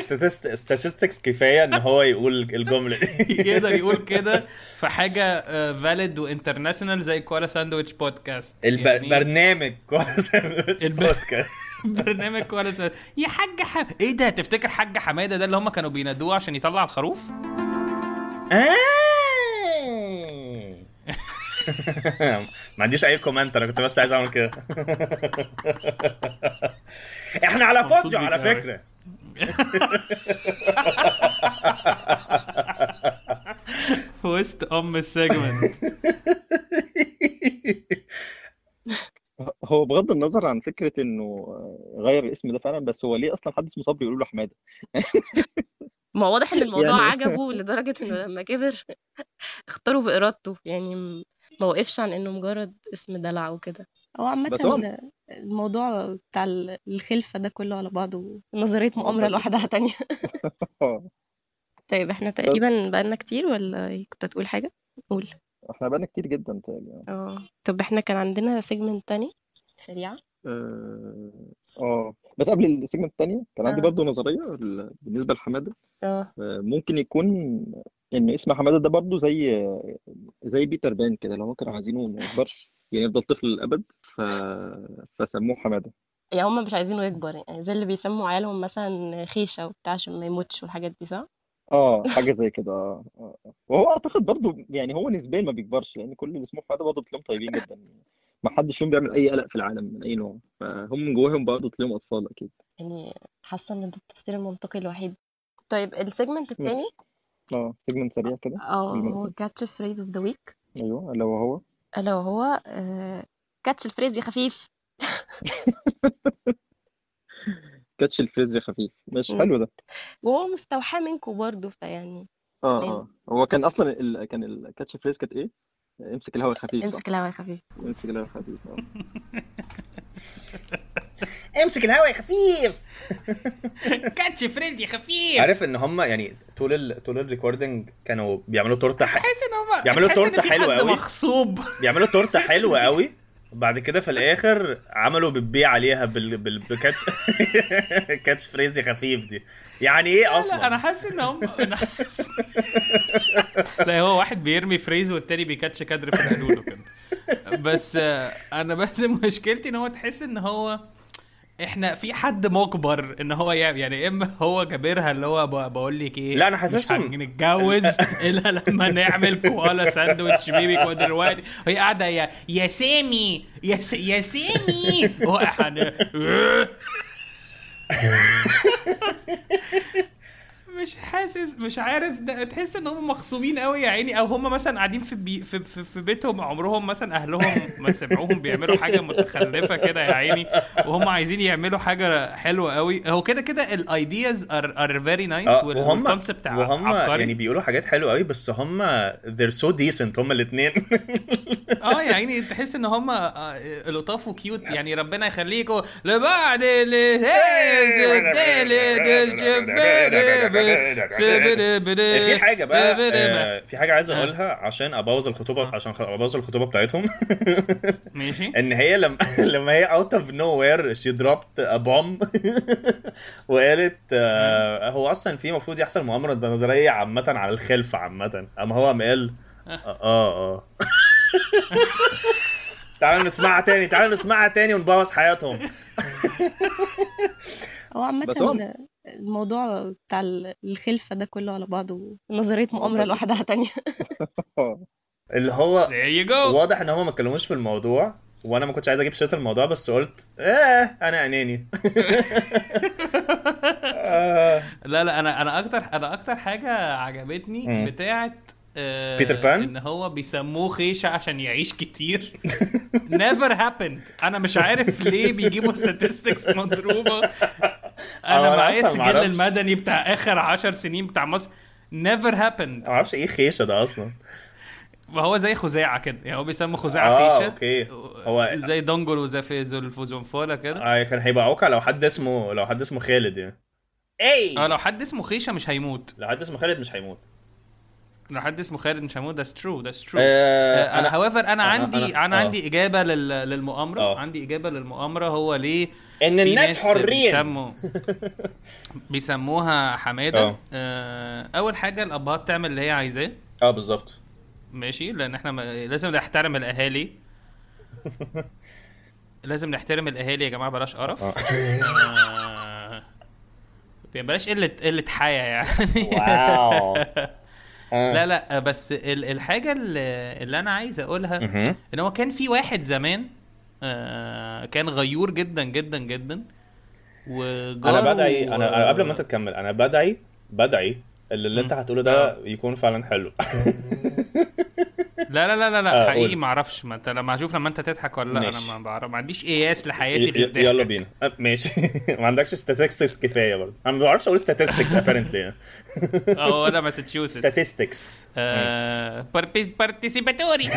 [SPEAKER 2] statistics كفايه ان هو يقول الجمله دي
[SPEAKER 1] يقدر يقول كده في حاجه فاليد وانترناشونال زي كوالا ساندويتش بودكاست
[SPEAKER 2] البرنامج كويس
[SPEAKER 1] الب-
[SPEAKER 2] بودكاست
[SPEAKER 1] برنامج كوالا ساندويتش يا حاج حماده ايه ده تفتكر حاج حماده ده اللي هم كانوا بينادوه عشان يطلع الخروف
[SPEAKER 2] آه. ما عنديش اي كومنت انا كنت بس عايز اعمل كده احنا على
[SPEAKER 1] مبسوط
[SPEAKER 2] بودجو
[SPEAKER 1] بيك
[SPEAKER 2] على
[SPEAKER 1] أوي.
[SPEAKER 2] فكره
[SPEAKER 1] في وسط ام السيجمنت
[SPEAKER 9] هو بغض النظر عن فكره انه آه، غير الاسم ده فعلا بس هو ليه اصلا حد اسمه صبري يقول له حماده
[SPEAKER 10] ما هو واضح ان الموضوع
[SPEAKER 9] يعني-
[SPEAKER 10] عجبه لدرجة انه لما كبر اختاره بإرادته يعني م- ما وقفش عن انه مجرد اسم دلع وكده هو
[SPEAKER 9] بس هو
[SPEAKER 10] عامة الموضوع بتاع ال- الخلفة ده كله على بعضه نظرية
[SPEAKER 9] هو
[SPEAKER 10] مؤامرة
[SPEAKER 9] ده
[SPEAKER 10] لوحدها تانية
[SPEAKER 9] آه،
[SPEAKER 10] طيب احنا
[SPEAKER 9] بس
[SPEAKER 10] تقريبا بقالنا كتير ولا إيه؟ كنت هتقول حاجة قول
[SPEAKER 9] احنا بقالنا كتير يعني. جدا تقريبا
[SPEAKER 10] اه طب احنا كان عندنا سيجمنت تاني سريعة
[SPEAKER 9] اه آه. بس قبل السيجمنت الثانيه كان عندي
[SPEAKER 10] اه
[SPEAKER 9] برضو نظريه ال- بالنسبه لحماده
[SPEAKER 10] اه
[SPEAKER 9] آه، ممكن يكون ان اسم حماده ده برضو زي زي بيتر بان كده لو هو كانوا عايزينه ما يكبرش يعني يفضل طفل للابد ف... فسموه حماده
[SPEAKER 10] يعني هما مش عايزينه يكبر يعني زي اللي بيسموا عيالهم مثلا خيشة وبتاع عشان ما يموتش والحاجات دي صح؟
[SPEAKER 9] اه حاجه زي كده آه. آه. آه. وهو اعتقد برضو يعني هو نسبيا ما بيكبرش لان كل اللي اسمه حماده برضو تلاقيهم طيبين جدا ما حدش فيهم بيعمل اي قلق في العالم من اي نوع فهم من جواهم برضو تلاقيهم اطفال اكيد
[SPEAKER 10] يعني حاسة ان ده التفسير المنطقي الوحيد طيب السيجمنت التاني
[SPEAKER 9] ماشي اه سيجمنت سريع كده قول
[SPEAKER 10] اه
[SPEAKER 9] من
[SPEAKER 10] هو
[SPEAKER 9] الاول
[SPEAKER 10] كاتش فريز اوف ذا ويك
[SPEAKER 9] ايوه اللي هو هو
[SPEAKER 10] الا وهو آه، كاتش الفريز يا خفيف
[SPEAKER 9] كاتش الفريز خفيف ماشي
[SPEAKER 10] مم.
[SPEAKER 9] حلو ده
[SPEAKER 10] وهو مستوحاه منكم برضه فيعني
[SPEAKER 9] اه
[SPEAKER 10] يعني
[SPEAKER 9] اه هو كان اصلا ال... كان الكاتش فريز كانت ايه امسك الهواء الخفيف صح
[SPEAKER 10] امسك الهوا يا خفيف
[SPEAKER 9] امسك الهواء الخفيف اه
[SPEAKER 2] امسك الهواء يا خفيف
[SPEAKER 1] كاتش فريز يا خفيف
[SPEAKER 2] عارف ان هم يعني طول ال... طول الريكوردنج كانوا بيعملوا تورته ح...
[SPEAKER 1] تحس ان هم
[SPEAKER 2] يعملوا
[SPEAKER 1] تحس إن
[SPEAKER 2] تورتة
[SPEAKER 1] في
[SPEAKER 2] حلوة
[SPEAKER 1] حد
[SPEAKER 2] أوي.
[SPEAKER 1] مغصوب
[SPEAKER 2] بيعملوا تورته حلوه قوي بعد كده في الاخر عملوا بتبيع عليها بال... بال... بكاتش كاتش فريز يا خفيف دي يعني ايه
[SPEAKER 1] لا انا
[SPEAKER 2] اصلا
[SPEAKER 1] حاسس ان هم انا حاسس لا هو واحد بيرمي فريز والتاني بيكاتش كادر في الحلول وكده بس آه، انا بس مشكلتي ان هو تحس ان هو احنا في حد مجبر ان هو يعمل يعني اما هو جابرها اللي هو ب- بقول لك ايه
[SPEAKER 2] لا، أنا
[SPEAKER 1] حاسسهم
[SPEAKER 2] حاسسهم-
[SPEAKER 1] مش هنتجوز الا لما نعمل كوالا ساندوتش بيبي دلوقتي وهي قاعده يا يا سامي يا س... يا سامي هو هن- مش حاسس مش عارف ده تحس ان هم مخصومين قوي يا عيني او هم مثلا قاعدين في, بي في, في, في بيتهم عمرهم مثلا اهلهم ما سمعوهم بيعملوا حاجه متخلفه كده يا عيني وهم عايزين يعملوا حاجه حلوه قوي هو كده كده الايدياز ار ار فيري نايس
[SPEAKER 2] آه، وهم
[SPEAKER 1] والكونسبت
[SPEAKER 2] وهم
[SPEAKER 1] عبقري
[SPEAKER 2] يعني بيقولوا حاجات حلوه قوي بس هم they're so decent هم الاثنين
[SPEAKER 1] اه يا عيني تحس ان هم آه، لطاف وكيوت يعني ربنا يخليكم لبعض اللي
[SPEAKER 2] في حاجه بقى آه، في حاجه عايز اقولها عشان ابوظ الخطوبه عشان خ- ابوظ الخطوبه بتاعتهم
[SPEAKER 1] ماشي
[SPEAKER 2] ان هي لما لما هي اوت اوف نو وير شي دروبت ا بوم وقالت آه، هو اصلا في المفروض يحصل مؤامره نظريه عامه على الخلف عامه اما هو قام قال اه اه تعالوا نسمعها تاني تعالوا نسمعها تاني ونبوظ حياتهم
[SPEAKER 10] هو
[SPEAKER 9] بس هو-
[SPEAKER 10] عامة الموضوع بتاع ال- الخلفة ده كله على بعضه نظرية مؤامرة لوحدها تانية
[SPEAKER 9] اه
[SPEAKER 2] اللي هو
[SPEAKER 1] there you go
[SPEAKER 2] واضح ان هم ما اتكلموش في الموضوع وانا ما كنتش عايز اجيب سيره الموضوع بس قلت ايه انا اناني آه،
[SPEAKER 1] لا لا انا انا اكتر انا اكتر حاجه عجبتني
[SPEAKER 2] مم.
[SPEAKER 1] بتاعه آه،
[SPEAKER 2] بيتر بان؟
[SPEAKER 1] ان هو بيسموه خيشه عشان يعيش كتير نيفر هابند انا مش عارف ليه بيجيبوا statistics مضروبه انا
[SPEAKER 2] أنا
[SPEAKER 1] معايا
[SPEAKER 2] أصلاً
[SPEAKER 1] السجل
[SPEAKER 2] معرفش.
[SPEAKER 1] المدني بتاع اخر عشر سنين بتاع مصر نيفر هابند
[SPEAKER 2] ما اعرفش ايه خيشه ده اصلا
[SPEAKER 1] ما هو زي خزاعه كده يعني هو بيسموا خزاعه
[SPEAKER 2] آه،
[SPEAKER 1] خيشه
[SPEAKER 2] أوكي. هو-
[SPEAKER 1] زي دونجل وزفي زلفوزنفولا كده
[SPEAKER 2] آه كان هيبقى اوقع لو حد اسمه لو حد اسمه خالد يعني
[SPEAKER 1] اه
[SPEAKER 2] اي
[SPEAKER 1] لو حد اسمه خيشه مش هيموت
[SPEAKER 2] لو حد اسمه خالد مش هيموت
[SPEAKER 1] لو حد اسمه خالد مش هيموت that's true that's true
[SPEAKER 2] آه
[SPEAKER 1] انا هوافر انا
[SPEAKER 2] أنا-
[SPEAKER 1] عندي
[SPEAKER 2] أنا-
[SPEAKER 1] انا
[SPEAKER 2] آه.
[SPEAKER 1] عندي اجابه لل- للمؤامره
[SPEAKER 2] آه.
[SPEAKER 1] عندي اجابه للمؤامره هو ليه
[SPEAKER 2] ان
[SPEAKER 1] في
[SPEAKER 2] الناس
[SPEAKER 1] ناس
[SPEAKER 2] حرين
[SPEAKER 1] بيسموا بيسموها حماده
[SPEAKER 2] آه.
[SPEAKER 1] آه، اول حاجه الابهات تعمل اللي هي عايزاه
[SPEAKER 2] اه بالظبط
[SPEAKER 1] ماشي لان احنا ما- لازم نحترم الاهالي لازم نحترم الاهالي يا جماعه بلاش قرف آه. يعني بلاش قله قله حياه يعني
[SPEAKER 2] واو آه.
[SPEAKER 1] لا لا بس ال- الحاجه اللي اللي انا عايز اقولها
[SPEAKER 2] مهم.
[SPEAKER 1] ان هو كان في واحد زمان آه، كان غيور جدا جدا جدا وجاره
[SPEAKER 2] انا بدعي انا أنا قبل ما انت تكمل انا بدعي بدعي اللي, اللي انت هتقوله
[SPEAKER 1] آه.
[SPEAKER 2] ده يكون فعلا حلو
[SPEAKER 1] لا لا لا لا,
[SPEAKER 2] آه،
[SPEAKER 1] لا حقيقي
[SPEAKER 2] قول.
[SPEAKER 1] ما اعرفش ما انت لما هشوف لما انت تضحك ولا لا انا
[SPEAKER 2] ماشي.
[SPEAKER 1] ما بعرف ما عنديش قياس لحياتي
[SPEAKER 2] ي-
[SPEAKER 1] غير
[SPEAKER 2] ي-
[SPEAKER 1] ضحكك.
[SPEAKER 2] يلا بينا آه، ماشي ما عندكش statistics كفايه برضه انا ما بعرفش اقول statistics apparently يعني.
[SPEAKER 1] اه انا ماساتشوستس
[SPEAKER 2] statistics
[SPEAKER 1] آه، باربي- بارتيسيباتوري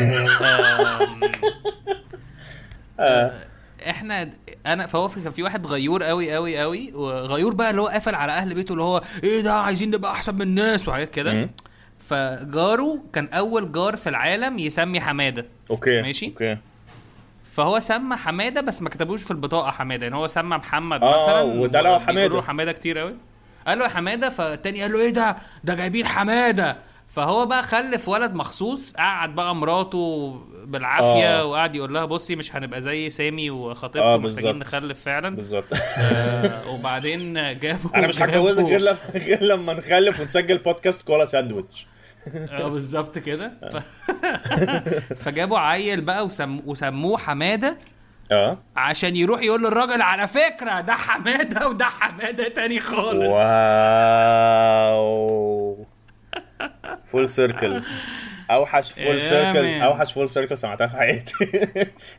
[SPEAKER 1] Um,
[SPEAKER 2] آه.
[SPEAKER 1] eh, احنا انا فهو في كان في واحد غيور قوي قوي قوي وغيور بقى اللي هو قافل على اهل بيته اللي هو ايه ده عايزين نبقى احسن من الناس وحاجات كده
[SPEAKER 2] مم.
[SPEAKER 1] فجاره كان اول جار في العالم يسمي حماده
[SPEAKER 2] اوكي
[SPEAKER 1] ماشي.
[SPEAKER 2] اوكي
[SPEAKER 1] فهو سمى حماده بس ما كتبوش في البطاقه حماده يعني هو سمى محمد
[SPEAKER 2] آه،
[SPEAKER 1] مثلا
[SPEAKER 2] وده لقى
[SPEAKER 1] وبيقولوا
[SPEAKER 2] حمادة.
[SPEAKER 1] حماده كتير قوي قال له يا حماده فالتاني قال له ايه ده ده جايبين حماده فهو بقى خلف ولد مخصوص قعد بقى مراته بالعافيه
[SPEAKER 2] آه.
[SPEAKER 1] وقعد يقول لها بصي مش هنبقى زي سامي وخطيبته
[SPEAKER 2] آه،
[SPEAKER 1] محتاجين
[SPEAKER 2] بالظبط.
[SPEAKER 1] نخلف فعلا
[SPEAKER 2] بالظبط
[SPEAKER 1] آه، وبعدين جابوا
[SPEAKER 2] انا مش هتجوزك
[SPEAKER 1] جابوا-
[SPEAKER 2] غير لما غير لما نخلف ونسجل بودكاست كولا ساندويتش آه.
[SPEAKER 1] اه بالظبط كده ف... فجابوا عيل بقى وسم... وسموه حماده
[SPEAKER 2] اه
[SPEAKER 1] عشان يروح يقول للراجل على فكره ده حماده وده حماده تاني خالص
[SPEAKER 2] واو فول سيركل اوحش
[SPEAKER 1] يا
[SPEAKER 2] فول سيركل
[SPEAKER 1] مان.
[SPEAKER 2] اوحش فول سيركل سمعتها في حياتي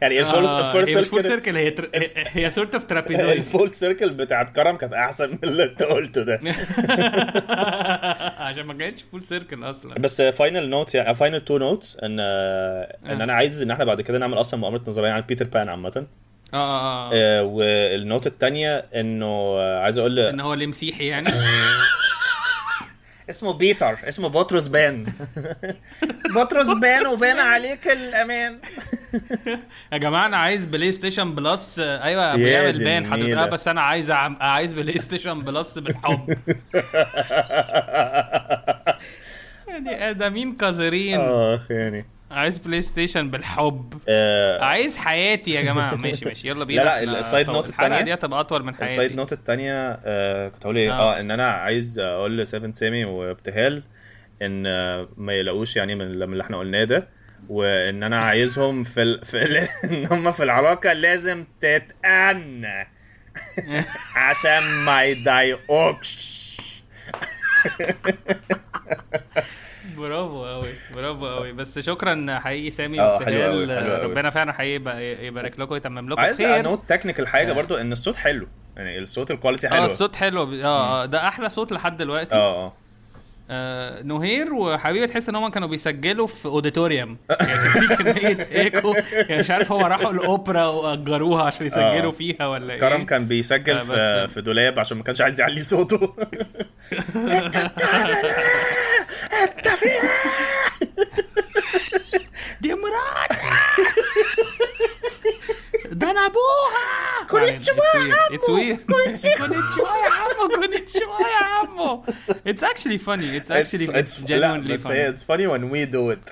[SPEAKER 2] يعني الفول الفول
[SPEAKER 1] هي مش فول
[SPEAKER 2] سيركل
[SPEAKER 1] سيركل آه، هي تر... هي- هي سورت اوف ترابيزويد
[SPEAKER 2] الفول سيركل بتاعت كرم كانت احسن من اللي انت قلته ده
[SPEAKER 1] عشان ما كانتش فول سيركل اصلا
[SPEAKER 2] بس فاينل نوت يعني فاينل تو نوتس ان
[SPEAKER 1] آه.
[SPEAKER 2] ان انا عايز ان احنا بعد كده نعمل اصلا مؤامره نظريه عن بيتر بان عامه
[SPEAKER 1] اه اه اه
[SPEAKER 2] آه، والنوت الثانيه انه آه، عايز اقول
[SPEAKER 1] ان هو اللي مسيحي يعني
[SPEAKER 2] اسمه بيتر اسمه بطرس بان بطرس بان وبان عليك الامان
[SPEAKER 1] يا جماعه انا عايز بلاي ستيشن بلس آه، ايوه
[SPEAKER 2] يا
[SPEAKER 1] بيعمل
[SPEAKER 2] دي
[SPEAKER 1] بان حضرتك
[SPEAKER 2] النيلة.
[SPEAKER 1] آه، بس انا عايز أعم- عايز بلاي ستيشن بلس بالحب يعني ده مين قذرين
[SPEAKER 2] اخ يعني
[SPEAKER 1] عايز بلاي ستيشن بالحب
[SPEAKER 2] آه،
[SPEAKER 1] عايز حياتي يا جماعه ماشي ماشي يلا بينا
[SPEAKER 2] لا، لا،
[SPEAKER 1] إحنا
[SPEAKER 2] السايد
[SPEAKER 1] طو-
[SPEAKER 2] نوت
[SPEAKER 1] الحلقه
[SPEAKER 2] التانية.
[SPEAKER 1] دي هتبقى اطول من حياتي
[SPEAKER 2] السايد نوت الثانيه آه كنت هقول ايه
[SPEAKER 1] آه.
[SPEAKER 2] اه ان انا عايز اقول لسيفن سامي وابتهال ان آه، ما يلاقوش يعني من من اللي احنا قلناه ده وان انا عايزهم في ال... في ال... ان هم في العلاقه لازم تتأنى عشان ما يضايقوكش
[SPEAKER 1] برافو قوي برافو قوي بس شكرا حقيقي سامي
[SPEAKER 2] آه، حلو
[SPEAKER 1] وابتهال.
[SPEAKER 2] أوي، حلو أوي.
[SPEAKER 1] ربنا فعلا حقيقي يبقى- يبارك لكم ويتمم لكم
[SPEAKER 2] عايز
[SPEAKER 1] خير.
[SPEAKER 2] انوت تكنيكال حاجه برضو ان الصوت حلو يعني الصوت الكواليتي حلوه
[SPEAKER 1] اه الصوت حلو اه آه، ده احلى صوت لحد دلوقتي
[SPEAKER 2] اه اه
[SPEAKER 1] آه نهير وحبيبي تحس ان هم كانوا بيسجلوا في اوديتوريوم يعني كان في كميه ايكو يعني مش عارف هو راحوا الاوبرا واجروها عشان يسجلوا
[SPEAKER 2] آه.
[SPEAKER 1] فيها ولا ايه
[SPEAKER 2] كرم كان بيسجل
[SPEAKER 1] آه،
[SPEAKER 2] في
[SPEAKER 1] بس-
[SPEAKER 2] في دولاب عشان ما كانش عايز يعلي صوته
[SPEAKER 1] دي مراتي ده انا ابوها كونيتشوا يا عمو كونيتشوا يا عمو كونيتشوا يا عمو اتس اكشلي فاني اتس اكشلي
[SPEAKER 2] لا
[SPEAKER 1] جينيونلي
[SPEAKER 2] بس هي
[SPEAKER 1] فاني
[SPEAKER 2] اتس فاني وان وي دو ات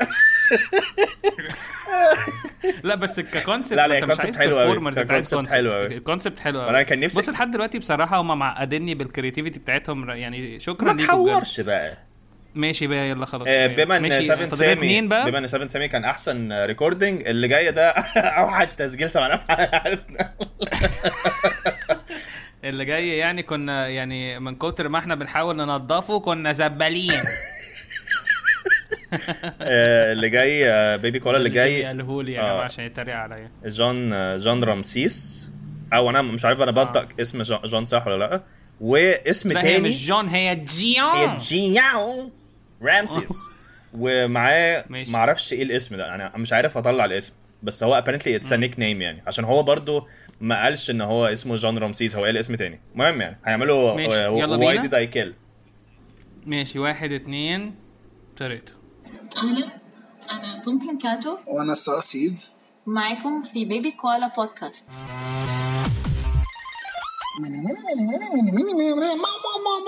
[SPEAKER 1] لا بس ككونسبت
[SPEAKER 2] لا، لا،
[SPEAKER 1] انت مش
[SPEAKER 2] concept
[SPEAKER 1] عايز
[SPEAKER 2] حلو أوي.
[SPEAKER 1] performers انت عايز
[SPEAKER 2] concept حلو أوي.
[SPEAKER 1] كونسبت كونسبت حلو قوي
[SPEAKER 2] أنا كان نفسي-
[SPEAKER 1] بص لحد دلوقتي بصراحه هم معقديني بالكريتيفيتي بتاعتهم يعني شكرا
[SPEAKER 2] ما
[SPEAKER 1] ليكوا بجد.
[SPEAKER 2] تحورش بقى
[SPEAKER 1] ماشي بقى يلا خلاص
[SPEAKER 2] آه،
[SPEAKER 1] تمام.
[SPEAKER 2] بما ان
[SPEAKER 1] ماشي،
[SPEAKER 2] 7
[SPEAKER 1] فاضل
[SPEAKER 2] سامي
[SPEAKER 1] اتنين بقى
[SPEAKER 2] بما ان 7 سامي كان احسن ريكوردنج اللي جاي ده اوحش تسجيل سمعناه في حياتنا
[SPEAKER 1] اللي جاي يعني كنا يعني من كتر ما احنا بنحاول ننضفه كنا زبالين
[SPEAKER 2] آه، اللي جاي آه، بيبي كولا اللي جاي
[SPEAKER 1] قاله لي يا جماعه
[SPEAKER 2] آه.
[SPEAKER 1] عشان يتريق عليا
[SPEAKER 2] جون آه، جون رمسيس او انا مش عارف انا بنطق اسم جون- جون صح ولا لا واسم
[SPEAKER 1] آه. لا هي
[SPEAKER 2] تاني
[SPEAKER 1] مش جون هي جيون
[SPEAKER 2] جياو رامسيس ومعاه
[SPEAKER 1] آه. ماشي.
[SPEAKER 2] معرفش ايه الاسم ده انا مش عارف اطلع الاسم بس هو ابارنتلي اتس نيك نيم يعني عشان هو برضو ما قالش ان هو اسمه جون رمسيس هو قال اسم تاني المهم يعني
[SPEAKER 1] ماشي،
[SPEAKER 2] هيعملوا
[SPEAKER 1] يلا
[SPEAKER 2] واي
[SPEAKER 1] بينا.
[SPEAKER 2] ديد اي كيل
[SPEAKER 1] ماشي واحد اتنين تلاته
[SPEAKER 11] أهلا أنا بومبلين كاتو
[SPEAKER 12] وانا الصراحه سيد
[SPEAKER 11] معاكم في بيبي كوالا بودكاست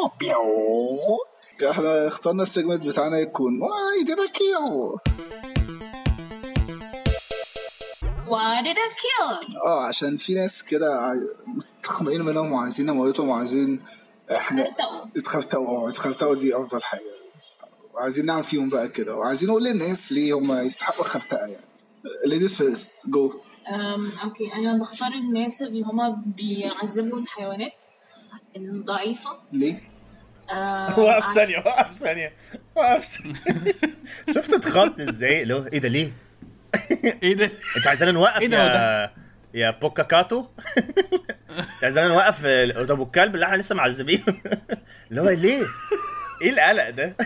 [SPEAKER 12] بيو احنا اخترنا السيجمنت بتاعنا يكون واي ديد كيو
[SPEAKER 11] Why did I kill?
[SPEAKER 12] اه عشان في ناس كده عاي- متخنقين منهم وعايزين يموتوا وعايزين احنا
[SPEAKER 11] اتخرتقوا.
[SPEAKER 12] اتخرتقوا اه اتخرتقوا دي افضل حاجه وعايزين نعمل فيهم بقى كده وعايزين نقول للناس ليه هم يستحقوا الخرتقه يعني ليديز فيرست جو
[SPEAKER 11] أم، أوكي أنا بختار الناس اللي هما بيعذبوا الحيوانات الضعيفة
[SPEAKER 12] ليه؟
[SPEAKER 11] أم،
[SPEAKER 2] وقف ثانية وقف ثانية وقف ثانية شفت اتخض ازاي اللي هو ايه ده ليه؟
[SPEAKER 1] ايه ده
[SPEAKER 2] انت عايزين نوقف
[SPEAKER 1] إيه ده
[SPEAKER 2] يا يا بوكا كاتو انت عايزين نوقف ال- ده ابو الكلب اللي احنا لسه معذبينه اللي هو ليه؟ ايه القلق ده؟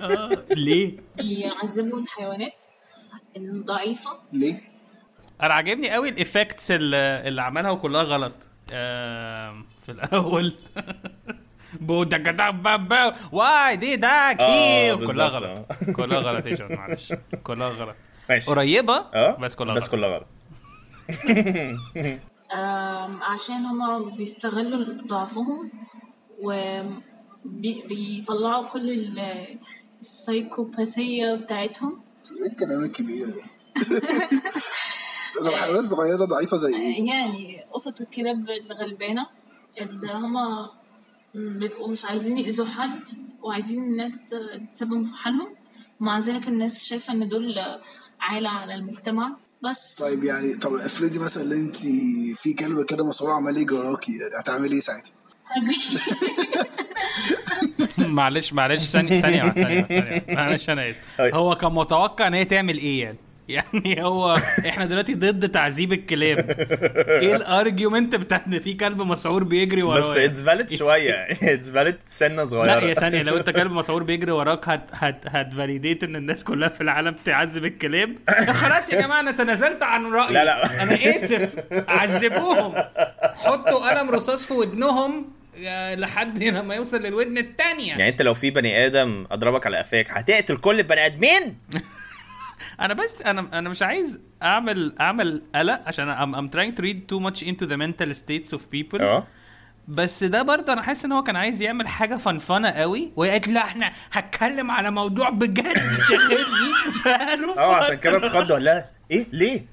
[SPEAKER 1] آه، ليه
[SPEAKER 11] بيعذبوا الحيوانات الضعيفة
[SPEAKER 12] ليه؟
[SPEAKER 1] انا عاجبني قوي الايفكتس اللي, اللي عملها وكلها غلط آم، في الاول بو دا جا دا با با. واي دي دا
[SPEAKER 2] آه،
[SPEAKER 1] كيم كلها
[SPEAKER 2] بالظبط،
[SPEAKER 1] غلط
[SPEAKER 2] آه.
[SPEAKER 1] كلها غلط يا جون معلش كلها غلط
[SPEAKER 2] ماشي
[SPEAKER 1] قريبه
[SPEAKER 2] اه
[SPEAKER 1] بس كلها
[SPEAKER 2] بس
[SPEAKER 1] غلط
[SPEAKER 2] كلها غلط
[SPEAKER 11] أم، عشان هما بيستغلوا ضعفهم وبيطلعوا كل ال- السايكوباثية بتاعتهم
[SPEAKER 12] ايه الكلام الكبير ده؟ ده الحيوانات صغيره ضعيفه زي ايه؟
[SPEAKER 11] يعني قطط وكلاب الغلبانة اللي هما بيبقوا مش عايزين يأذوا حد وعايزين الناس ت- تسيبهم في حالهم ومع ذلك الناس شايفة إن دول عالة على المجتمع بس
[SPEAKER 12] طيب يعني طب افرضي مثلا انت في كلب إيه كده مسؤول عمال يجراكي يعني هتعملي ايه ساعتها؟
[SPEAKER 11] هجري
[SPEAKER 1] معلش معلش ثانية ثانية واحدة، ثانية واحدة، ثانية واحدة. معلش أنا آسف
[SPEAKER 2] طيب.
[SPEAKER 1] هو كان متوقع إن هي تعمل إيه يعني؟ يعني هو احنا دلوقتي ضد تعذيب الكلاب ايه الارجيومنت بتاع ان في كلب مسعور بيجري ورايا
[SPEAKER 2] بس اتس فاليد شويه اتس فاليد سنه صغيره
[SPEAKER 1] لا يا ثانية لو انت كلب مسعور بيجري وراك هت هت هتفاليديت ان الناس كلها في العالم تعذب الكلاب خلاص يا جماعة انا تنازلت عن رأيي
[SPEAKER 2] لا، لا.
[SPEAKER 1] انا اسف عذبوهم حطوا قلم رصاص في ودنهم آه، لحد لما يوصل للودن التانية
[SPEAKER 2] يعني انت لو في بني ادم اضربك على قفاك هتقتل كل البني ادمين
[SPEAKER 1] انا بس انا انا مش عايز اعمل اعمل قلق عشان I'm, I'm trying to read too much into the mental states of people
[SPEAKER 2] اه
[SPEAKER 1] بس ده برضه انا حاسس ان هو كان عايز يعمل حاجه فنفنه قوي وقالت لا احنا هتكلم على موضوع بجد شاغلني بقاله
[SPEAKER 2] اه عشان كده
[SPEAKER 1] فترة.
[SPEAKER 2] اتخض ولا ايه ليه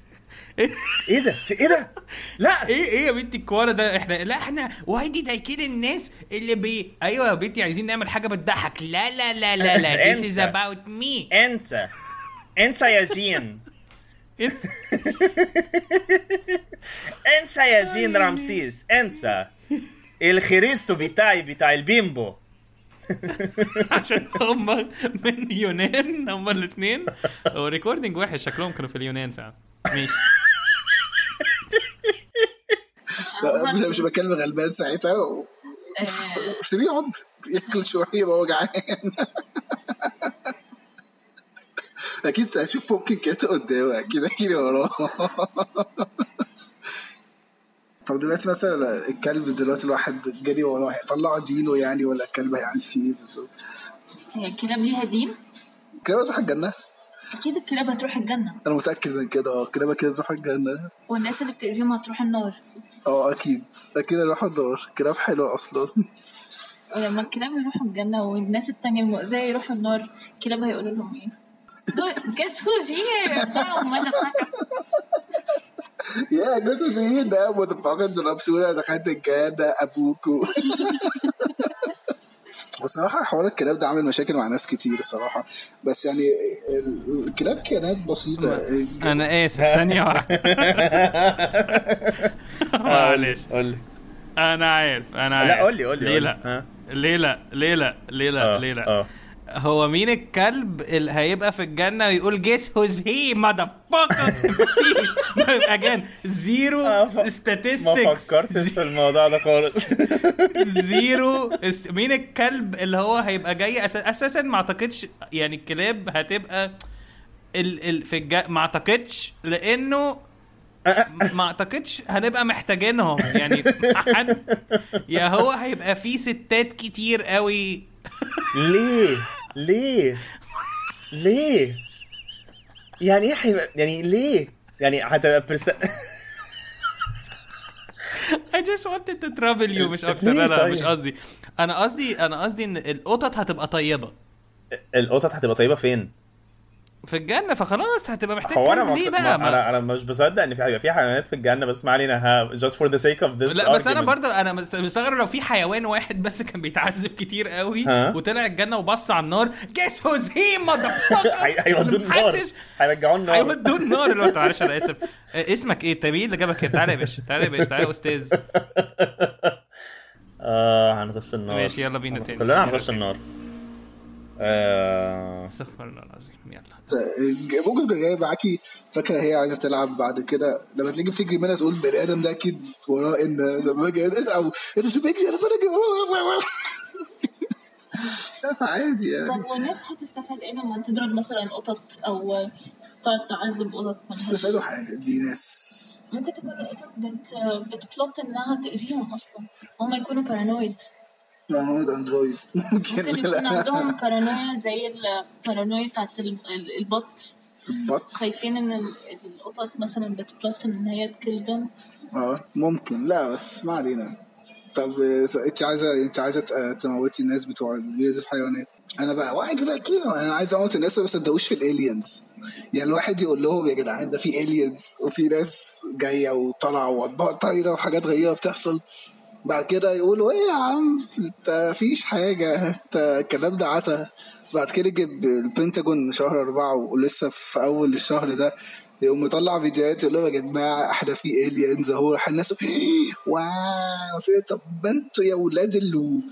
[SPEAKER 2] ايه ده في ايه ده
[SPEAKER 1] لا ايه ايه يا بنتي الكوارع ده احنا لا احنا واي دي دايكين الناس اللي بي ايوه يا بنتي عايزين نعمل حاجه بتضحك لا لا لا لا لا this is
[SPEAKER 2] انسى.
[SPEAKER 1] about me
[SPEAKER 2] انسى انسى يا جين
[SPEAKER 1] انسى.
[SPEAKER 2] انسى يا
[SPEAKER 1] أيوة.
[SPEAKER 2] جين رمسيس انسى الخريستو بتاعي بتاع البيمبو
[SPEAKER 1] عشان هم من يونان هم الاثنين وريكوردنج واحد شكلهم كانوا في اليونان فعلا ماشي
[SPEAKER 12] لا، مش مش بكلم غلبان ساعتها و-
[SPEAKER 11] آه،
[SPEAKER 12] سيبيه يقعد ياكل شويه يبقى هو جعان اكيد هشوف بومكن كات قدامه اكيد هيجي وراه طب دلوقتي مثلا الكلب دلوقتي الواحد جري وراه هيطلعه دينه يعني ولا الكلب هيعمل فيه ايه بالظبط؟
[SPEAKER 11] هي الكلاب ليها دين
[SPEAKER 12] الكلاب هتروح الجنه
[SPEAKER 11] اكيد الكلاب هتروح الجنه
[SPEAKER 12] انا متاكد من كده اه الكلاب كده تروح الجنه
[SPEAKER 11] والناس اللي بتأذيهم هتروح النار
[SPEAKER 12] اه اكيد اكيد هيروحوا النار الكلاب حلوه اصلا
[SPEAKER 11] ولما الكلاب يروحوا الجنة والناس التانية المؤذية يروحوا النار الكلاب هيقولوا لهم ايه؟ Look, Guess who's here? Wow, motherfucker.
[SPEAKER 12] يا جوز ايه ده متفقين ضربتونا دخلت الجهاد ابوكو بصراحة حوار الكلاب ده عامل مشاكل مع ناس كتير صراحة بس يعني ال- الكلاب كائنات بسيطة
[SPEAKER 1] نعم. انا اسف ثانيه واحده
[SPEAKER 2] آه،
[SPEAKER 1] معلش
[SPEAKER 2] قول لي
[SPEAKER 1] انا عارف انا عارف
[SPEAKER 2] لا قول لي قول لي
[SPEAKER 1] ليه
[SPEAKER 2] قول لي.
[SPEAKER 1] لا
[SPEAKER 2] ها؟
[SPEAKER 1] ليه لا ليه لا ليه لا
[SPEAKER 2] آه،
[SPEAKER 1] ليه لا
[SPEAKER 2] آه.
[SPEAKER 1] هو مين الكلب اللي هيبقى في الجنه ويقول جيس هوز هي ماذر فاكر مفيش اجان زيرو
[SPEAKER 2] آه، ما
[SPEAKER 1] statistics
[SPEAKER 2] فكرتش في الموضوع ده خالص
[SPEAKER 1] زيرو است... مين الكلب اللي هو هيبقى جاي أسا... اساسا ما اعتقدش يعني الكلاب هتبقى ال... ال... في الج... ما اعتقدش لانه ما اعتقدش هنبقى محتاجينهم يعني حد يا هو هيبقى في ستات كتير قوي
[SPEAKER 2] ليه ليه ليه يعني ايه حيبقى- يعني ليه يعني هتبقى برس...
[SPEAKER 1] I just wanted to trouble you مش اكتر لا
[SPEAKER 2] ليه
[SPEAKER 1] لا
[SPEAKER 2] طيب؟
[SPEAKER 1] مش قصدي انا قصدي انا قصدي ان القطط هتبقى طيبه
[SPEAKER 2] القطط هتبقى طيبه فين؟
[SPEAKER 1] في الجنه فخلاص هتبقى محتاج
[SPEAKER 2] هو انا
[SPEAKER 1] كلب
[SPEAKER 2] ما
[SPEAKER 1] طيب ليه
[SPEAKER 2] ما-
[SPEAKER 1] بقى ما-
[SPEAKER 2] انا انا مش بصدق ان في هيبقى في حيوانات في الجنه بس ما علينا ها just for the sake of this
[SPEAKER 1] لا بس انا
[SPEAKER 2] argument.
[SPEAKER 1] برضه انا مس- مستغرب لو في حيوان واحد بس كان بيتعذب كتير قوي
[SPEAKER 2] ها؟
[SPEAKER 1] وطلع الجنه وبص على النار جيس هوز هي ماذر
[SPEAKER 2] هي- هيودوه النار هيرجعوه النار
[SPEAKER 1] هيودوه النار اللي هو معلش انا اسف آه، اسمك ايه؟ تميل اللي جابك هنا تعالى يا باشا تعالى يا باشا تعالى يا استاذ
[SPEAKER 2] اه هنخش النار
[SPEAKER 1] ماشي، يلا بينا تاني.
[SPEAKER 2] كلنا هنخش النار آه...
[SPEAKER 1] استغفر الله العظيم يلا
[SPEAKER 12] ممكن تكون جاية معاكي فاكرة هي عايزة تلعب بعد كده لما تيجي بتجري منها تقول بني آدم ده أكيد وراه إن زمان جاي- أو أنت بتجري أنا بجري وراه لا فعادي يعني
[SPEAKER 11] طب والناس هتستفاد ايه لما تضرب مثلا قطط او تقعد تعذب قطط ملهاش
[SPEAKER 12] استفادوا حاجة دي ناس
[SPEAKER 11] ممكن تكون القطط بت... بتبلوت انها تأذيهم اصلا هما يكونوا بارانويد
[SPEAKER 12] معمود اندرويد يعني ممكن
[SPEAKER 11] ممكن يكون
[SPEAKER 12] لا
[SPEAKER 11] عندهم بارانويا زي البارانويا بتاعت ال- ال- البط
[SPEAKER 12] بط
[SPEAKER 11] خايفين ان ال- القطط مثلا بتبلوت ان هي تكلدم
[SPEAKER 12] اه ممكن لا بس ما علينا طب آه، انت عايزه انت عايزه ت- تموتي الناس بتوع بيز الحيوانات انا بقى واحد كده كده انا عايز اموت الناس اللي ما صدقوش في الالينز يعني الواحد يقول لهم يا جدعان ده في الينز وفي ناس جايه وطالعه واطباق طايره وحاجات غريبه بتحصل بعد كده يقولوا ايه يا عم انت فيش حاجه انت الكلام ده عتا بعد كده جه البنتاجون شهر أربعة ولسه في أول الشهر ده يقوم مطلع فيديوهات يقول لهم يا جماعه احنا في الينز اهو راح الناس واو في إيه؟ طب ما انتوا يا ولاد ال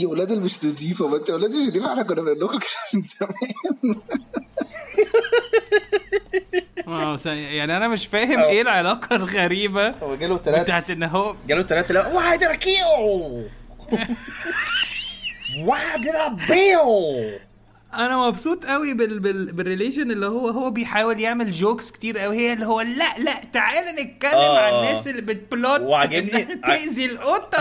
[SPEAKER 12] يا ولاد اللي مش نضيفه ما انتوا يا ولاد مش نضيفه احنا كنا بنقول لكم كده من زمان
[SPEAKER 1] آه، س- يعني انا مش فاهم ايه العلاقه الغريبه هو
[SPEAKER 2] جاله
[SPEAKER 1] تلاتة بتاعت ان هو
[SPEAKER 2] جاله تلاتة لا واحد كيو واحد بيو
[SPEAKER 1] انا مبسوط قوي بال... بال... بالريليشن اللي هو هو بيحاول يعمل جوكس كتير قوي هي اللي هو لا لا تعالى نتكلم
[SPEAKER 2] آه.
[SPEAKER 1] عن الناس اللي بتبلوت
[SPEAKER 2] وعاجبني-
[SPEAKER 1] إنها تاذي القطط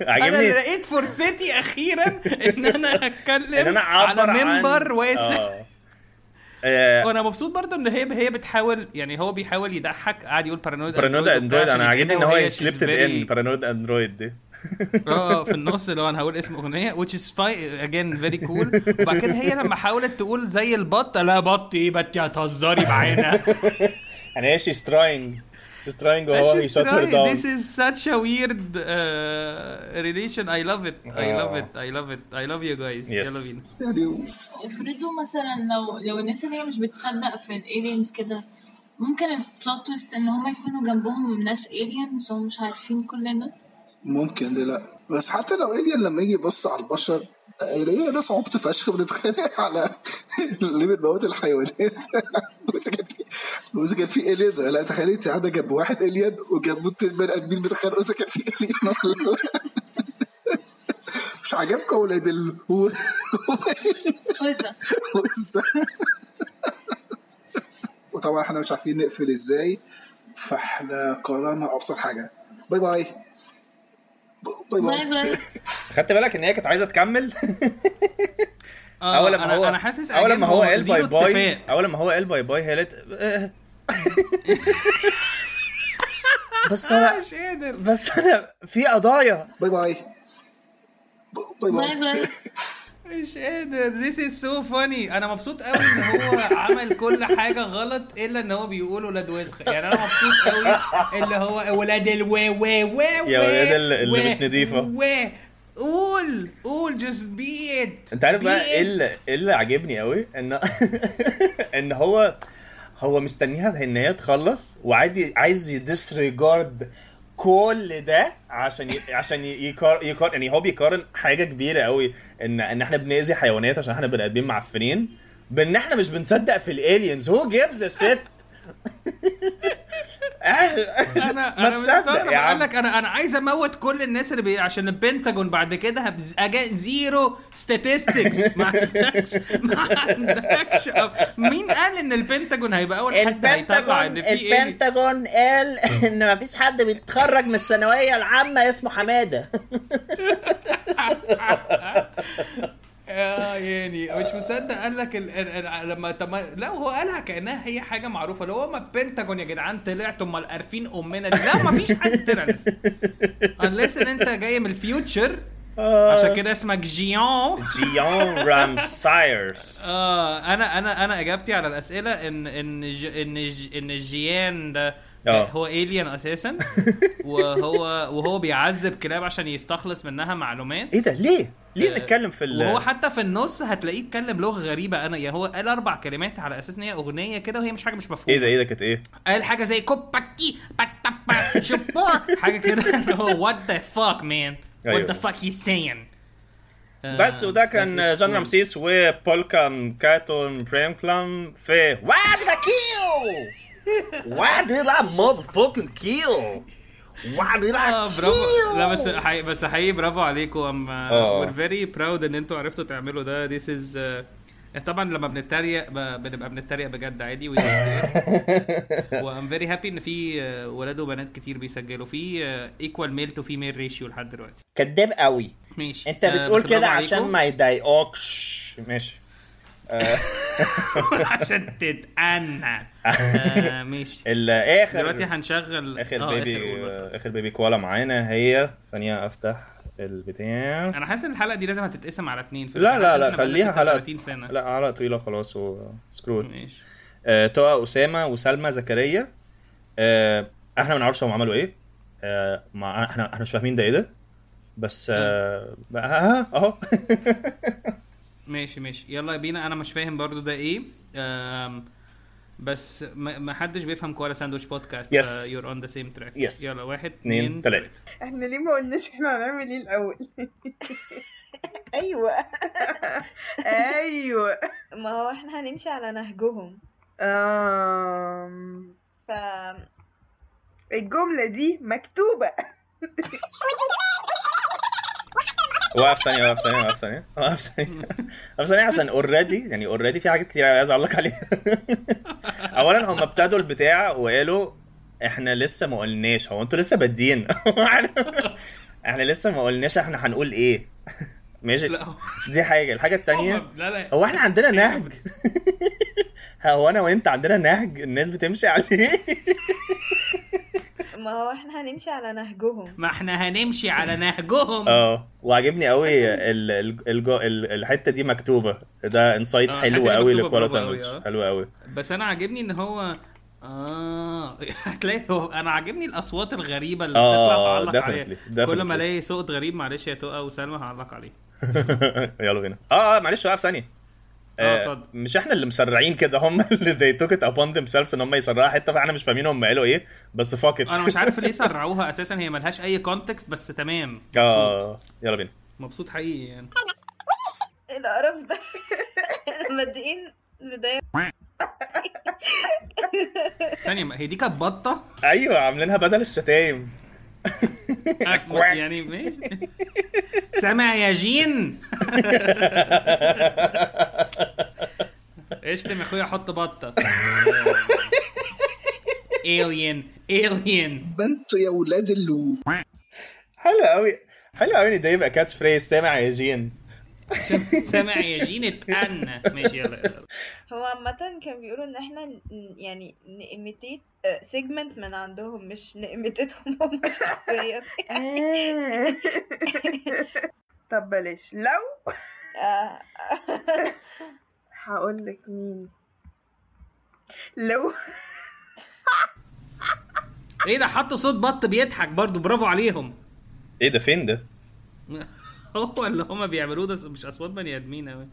[SPEAKER 1] انا
[SPEAKER 2] عجبني
[SPEAKER 1] اللي لقيت فرصتي اخيرا ان انا اتكلم
[SPEAKER 2] ان انا اعبر
[SPEAKER 1] على
[SPEAKER 2] عن
[SPEAKER 1] منبر واسع
[SPEAKER 2] آه. آه،
[SPEAKER 1] وانا مبسوط برضه ان هي هي بتحاول يعني هو بيحاول يضحك قاعد يقول بارانويد
[SPEAKER 2] بارانويد اندرويد انا عاجبني ان هو سليبت
[SPEAKER 1] سليبتد
[SPEAKER 2] ان بارانويد اندرويد دي
[SPEAKER 1] اه في النص اللي هو انا هقول اسم اغنيه which is fine again very cool وبعد كده هي لما حاولت تقول زي البطه لا بط ايه بط يا هتهزري معانا
[SPEAKER 2] يعني هي شيز تراينج شيز تراينج وهو هي
[SPEAKER 1] She's
[SPEAKER 2] شوت هير
[SPEAKER 1] trying.
[SPEAKER 2] داون
[SPEAKER 1] this is such a weird uh, relation I love it I love
[SPEAKER 2] آه.
[SPEAKER 1] it I love it I love you guys
[SPEAKER 2] Yes.
[SPEAKER 1] يلا بينا
[SPEAKER 11] افرضوا مثلا لو لو الناس اللي هي مش بتصدق في الالينز كده ممكن البلوت تويست ان هم يكونوا جنبهم ناس الينز وهم مش عارفين كلنا
[SPEAKER 12] ممكن ليه لا بس حتى لو الين لما يجي يبص على البشر يلاقي ناس عبط فشخ بنتخانق على ليه بتموت الحيوانات بس كان في بس كان في الينز لا تخيل انت قاعده جنب واحد الين وجنب بني ادمين بيتخانقوا اذا كان في الين ولا لا مش عاجبكم ولاد ال
[SPEAKER 11] وزة
[SPEAKER 12] وز- وطبعا احنا مش عارفين نقفل ازاي فاحنا قررنا ابسط حاجه باي باي باي
[SPEAKER 11] باي باي
[SPEAKER 2] خدت بالك ان هي كانت عايزه تكمل
[SPEAKER 1] آه،
[SPEAKER 2] اول ما
[SPEAKER 1] أنا-
[SPEAKER 2] هو
[SPEAKER 1] أنا حاسس
[SPEAKER 2] اول
[SPEAKER 1] again
[SPEAKER 2] ما هو
[SPEAKER 1] هو
[SPEAKER 2] قال باي
[SPEAKER 1] زيرو
[SPEAKER 2] باي
[SPEAKER 1] اتفاق.
[SPEAKER 2] اول ما هو قال باي باي هي قالت آه. بس انا
[SPEAKER 1] مش قادر
[SPEAKER 2] بس انا في قضايا
[SPEAKER 12] باي باي باي باي
[SPEAKER 11] باي باي
[SPEAKER 1] مش قادر this is so funny انا مبسوط قوي ان هو عمل كل حاجه غلط الا ان هو بيقول ولاد وسخ يعني انا مبسوط قوي اللي هو ولاد الو و و
[SPEAKER 2] يا ولاد ال- اللي مش نضيفة.
[SPEAKER 1] و قول قول just be it
[SPEAKER 2] انت عارف
[SPEAKER 1] Be
[SPEAKER 2] بقى ايه
[SPEAKER 1] it.
[SPEAKER 2] اللي ايه اللي عاجبني قوي ان ان هو هو مستنيها ان هي تخلص وعادي عايز يديسريجارد كل ده عشان ي... عشان ي- يقار... يقار... يعني هو بيقارن حاجه كبيره قوي ان ان احنا بنأذي حيوانات عشان احنا بني ادمين معفنين بان احنا مش بنصدق في الالينز هو جيفز ا شيت
[SPEAKER 1] انا
[SPEAKER 2] ما
[SPEAKER 1] انا
[SPEAKER 2] تصدق
[SPEAKER 1] مستغرب
[SPEAKER 2] يا
[SPEAKER 1] قال
[SPEAKER 2] عم
[SPEAKER 1] لك انا انا عايز اموت كل الناس اللي بي... عشان البنتاجون بعد كده هبز... أجا... زيرو statistics ما عندكش ما عندكش أب... مين قال ان البنتاجون هيبقى اول حد هيطلع ان في ايه
[SPEAKER 2] البنتاجون قال ان مفيش حد بيتخرج من الثانويه العامه اسمه حماده
[SPEAKER 1] اه يعني مش مصدق قال لك ال... ال... ال... لما طب ما- لا وهو قالها كانها هي حاجه معروفه اللي هو ما البنتاجون يا جدعان طلعتوا امال عارفين امنا لا ما فيش حد طلع لسه unless ان انت جاي من الفيوتشر عشان كده اسمك جيون
[SPEAKER 2] جيون رامسايرس
[SPEAKER 1] اه انا انا انا اجابتي على الاسئله ان ان ج ان ج ان الجيان ده
[SPEAKER 2] آه.
[SPEAKER 1] هو الين اساسا وهو وهو بيعذب كلاب عشان يستخلص منها معلومات
[SPEAKER 2] ايه ده ليه؟ ليه
[SPEAKER 1] آه،
[SPEAKER 2] نتكلم في ال
[SPEAKER 1] وهو حتى في النص هتلاقيه اتكلم لغه غريبه انا يعني هو قال اربع كلمات على اساس ان هي اغنيه كده وهي مش حاجه مش مفهومه
[SPEAKER 2] ايه ده ايه ده كانت ايه؟
[SPEAKER 1] قال حاجه زي كوباكي باتابا شبور حاجه كده اللي هو وات ذا فاك مان وات ذا
[SPEAKER 2] أيوة.
[SPEAKER 1] فاك هي سين
[SPEAKER 2] بس وده كان جون رمسيس وبولكا مكاتون بريمكلام في واد كيو واد ماذر فوكينج كيو واد
[SPEAKER 1] اه برافو لا بس حقيقي بس حقيقي برافو عليكم uh, ام
[SPEAKER 2] آه.
[SPEAKER 1] وير فيري براود ان انتوا عرفتوا تعملوا ده ذيس از طبعا لما بنتريق ب- بنبقى بنتريق بجد عادي وام فيري هابي ان في آه، ولاد وبنات كتير بيسجلوا في uh, ايكوال ميل تو فيميل ريشيو لحد دلوقتي
[SPEAKER 2] كداب قوي
[SPEAKER 1] ماشي
[SPEAKER 2] انت
[SPEAKER 1] آه،
[SPEAKER 2] بتقول
[SPEAKER 1] بس برافو
[SPEAKER 2] كده عشان
[SPEAKER 1] عليكم.
[SPEAKER 2] ما يضايقكش ماشي
[SPEAKER 1] عشان تتأنى آه، ماشي
[SPEAKER 2] الاخر
[SPEAKER 1] دلوقتي هنشغل
[SPEAKER 2] اخر
[SPEAKER 1] آه،
[SPEAKER 2] بيبي
[SPEAKER 1] قول بقى.
[SPEAKER 2] اخر بيبي كوالا معانا هي ثانيه افتح البتاع
[SPEAKER 1] انا حاسس ان الحلقه دي لازم هتتقسم على اتنين في
[SPEAKER 2] لا
[SPEAKER 1] الآخر. حاسس
[SPEAKER 2] لا
[SPEAKER 1] إن
[SPEAKER 2] لا
[SPEAKER 1] إحنا بقالنا
[SPEAKER 2] خليها حلقه
[SPEAKER 1] 36 سنه
[SPEAKER 2] لا حلقه طويله خلاص وسكروت
[SPEAKER 1] ماشي
[SPEAKER 2] آه، طه اسامه وسلمى زكريا آه، احنا ما نعرفش هم عملوا ايه آه، ما احنا احنا مش فاهمين ده ايه ده بس آه، بقى- آه، اهو
[SPEAKER 1] ماشي ماشي يلا بينا انا مش فاهم برضو ده ايه أم إيه. بس ما ما حدش بيفهم كوالا ساندويتش بودكاست آه،
[SPEAKER 2] Yes.
[SPEAKER 1] يور اون ذا سيم تراك
[SPEAKER 2] Yes.
[SPEAKER 1] يلا واحد
[SPEAKER 2] اتنين تلاتة
[SPEAKER 13] احنا ليه ما قلناش احنا هنعمل ايه الاول
[SPEAKER 14] ايوه
[SPEAKER 13] ايوه
[SPEAKER 14] ما هو احنا هنمشي على نهجهم
[SPEAKER 13] آم،
[SPEAKER 14] ف
[SPEAKER 13] الجملة دي مكتوبة
[SPEAKER 2] واقف ثانية واقف ثانية واقف ثانية واقف ثانية واقف ثانية عشان اوريدي يعني اوريدي في حاجات كتير أوي عايز اعلق عليها اولا هم ابتدوا البتاع وقالوا احنا لسه ما قلناش هو انتوا لسه بادين احنا لسه ما قلناش احنا هنقول ايه ماشي دي حاجة الحاجة التانية
[SPEAKER 1] لا لا
[SPEAKER 2] هو احنا عندنا نهج هو انا وانت عندنا نهج الناس بتمشي عليه
[SPEAKER 14] ما هو احنا هنمشي على نهجهم
[SPEAKER 1] ما احنا هنمشي على نهجهم
[SPEAKER 2] اه وعجبني قوي ال ال الج- ال الحته دي مكتوبه ده انسايت
[SPEAKER 1] آه،
[SPEAKER 2] حلو
[SPEAKER 1] الحتة دي
[SPEAKER 2] قوي
[SPEAKER 1] مكتوبة،
[SPEAKER 2] لكوالا
[SPEAKER 1] برافو أوي،
[SPEAKER 2] ساندوتش
[SPEAKER 1] آه.
[SPEAKER 2] حلو قوي
[SPEAKER 1] بس انا عاجبني ان هو اه هتلاقي هو انا عاجبني الاصوات الغريبه اللي
[SPEAKER 2] آه،
[SPEAKER 1] بتطلع هعلق عليها
[SPEAKER 2] definitely- definitely.
[SPEAKER 1] كل ما الاقي صوت غريب معلش يا تقى وسلمى هعلق عليه
[SPEAKER 2] يلا بينا اه آه، معلش وقف ثانيه
[SPEAKER 1] آه،
[SPEAKER 2] آه،
[SPEAKER 1] اتفضل.
[SPEAKER 2] مش احنا اللي مسرعين كده هم اللي they took it upon themselves ان هم يسرعوا حته فاحنا مش فاهمين هم قالوا ايه بس fuck it
[SPEAKER 1] انا مش عارف ليه سرعوها اساسا هي ملهاش اي كونتكست بس تمام
[SPEAKER 2] اه يلا بينا
[SPEAKER 1] مبسوط حقيقي يعني
[SPEAKER 14] إيه القرف ده مبدئيا بداية
[SPEAKER 1] ثانيه ما هي دي كانت بطه
[SPEAKER 2] ايوه عاملينها بدل الشتايم
[SPEAKER 1] يعني ماشي سامع يا جين اشتم يا اخويا حط بطه الين الين
[SPEAKER 12] انتوا يا ولاد اللو
[SPEAKER 2] حلو قوي حلو قوي ان ده يبقى كاتش فريز سامع يا جين
[SPEAKER 1] سامع يا جين اتقن ماشي يلا يلا
[SPEAKER 14] هو عامة كان بيقولوا ان احنا ن- يعني نإميتيت سيجمنت من عندهم مش نإميتيتهم هم شخصيا
[SPEAKER 13] آه. طب بلاش لو
[SPEAKER 14] آه.
[SPEAKER 13] هقول لك مين لو
[SPEAKER 1] ايه ده حطوا صوت بط بيضحك برضو برافو عليهم
[SPEAKER 2] ايه ده فين ده؟
[SPEAKER 1] هو اللي هما بيعملوه ده مش اصوات بني ادمين اوي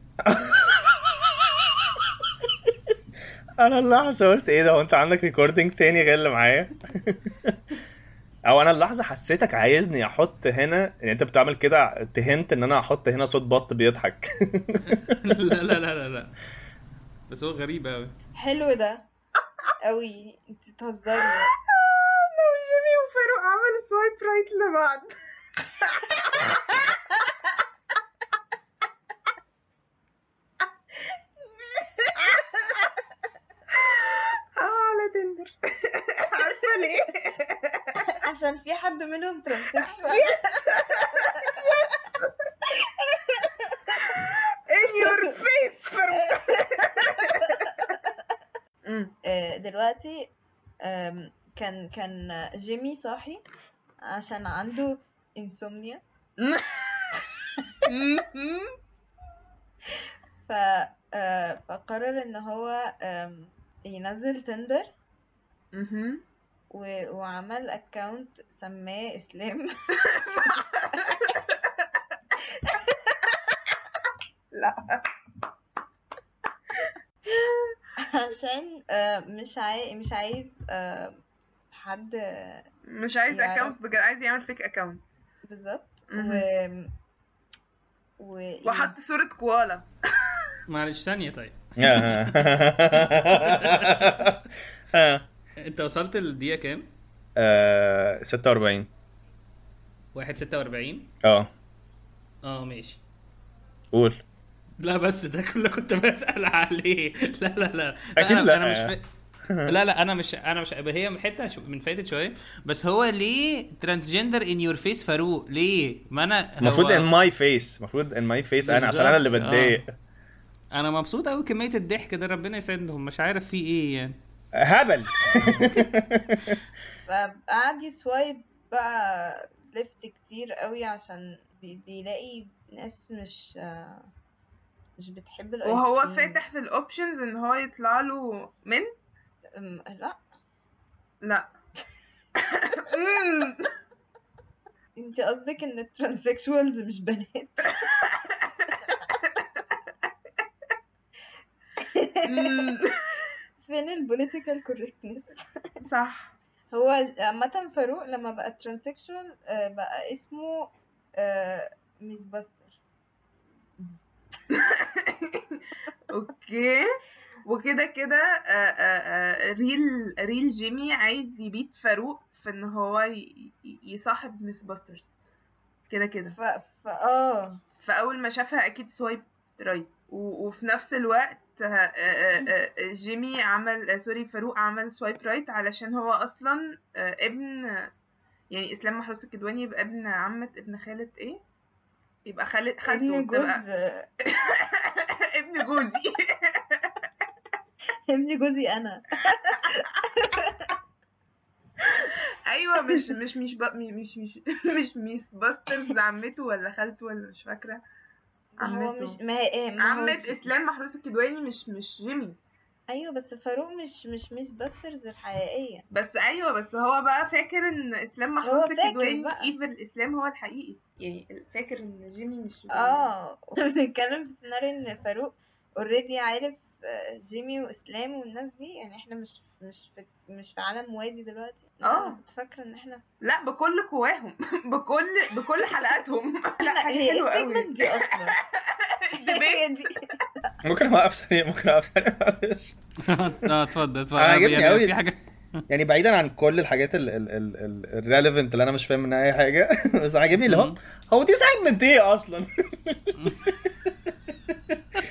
[SPEAKER 2] انا اللحظه قلت ايه ده هو انت عندك ريكوردنج تاني غير اللي معايا او انا اللحظه حسيتك عايزني احط هنا يعني انت بتعمل كده تهنت ان انا احط هنا صوت بط بيضحك
[SPEAKER 1] لا لا لا لا لا بس هو غريب اوي
[SPEAKER 14] حلو ده قوي انت بتهزري
[SPEAKER 13] لو جيمي وفاروق عملوا سوايب رايت لبعض اه على تندر عارفه ليه
[SPEAKER 14] عشان في حد منهم ترانسكشوال
[SPEAKER 13] in your face فاروق
[SPEAKER 14] آه، دلوقتي آم، كان كان جيمي صاحي عشان عنده انسومنيا ف آه، فقرر ان هو آم، ينزل تندر و- وعمل اكونت سماه اسلام
[SPEAKER 13] لا
[SPEAKER 14] عشان آه، مش عاي... مش عايز آه، حد
[SPEAKER 13] مش عايز
[SPEAKER 14] يعرف.
[SPEAKER 13] اكونت بجد عايز يعمل فيك اكونت
[SPEAKER 14] بالظبط
[SPEAKER 13] مهم.
[SPEAKER 14] و... و... إيه؟
[SPEAKER 13] وحط صوره كوالا
[SPEAKER 1] معلش ثانيه طيب
[SPEAKER 2] آه.
[SPEAKER 1] انت وصلت للدقيقه كام؟
[SPEAKER 2] آه، 46
[SPEAKER 1] واحد ستة وأربعين
[SPEAKER 2] اه
[SPEAKER 1] اه ماشي
[SPEAKER 2] قول
[SPEAKER 1] لا بس ده كله كنت بسأل عليه لا لا لا
[SPEAKER 2] أكيد
[SPEAKER 1] أنا-
[SPEAKER 2] لا.
[SPEAKER 1] أنا مش ف... لا لا انا مش انا مش هي حته ش- من فايده شويه بس هو ليه ترانسجندر ان يور فيس فاروق ليه ما انا هو-
[SPEAKER 2] المفروض ان ماي فيس المفروض ان ماي فيس انا عشان انا اللي
[SPEAKER 1] بالظبط، آه.
[SPEAKER 2] بتضايق
[SPEAKER 1] انا مبسوط قوي كميه الضحك ده ربنا يسعدهم مش عارف في ايه يعني
[SPEAKER 2] هبل
[SPEAKER 14] فقعد آه، يسوايب بقى ليفت كتير قوي عشان بي- بيلاقي ناس مش آه، مش بتحب الايس
[SPEAKER 13] وهو
[SPEAKER 14] كريم.
[SPEAKER 13] فاتح في الاوبشنز ان هو يطلع له من
[SPEAKER 14] أم، لا
[SPEAKER 13] لا أمم.
[SPEAKER 14] انت قصدك ان الترانسكشوالز مش بنات فين البوليتيكال كوركتنس
[SPEAKER 13] صح
[SPEAKER 14] هو عامة فاروق لما بقى ترانسكشوال بقى اسمه آه، ميس باستر
[SPEAKER 13] اوكي وكده كده آه، آه، آه، ريل ريل جيمي عايز يبيت فاروق في ان هو ي- ي- يصاحب ميس باسترز كده كده ف...
[SPEAKER 14] ف... اه
[SPEAKER 13] فاول ما شافها اكيد سوايب رايت و... وفي نفس الوقت آه، آه، آه، آه، جيمي عمل آه، سوري فاروق عمل سوايب رايت علشان هو اصلا آه، ابن يعني اسلام محروس الكدواني يبقى ابن عمة ابن خالة ايه يبقى خالة خالته
[SPEAKER 14] ابن
[SPEAKER 13] تبقى-
[SPEAKER 14] جوز آه،
[SPEAKER 13] ابن جوزي
[SPEAKER 14] ابن جوزي انا
[SPEAKER 13] ايوه مش مش مش ب... مش مش مش ميس باسترز عمته ولا خالته ولا مش فاكره
[SPEAKER 14] ما هو
[SPEAKER 13] عمته
[SPEAKER 14] مش ما هي ايه ما هو
[SPEAKER 13] عمة
[SPEAKER 14] مش-
[SPEAKER 13] اسلام محروس الكدواني مش مش جيمي
[SPEAKER 14] ايوه بس فاروق مش مش ميس باسترز الحقيقية
[SPEAKER 13] بس ايوه بس هو بقى فاكر ان اسلام محروس
[SPEAKER 14] هو فاكر
[SPEAKER 13] الكدواني
[SPEAKER 14] بقى.
[SPEAKER 13] ايفل اسلام هو الحقيقي يعني فاكر ان جيمي مش
[SPEAKER 14] اه بنتكلم في سيناريو ان فاروق اوريدي عارف آه، جيمي واسلام والناس دي يعني احنا مش مش في مش في عالم موازي دلوقتي
[SPEAKER 13] آه.
[SPEAKER 14] أنا كنت فاكره ان احنا
[SPEAKER 13] لا بكل قواهم بكل بكل حلقاتهم لا حاجه
[SPEAKER 14] هي ايه
[SPEAKER 13] حلوه قوي
[SPEAKER 14] السيجمنت دي اصلا هي دي
[SPEAKER 2] ممكن اوقف ثانيه ممكن اوقف ثانيه معلش
[SPEAKER 1] اه آه، اتفضل اتفضل
[SPEAKER 2] انا عاجبني
[SPEAKER 1] يعني
[SPEAKER 2] قوي
[SPEAKER 1] في حاجه
[SPEAKER 2] يعني بعيدا عن كل الحاجات ال ال ال ال الريليفنت اللي انا مش فاهم منها اي حاجه بس عاجبني اللي هو هو دي سيجمنت
[SPEAKER 1] إيه
[SPEAKER 2] ايه اصلا؟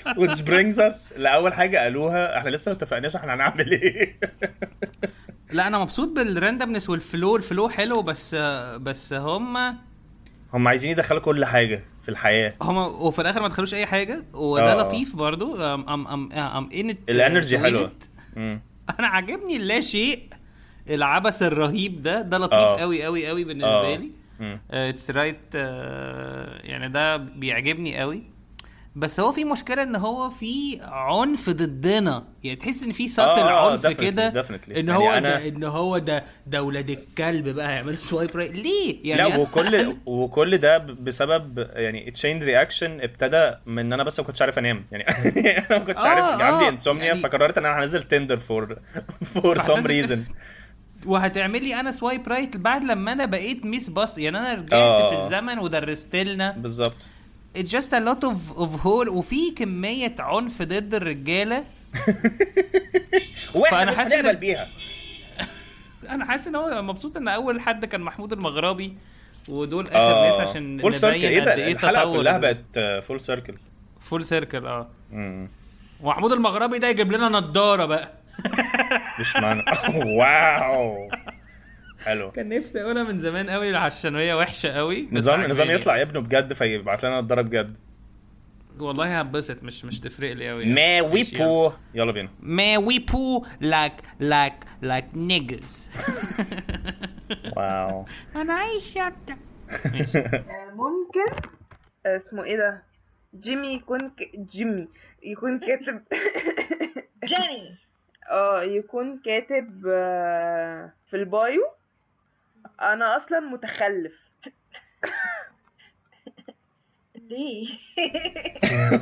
[SPEAKER 2] which brings us لاول حاجه قالوها احنا لسه ما اتفقناش احنا هنعمل ايه
[SPEAKER 1] لا انا مبسوط بالراندمنس والفلو الفلو حلو بس بس هم
[SPEAKER 2] هم عايزين يدخلوا كل حاجه في الحياه
[SPEAKER 1] هم وفي الاخر ما دخلوش اي حاجه وده
[SPEAKER 2] آه.
[SPEAKER 1] لطيف برضو ام ام ام ام ان
[SPEAKER 2] الانرجي حلوه مم.
[SPEAKER 1] انا عاجبني اللا شيء العبث الرهيب ده ده لطيف
[SPEAKER 2] آه.
[SPEAKER 1] قوي قوي قوي بالنسبه
[SPEAKER 2] آه.
[SPEAKER 1] لي
[SPEAKER 2] مم.
[SPEAKER 1] اتس رايت يعني ده بيعجبني قوي بس هو في مشكله ان هو في عنف ضدنا يعني تحس ان في سطر
[SPEAKER 2] آه، آه،
[SPEAKER 1] عنف
[SPEAKER 2] definitely،
[SPEAKER 1] كده
[SPEAKER 2] definitely.
[SPEAKER 1] ان
[SPEAKER 2] يعني
[SPEAKER 1] هو
[SPEAKER 2] أنا-
[SPEAKER 1] ده ان هو ده ده ولاد الكلب بقى هيعملوا سوايب رايت ليه يعني
[SPEAKER 2] لا وكل وكل ده ب- بسبب يعني تشين رياكشن ابتدى من ان انا بس ما كنتش عارف انام يعني انا ما كنتش
[SPEAKER 1] آه،
[SPEAKER 2] عارف آه عندي
[SPEAKER 1] آه،
[SPEAKER 2] انسومنيا
[SPEAKER 1] يعني-
[SPEAKER 2] فقررت ان انا هنزل تندر فور فور سم
[SPEAKER 1] فهنزل-
[SPEAKER 2] ريزن
[SPEAKER 1] وهتعمل لي انا سوايب رايت بعد لما انا بقيت ميس باست يعني انا رجعت
[SPEAKER 2] آه.
[SPEAKER 1] في الزمن ودرست لنا
[SPEAKER 2] بالظبط
[SPEAKER 1] اتس جاست ا لوت اوف اوف هول وفي كميه عنف ضد الرجاله
[SPEAKER 2] واحنا
[SPEAKER 1] فأنا
[SPEAKER 2] مش
[SPEAKER 1] حاسس إن-
[SPEAKER 2] هنقبل بيها
[SPEAKER 1] انا حاسس ان هو مبسوط ان اول حد كان محمود المغربي ودول اخر
[SPEAKER 2] آه،
[SPEAKER 1] ناس عشان
[SPEAKER 2] فول سيركل ايه
[SPEAKER 1] نبين
[SPEAKER 2] ده
[SPEAKER 1] قد ايه
[SPEAKER 2] الحلقه
[SPEAKER 1] التطور
[SPEAKER 2] كلها بقت آه، فول سيركل
[SPEAKER 1] فول سيركل اه
[SPEAKER 2] مم.
[SPEAKER 1] ومحمود المغربي ده يجيب لنا نضاره بقى
[SPEAKER 2] مش معنى واو حلو
[SPEAKER 1] كان نفسي اقولها من زمان قوي عشان هي وحشه قوي بس Oh
[SPEAKER 2] نظام
[SPEAKER 1] عجباني.
[SPEAKER 2] نظام يطلع ابنه بجد فيبعت لنا الضرب بجد
[SPEAKER 1] والله هبسط مش مش تفرق لي قوي
[SPEAKER 2] ما ويبو يلا بينا
[SPEAKER 1] ما وي بو لايك لايك لايك نيجرز
[SPEAKER 2] واو
[SPEAKER 13] انا عايش شطه ممكن آه، اسمه ايه ده جيمي يكون ك... جيمي يكون كاتب
[SPEAKER 14] جيمي
[SPEAKER 13] اه يكون كاتب آه، في البايو انا اصلا متخلف
[SPEAKER 14] ليه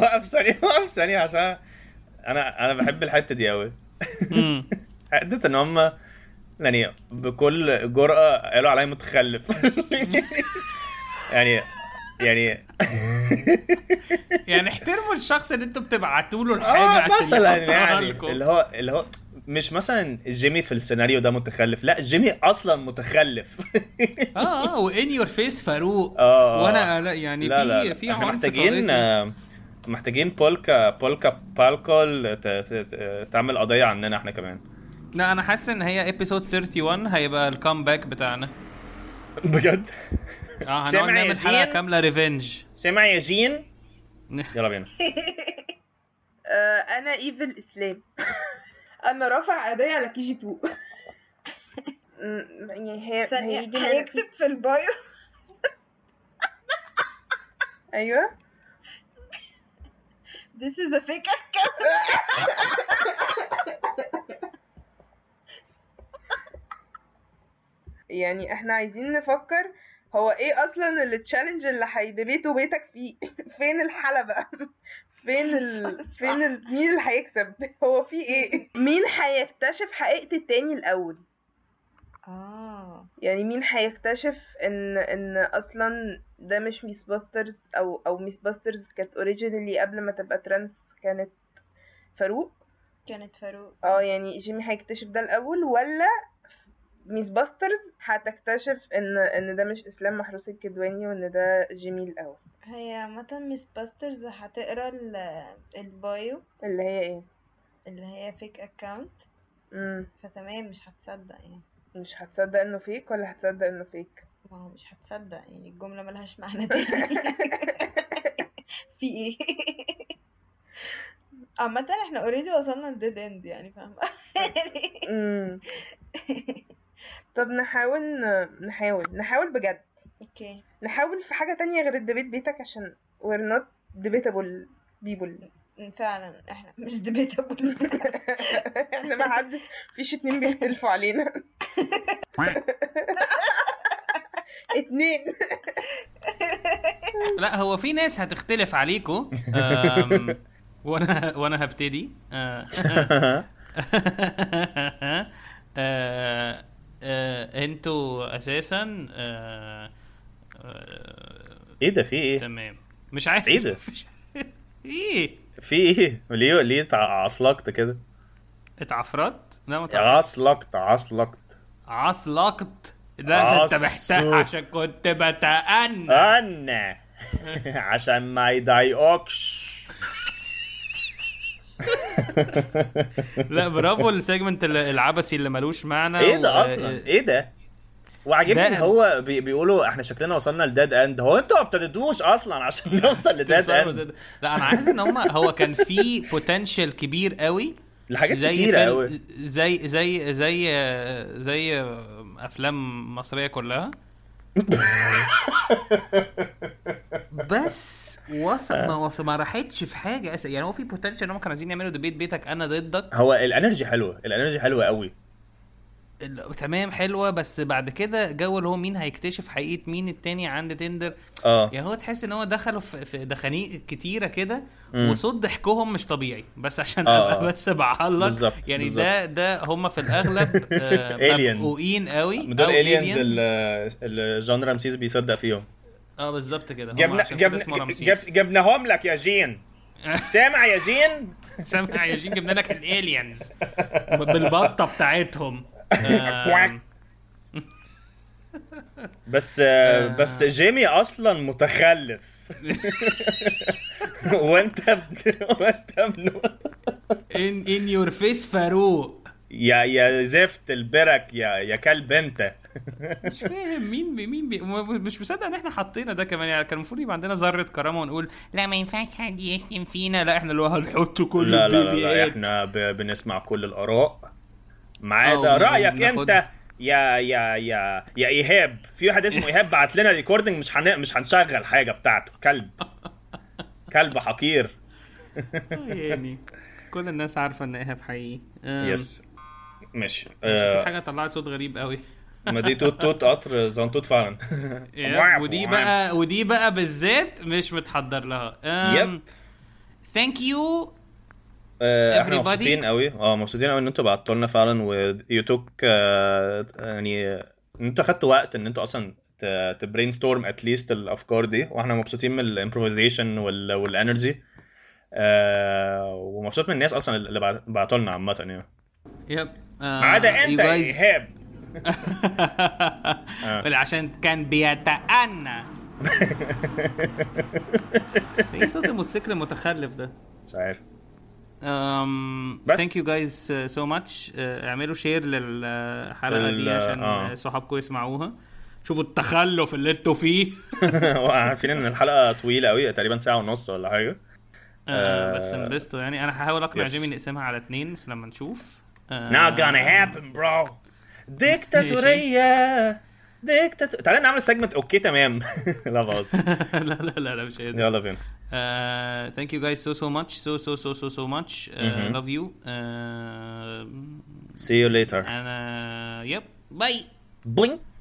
[SPEAKER 2] وقف ثانيه وقف ثانيه عشان انا انا بحب الحته دي قوي حته ان هم يعني بكل جرأة قالوا عليا متخلف يعني يعني
[SPEAKER 1] يعني احترموا الشخص اللي انتوا بتبعتوا له الحاجه
[SPEAKER 2] اه
[SPEAKER 1] عشان
[SPEAKER 2] مثلا
[SPEAKER 1] يحطها
[SPEAKER 2] يعني
[SPEAKER 1] لكم.
[SPEAKER 2] اللي هو اللي هو مش مثلا جيمي في السيناريو ده متخلف لا جيمي اصلا متخلف
[SPEAKER 1] اه اه وان يور فيس فاروق
[SPEAKER 2] اه
[SPEAKER 1] وانا لا يعني
[SPEAKER 2] لا
[SPEAKER 1] في
[SPEAKER 2] لا لا.
[SPEAKER 1] في
[SPEAKER 2] احنا
[SPEAKER 1] عنف
[SPEAKER 2] محتاجين
[SPEAKER 1] طائفي.
[SPEAKER 2] آه، محتاجين بولكا بولكا بالكول ت- ت- ت- تعمل قضية عننا احنا كمان
[SPEAKER 1] لا انا حاسس ان هي ابيسود 31 هيبقى الكامباك بتاعنا
[SPEAKER 2] بجد
[SPEAKER 1] اه هنقعد
[SPEAKER 2] سامع يا
[SPEAKER 1] نعمل حلقه
[SPEAKER 2] زين؟
[SPEAKER 1] كامله ريفنج
[SPEAKER 2] سامع يا جين يلا بينا
[SPEAKER 13] آه، انا ايفل اسلام انا رافع قضيه على كي جي 2 م- يعني هي
[SPEAKER 14] ثانية
[SPEAKER 13] هيجي لنا
[SPEAKER 14] هيكتب في البايو
[SPEAKER 13] ايوه
[SPEAKER 14] This is a fake account
[SPEAKER 13] يعني احنا عايزين نفكر هو ايه اصلا التشالنج اللي هيدبيتوا بيتك فيه فين الحلبة فين ال... فين ال... مين اللي هيكسب هو في ايه مين هيكتشف حقيقة التاني الاول
[SPEAKER 14] اه
[SPEAKER 13] يعني مين هيكتشف ان ان اصلا ده مش ميس باسترز او او ميس باسترز كانت اوريجينالي قبل ما تبقى ترانس كانت فاروق
[SPEAKER 14] كانت فاروق
[SPEAKER 13] اه يعني جيمي هيكتشف ده الاول ولا ميس باسترز هتكتشف ان ان ده مش اسلام محروس الكدواني وان ده جيمي الاول
[SPEAKER 14] هي عامة ميس باسترز هتقرا ال- البايو
[SPEAKER 13] اللي هي ايه
[SPEAKER 14] أيوه. اللي هي فيك اكاونت
[SPEAKER 13] امم
[SPEAKER 14] فتمام مش هتصدق يعني
[SPEAKER 13] مش هتصدق انه فيك ولا هتصدق انه فيك
[SPEAKER 14] ما هو مش هتصدق يعني الجملة ملهاش معنى تاني في ايه عامة احنا اوريدي وصلنا لديد اند يعني فاهمة
[SPEAKER 13] امم طب نحاول نحاول نحاول بجد
[SPEAKER 14] اوكي
[SPEAKER 13] نحاول في حاجة تانية غير الدبيت بيتك عشان we're not debatable people
[SPEAKER 14] فعلا احنا مش debatable
[SPEAKER 13] احنا ما حد فيش اتنين بيختلفوا علينا اتنين
[SPEAKER 1] لا هو في ناس هتختلف عليكم أم، وانا وانا هبتدي آه، آه، آه، انتوا اساسا آه، آه،
[SPEAKER 2] ايه ده في ايه؟
[SPEAKER 1] تمام مش عارف
[SPEAKER 2] ايه ده؟
[SPEAKER 1] ايه
[SPEAKER 2] في ايه؟ ليه ليه تع- عصلكت كده؟
[SPEAKER 1] اتعفرت لا ما اتعفرت.
[SPEAKER 2] عصلكت عصلكت
[SPEAKER 1] عصلقت لا ده انت
[SPEAKER 2] عص-
[SPEAKER 1] محتاج عشان كنت بتأنى
[SPEAKER 2] انا عشان ما يضايقكش
[SPEAKER 1] لا برافو السيجمنت ال- العبثي اللي ملوش معنى و-
[SPEAKER 2] ايه
[SPEAKER 1] إيه
[SPEAKER 2] ده اصلا؟ ايه ده؟ وعاجبني
[SPEAKER 1] ده-
[SPEAKER 2] ان هو بي بيقولوا احنا شكلنا وصلنا لديد اند هو انتوا ما ابتديتوش اصلا عشان نوصل لديد
[SPEAKER 1] توصلوا
[SPEAKER 2] اند
[SPEAKER 1] لا انا عايز ان هم هو كان في بوتنشال كبير قوي
[SPEAKER 2] لحاجات كتيرة
[SPEAKER 1] فيلم-
[SPEAKER 2] قوي.
[SPEAKER 1] زي زي زي زي افلام مصريه كلها بس وصل ما وصل ما راحتش في حاجه أس... يعني هو في بوتنشال ان هم كانوا عايزين يعملوا ديبيت بيتك انا ضدك
[SPEAKER 2] هو الانرجي حلوه الانرجي حلوه قوي
[SPEAKER 1] ال- تمام حلوه بس بعد كده جو اللي هو مين هيكتشف حقيقه مين التاني عند تندر
[SPEAKER 2] اه
[SPEAKER 1] يعني هو تحس ان هو دخلوا في في دخانيق كتيره كده
[SPEAKER 2] مم.
[SPEAKER 1] وصوت ضحكهم مش طبيعي بس عشان
[SPEAKER 2] آه.
[SPEAKER 1] ابقى بس بعلق
[SPEAKER 2] بالظبط،
[SPEAKER 1] يعني
[SPEAKER 2] بالظبط.
[SPEAKER 1] ده ده هم في الاغلب آه،
[SPEAKER 2] Aliens.
[SPEAKER 1] مبقوقين قوي
[SPEAKER 2] دول
[SPEAKER 1] إيه؟ أو
[SPEAKER 2] الينز
[SPEAKER 1] aliens.
[SPEAKER 2] اللي جون رمسيس بيصدق فيهم
[SPEAKER 1] اه بالظبط كده هم
[SPEAKER 2] جبنا
[SPEAKER 1] عشان كده
[SPEAKER 2] جبنا
[SPEAKER 1] اسمه رمسيس.
[SPEAKER 2] جب- جبناهم لك يا جين سامع يا جين
[SPEAKER 1] سامع يا جين جبنا لك الالينز بالبطه بتاعتهم آم،
[SPEAKER 2] بس آه، بس جيمي اصلا متخلف وانت ابن وانت ابن
[SPEAKER 1] ان ان يور فيس فاروق
[SPEAKER 2] يا يا زفت البرك يا يا كلب انت
[SPEAKER 1] مش فاهم مين بي مين بي م- مش مصدق ان احنا حطينا ده كمان يعني كان المفروض يبقى عندنا ذره كرامه ونقول لا ما ينفعش حد يشتم فينا لا احنا اللي هو هنحط كل
[SPEAKER 2] لا لا لا,
[SPEAKER 1] البي بي
[SPEAKER 2] لا
[SPEAKER 1] إيه.
[SPEAKER 2] احنا ب... بنسمع كل الاراء
[SPEAKER 1] آه،
[SPEAKER 2] معايا
[SPEAKER 1] وبن-
[SPEAKER 2] رايك
[SPEAKER 1] بناخد-
[SPEAKER 2] انت يا يا يا يا ايهاب في واحد اسمه ايهاب بعت لنا ريكوردنج مش هن... مش هنشغل حاجه بتاعته كلب كلب حقير
[SPEAKER 1] يعني كل الناس عارفه ان ايهاب حقيقي أم،
[SPEAKER 2] يس ماشي
[SPEAKER 1] في
[SPEAKER 2] آه،
[SPEAKER 1] حاجه طلعت صوت غريب قوي
[SPEAKER 2] ما دي توت توت قطر زنطوت فعلا
[SPEAKER 6] Eh,
[SPEAKER 1] يا، ودي بقى ودي بقى بالذات مش متحضر لها
[SPEAKER 2] يب.
[SPEAKER 1] ثانك يو
[SPEAKER 2] آه، احنا
[SPEAKER 1] Everybody.
[SPEAKER 2] مبسوطين قوي اه مبسوطين قوي ان انتوا بعتوا لنا فعلا ويو توك يعني آه، ان انتوا خدتوا وقت ان انتوا اصلا تبرين ستورم اتليست الافكار دي واحنا مبسوطين من الامبروفيزيشن والانرجي آه ومبسوط من الناس اصلا اللي بعت- بعتوا لنا عامه يعني
[SPEAKER 1] يب آه،
[SPEAKER 2] ما عدا انت يا ايهاب آه.
[SPEAKER 1] عشان كان بيتأنى ايه صوت الموتوسيكل المتخلف ده؟
[SPEAKER 2] مش عارف
[SPEAKER 1] um,
[SPEAKER 2] بس.
[SPEAKER 1] thank you guys uh, so much uh, اعملوا شير للحلقه
[SPEAKER 2] ال-
[SPEAKER 1] دي عشان
[SPEAKER 2] آه.
[SPEAKER 1] آه. صحابكم يسمعوها شوفوا التخلف اللي انتوا فيه Uh,
[SPEAKER 2] عارفين ان الحلقه طويله قوي تقريبا ساعه ونص ولا حاجه
[SPEAKER 1] آه بس
[SPEAKER 2] آه،
[SPEAKER 1] انبسطوا يعني انا هحاول اقنع
[SPEAKER 2] Yes.
[SPEAKER 1] جيمي نقسمها على اتنين بس لما نشوف آه
[SPEAKER 2] Not gonna happen bro ديكتاتورية ديكتاتور تعالى نعمل سيجمنت اوكي تمام لا بهزر
[SPEAKER 1] لا لا لا لا مش قادر
[SPEAKER 2] يلا بينا
[SPEAKER 1] Uh, thank you guys so so much so so so so so much uh,
[SPEAKER 2] Mhm.
[SPEAKER 1] love you uh,
[SPEAKER 2] see you later
[SPEAKER 1] and uh, yep bye
[SPEAKER 2] blink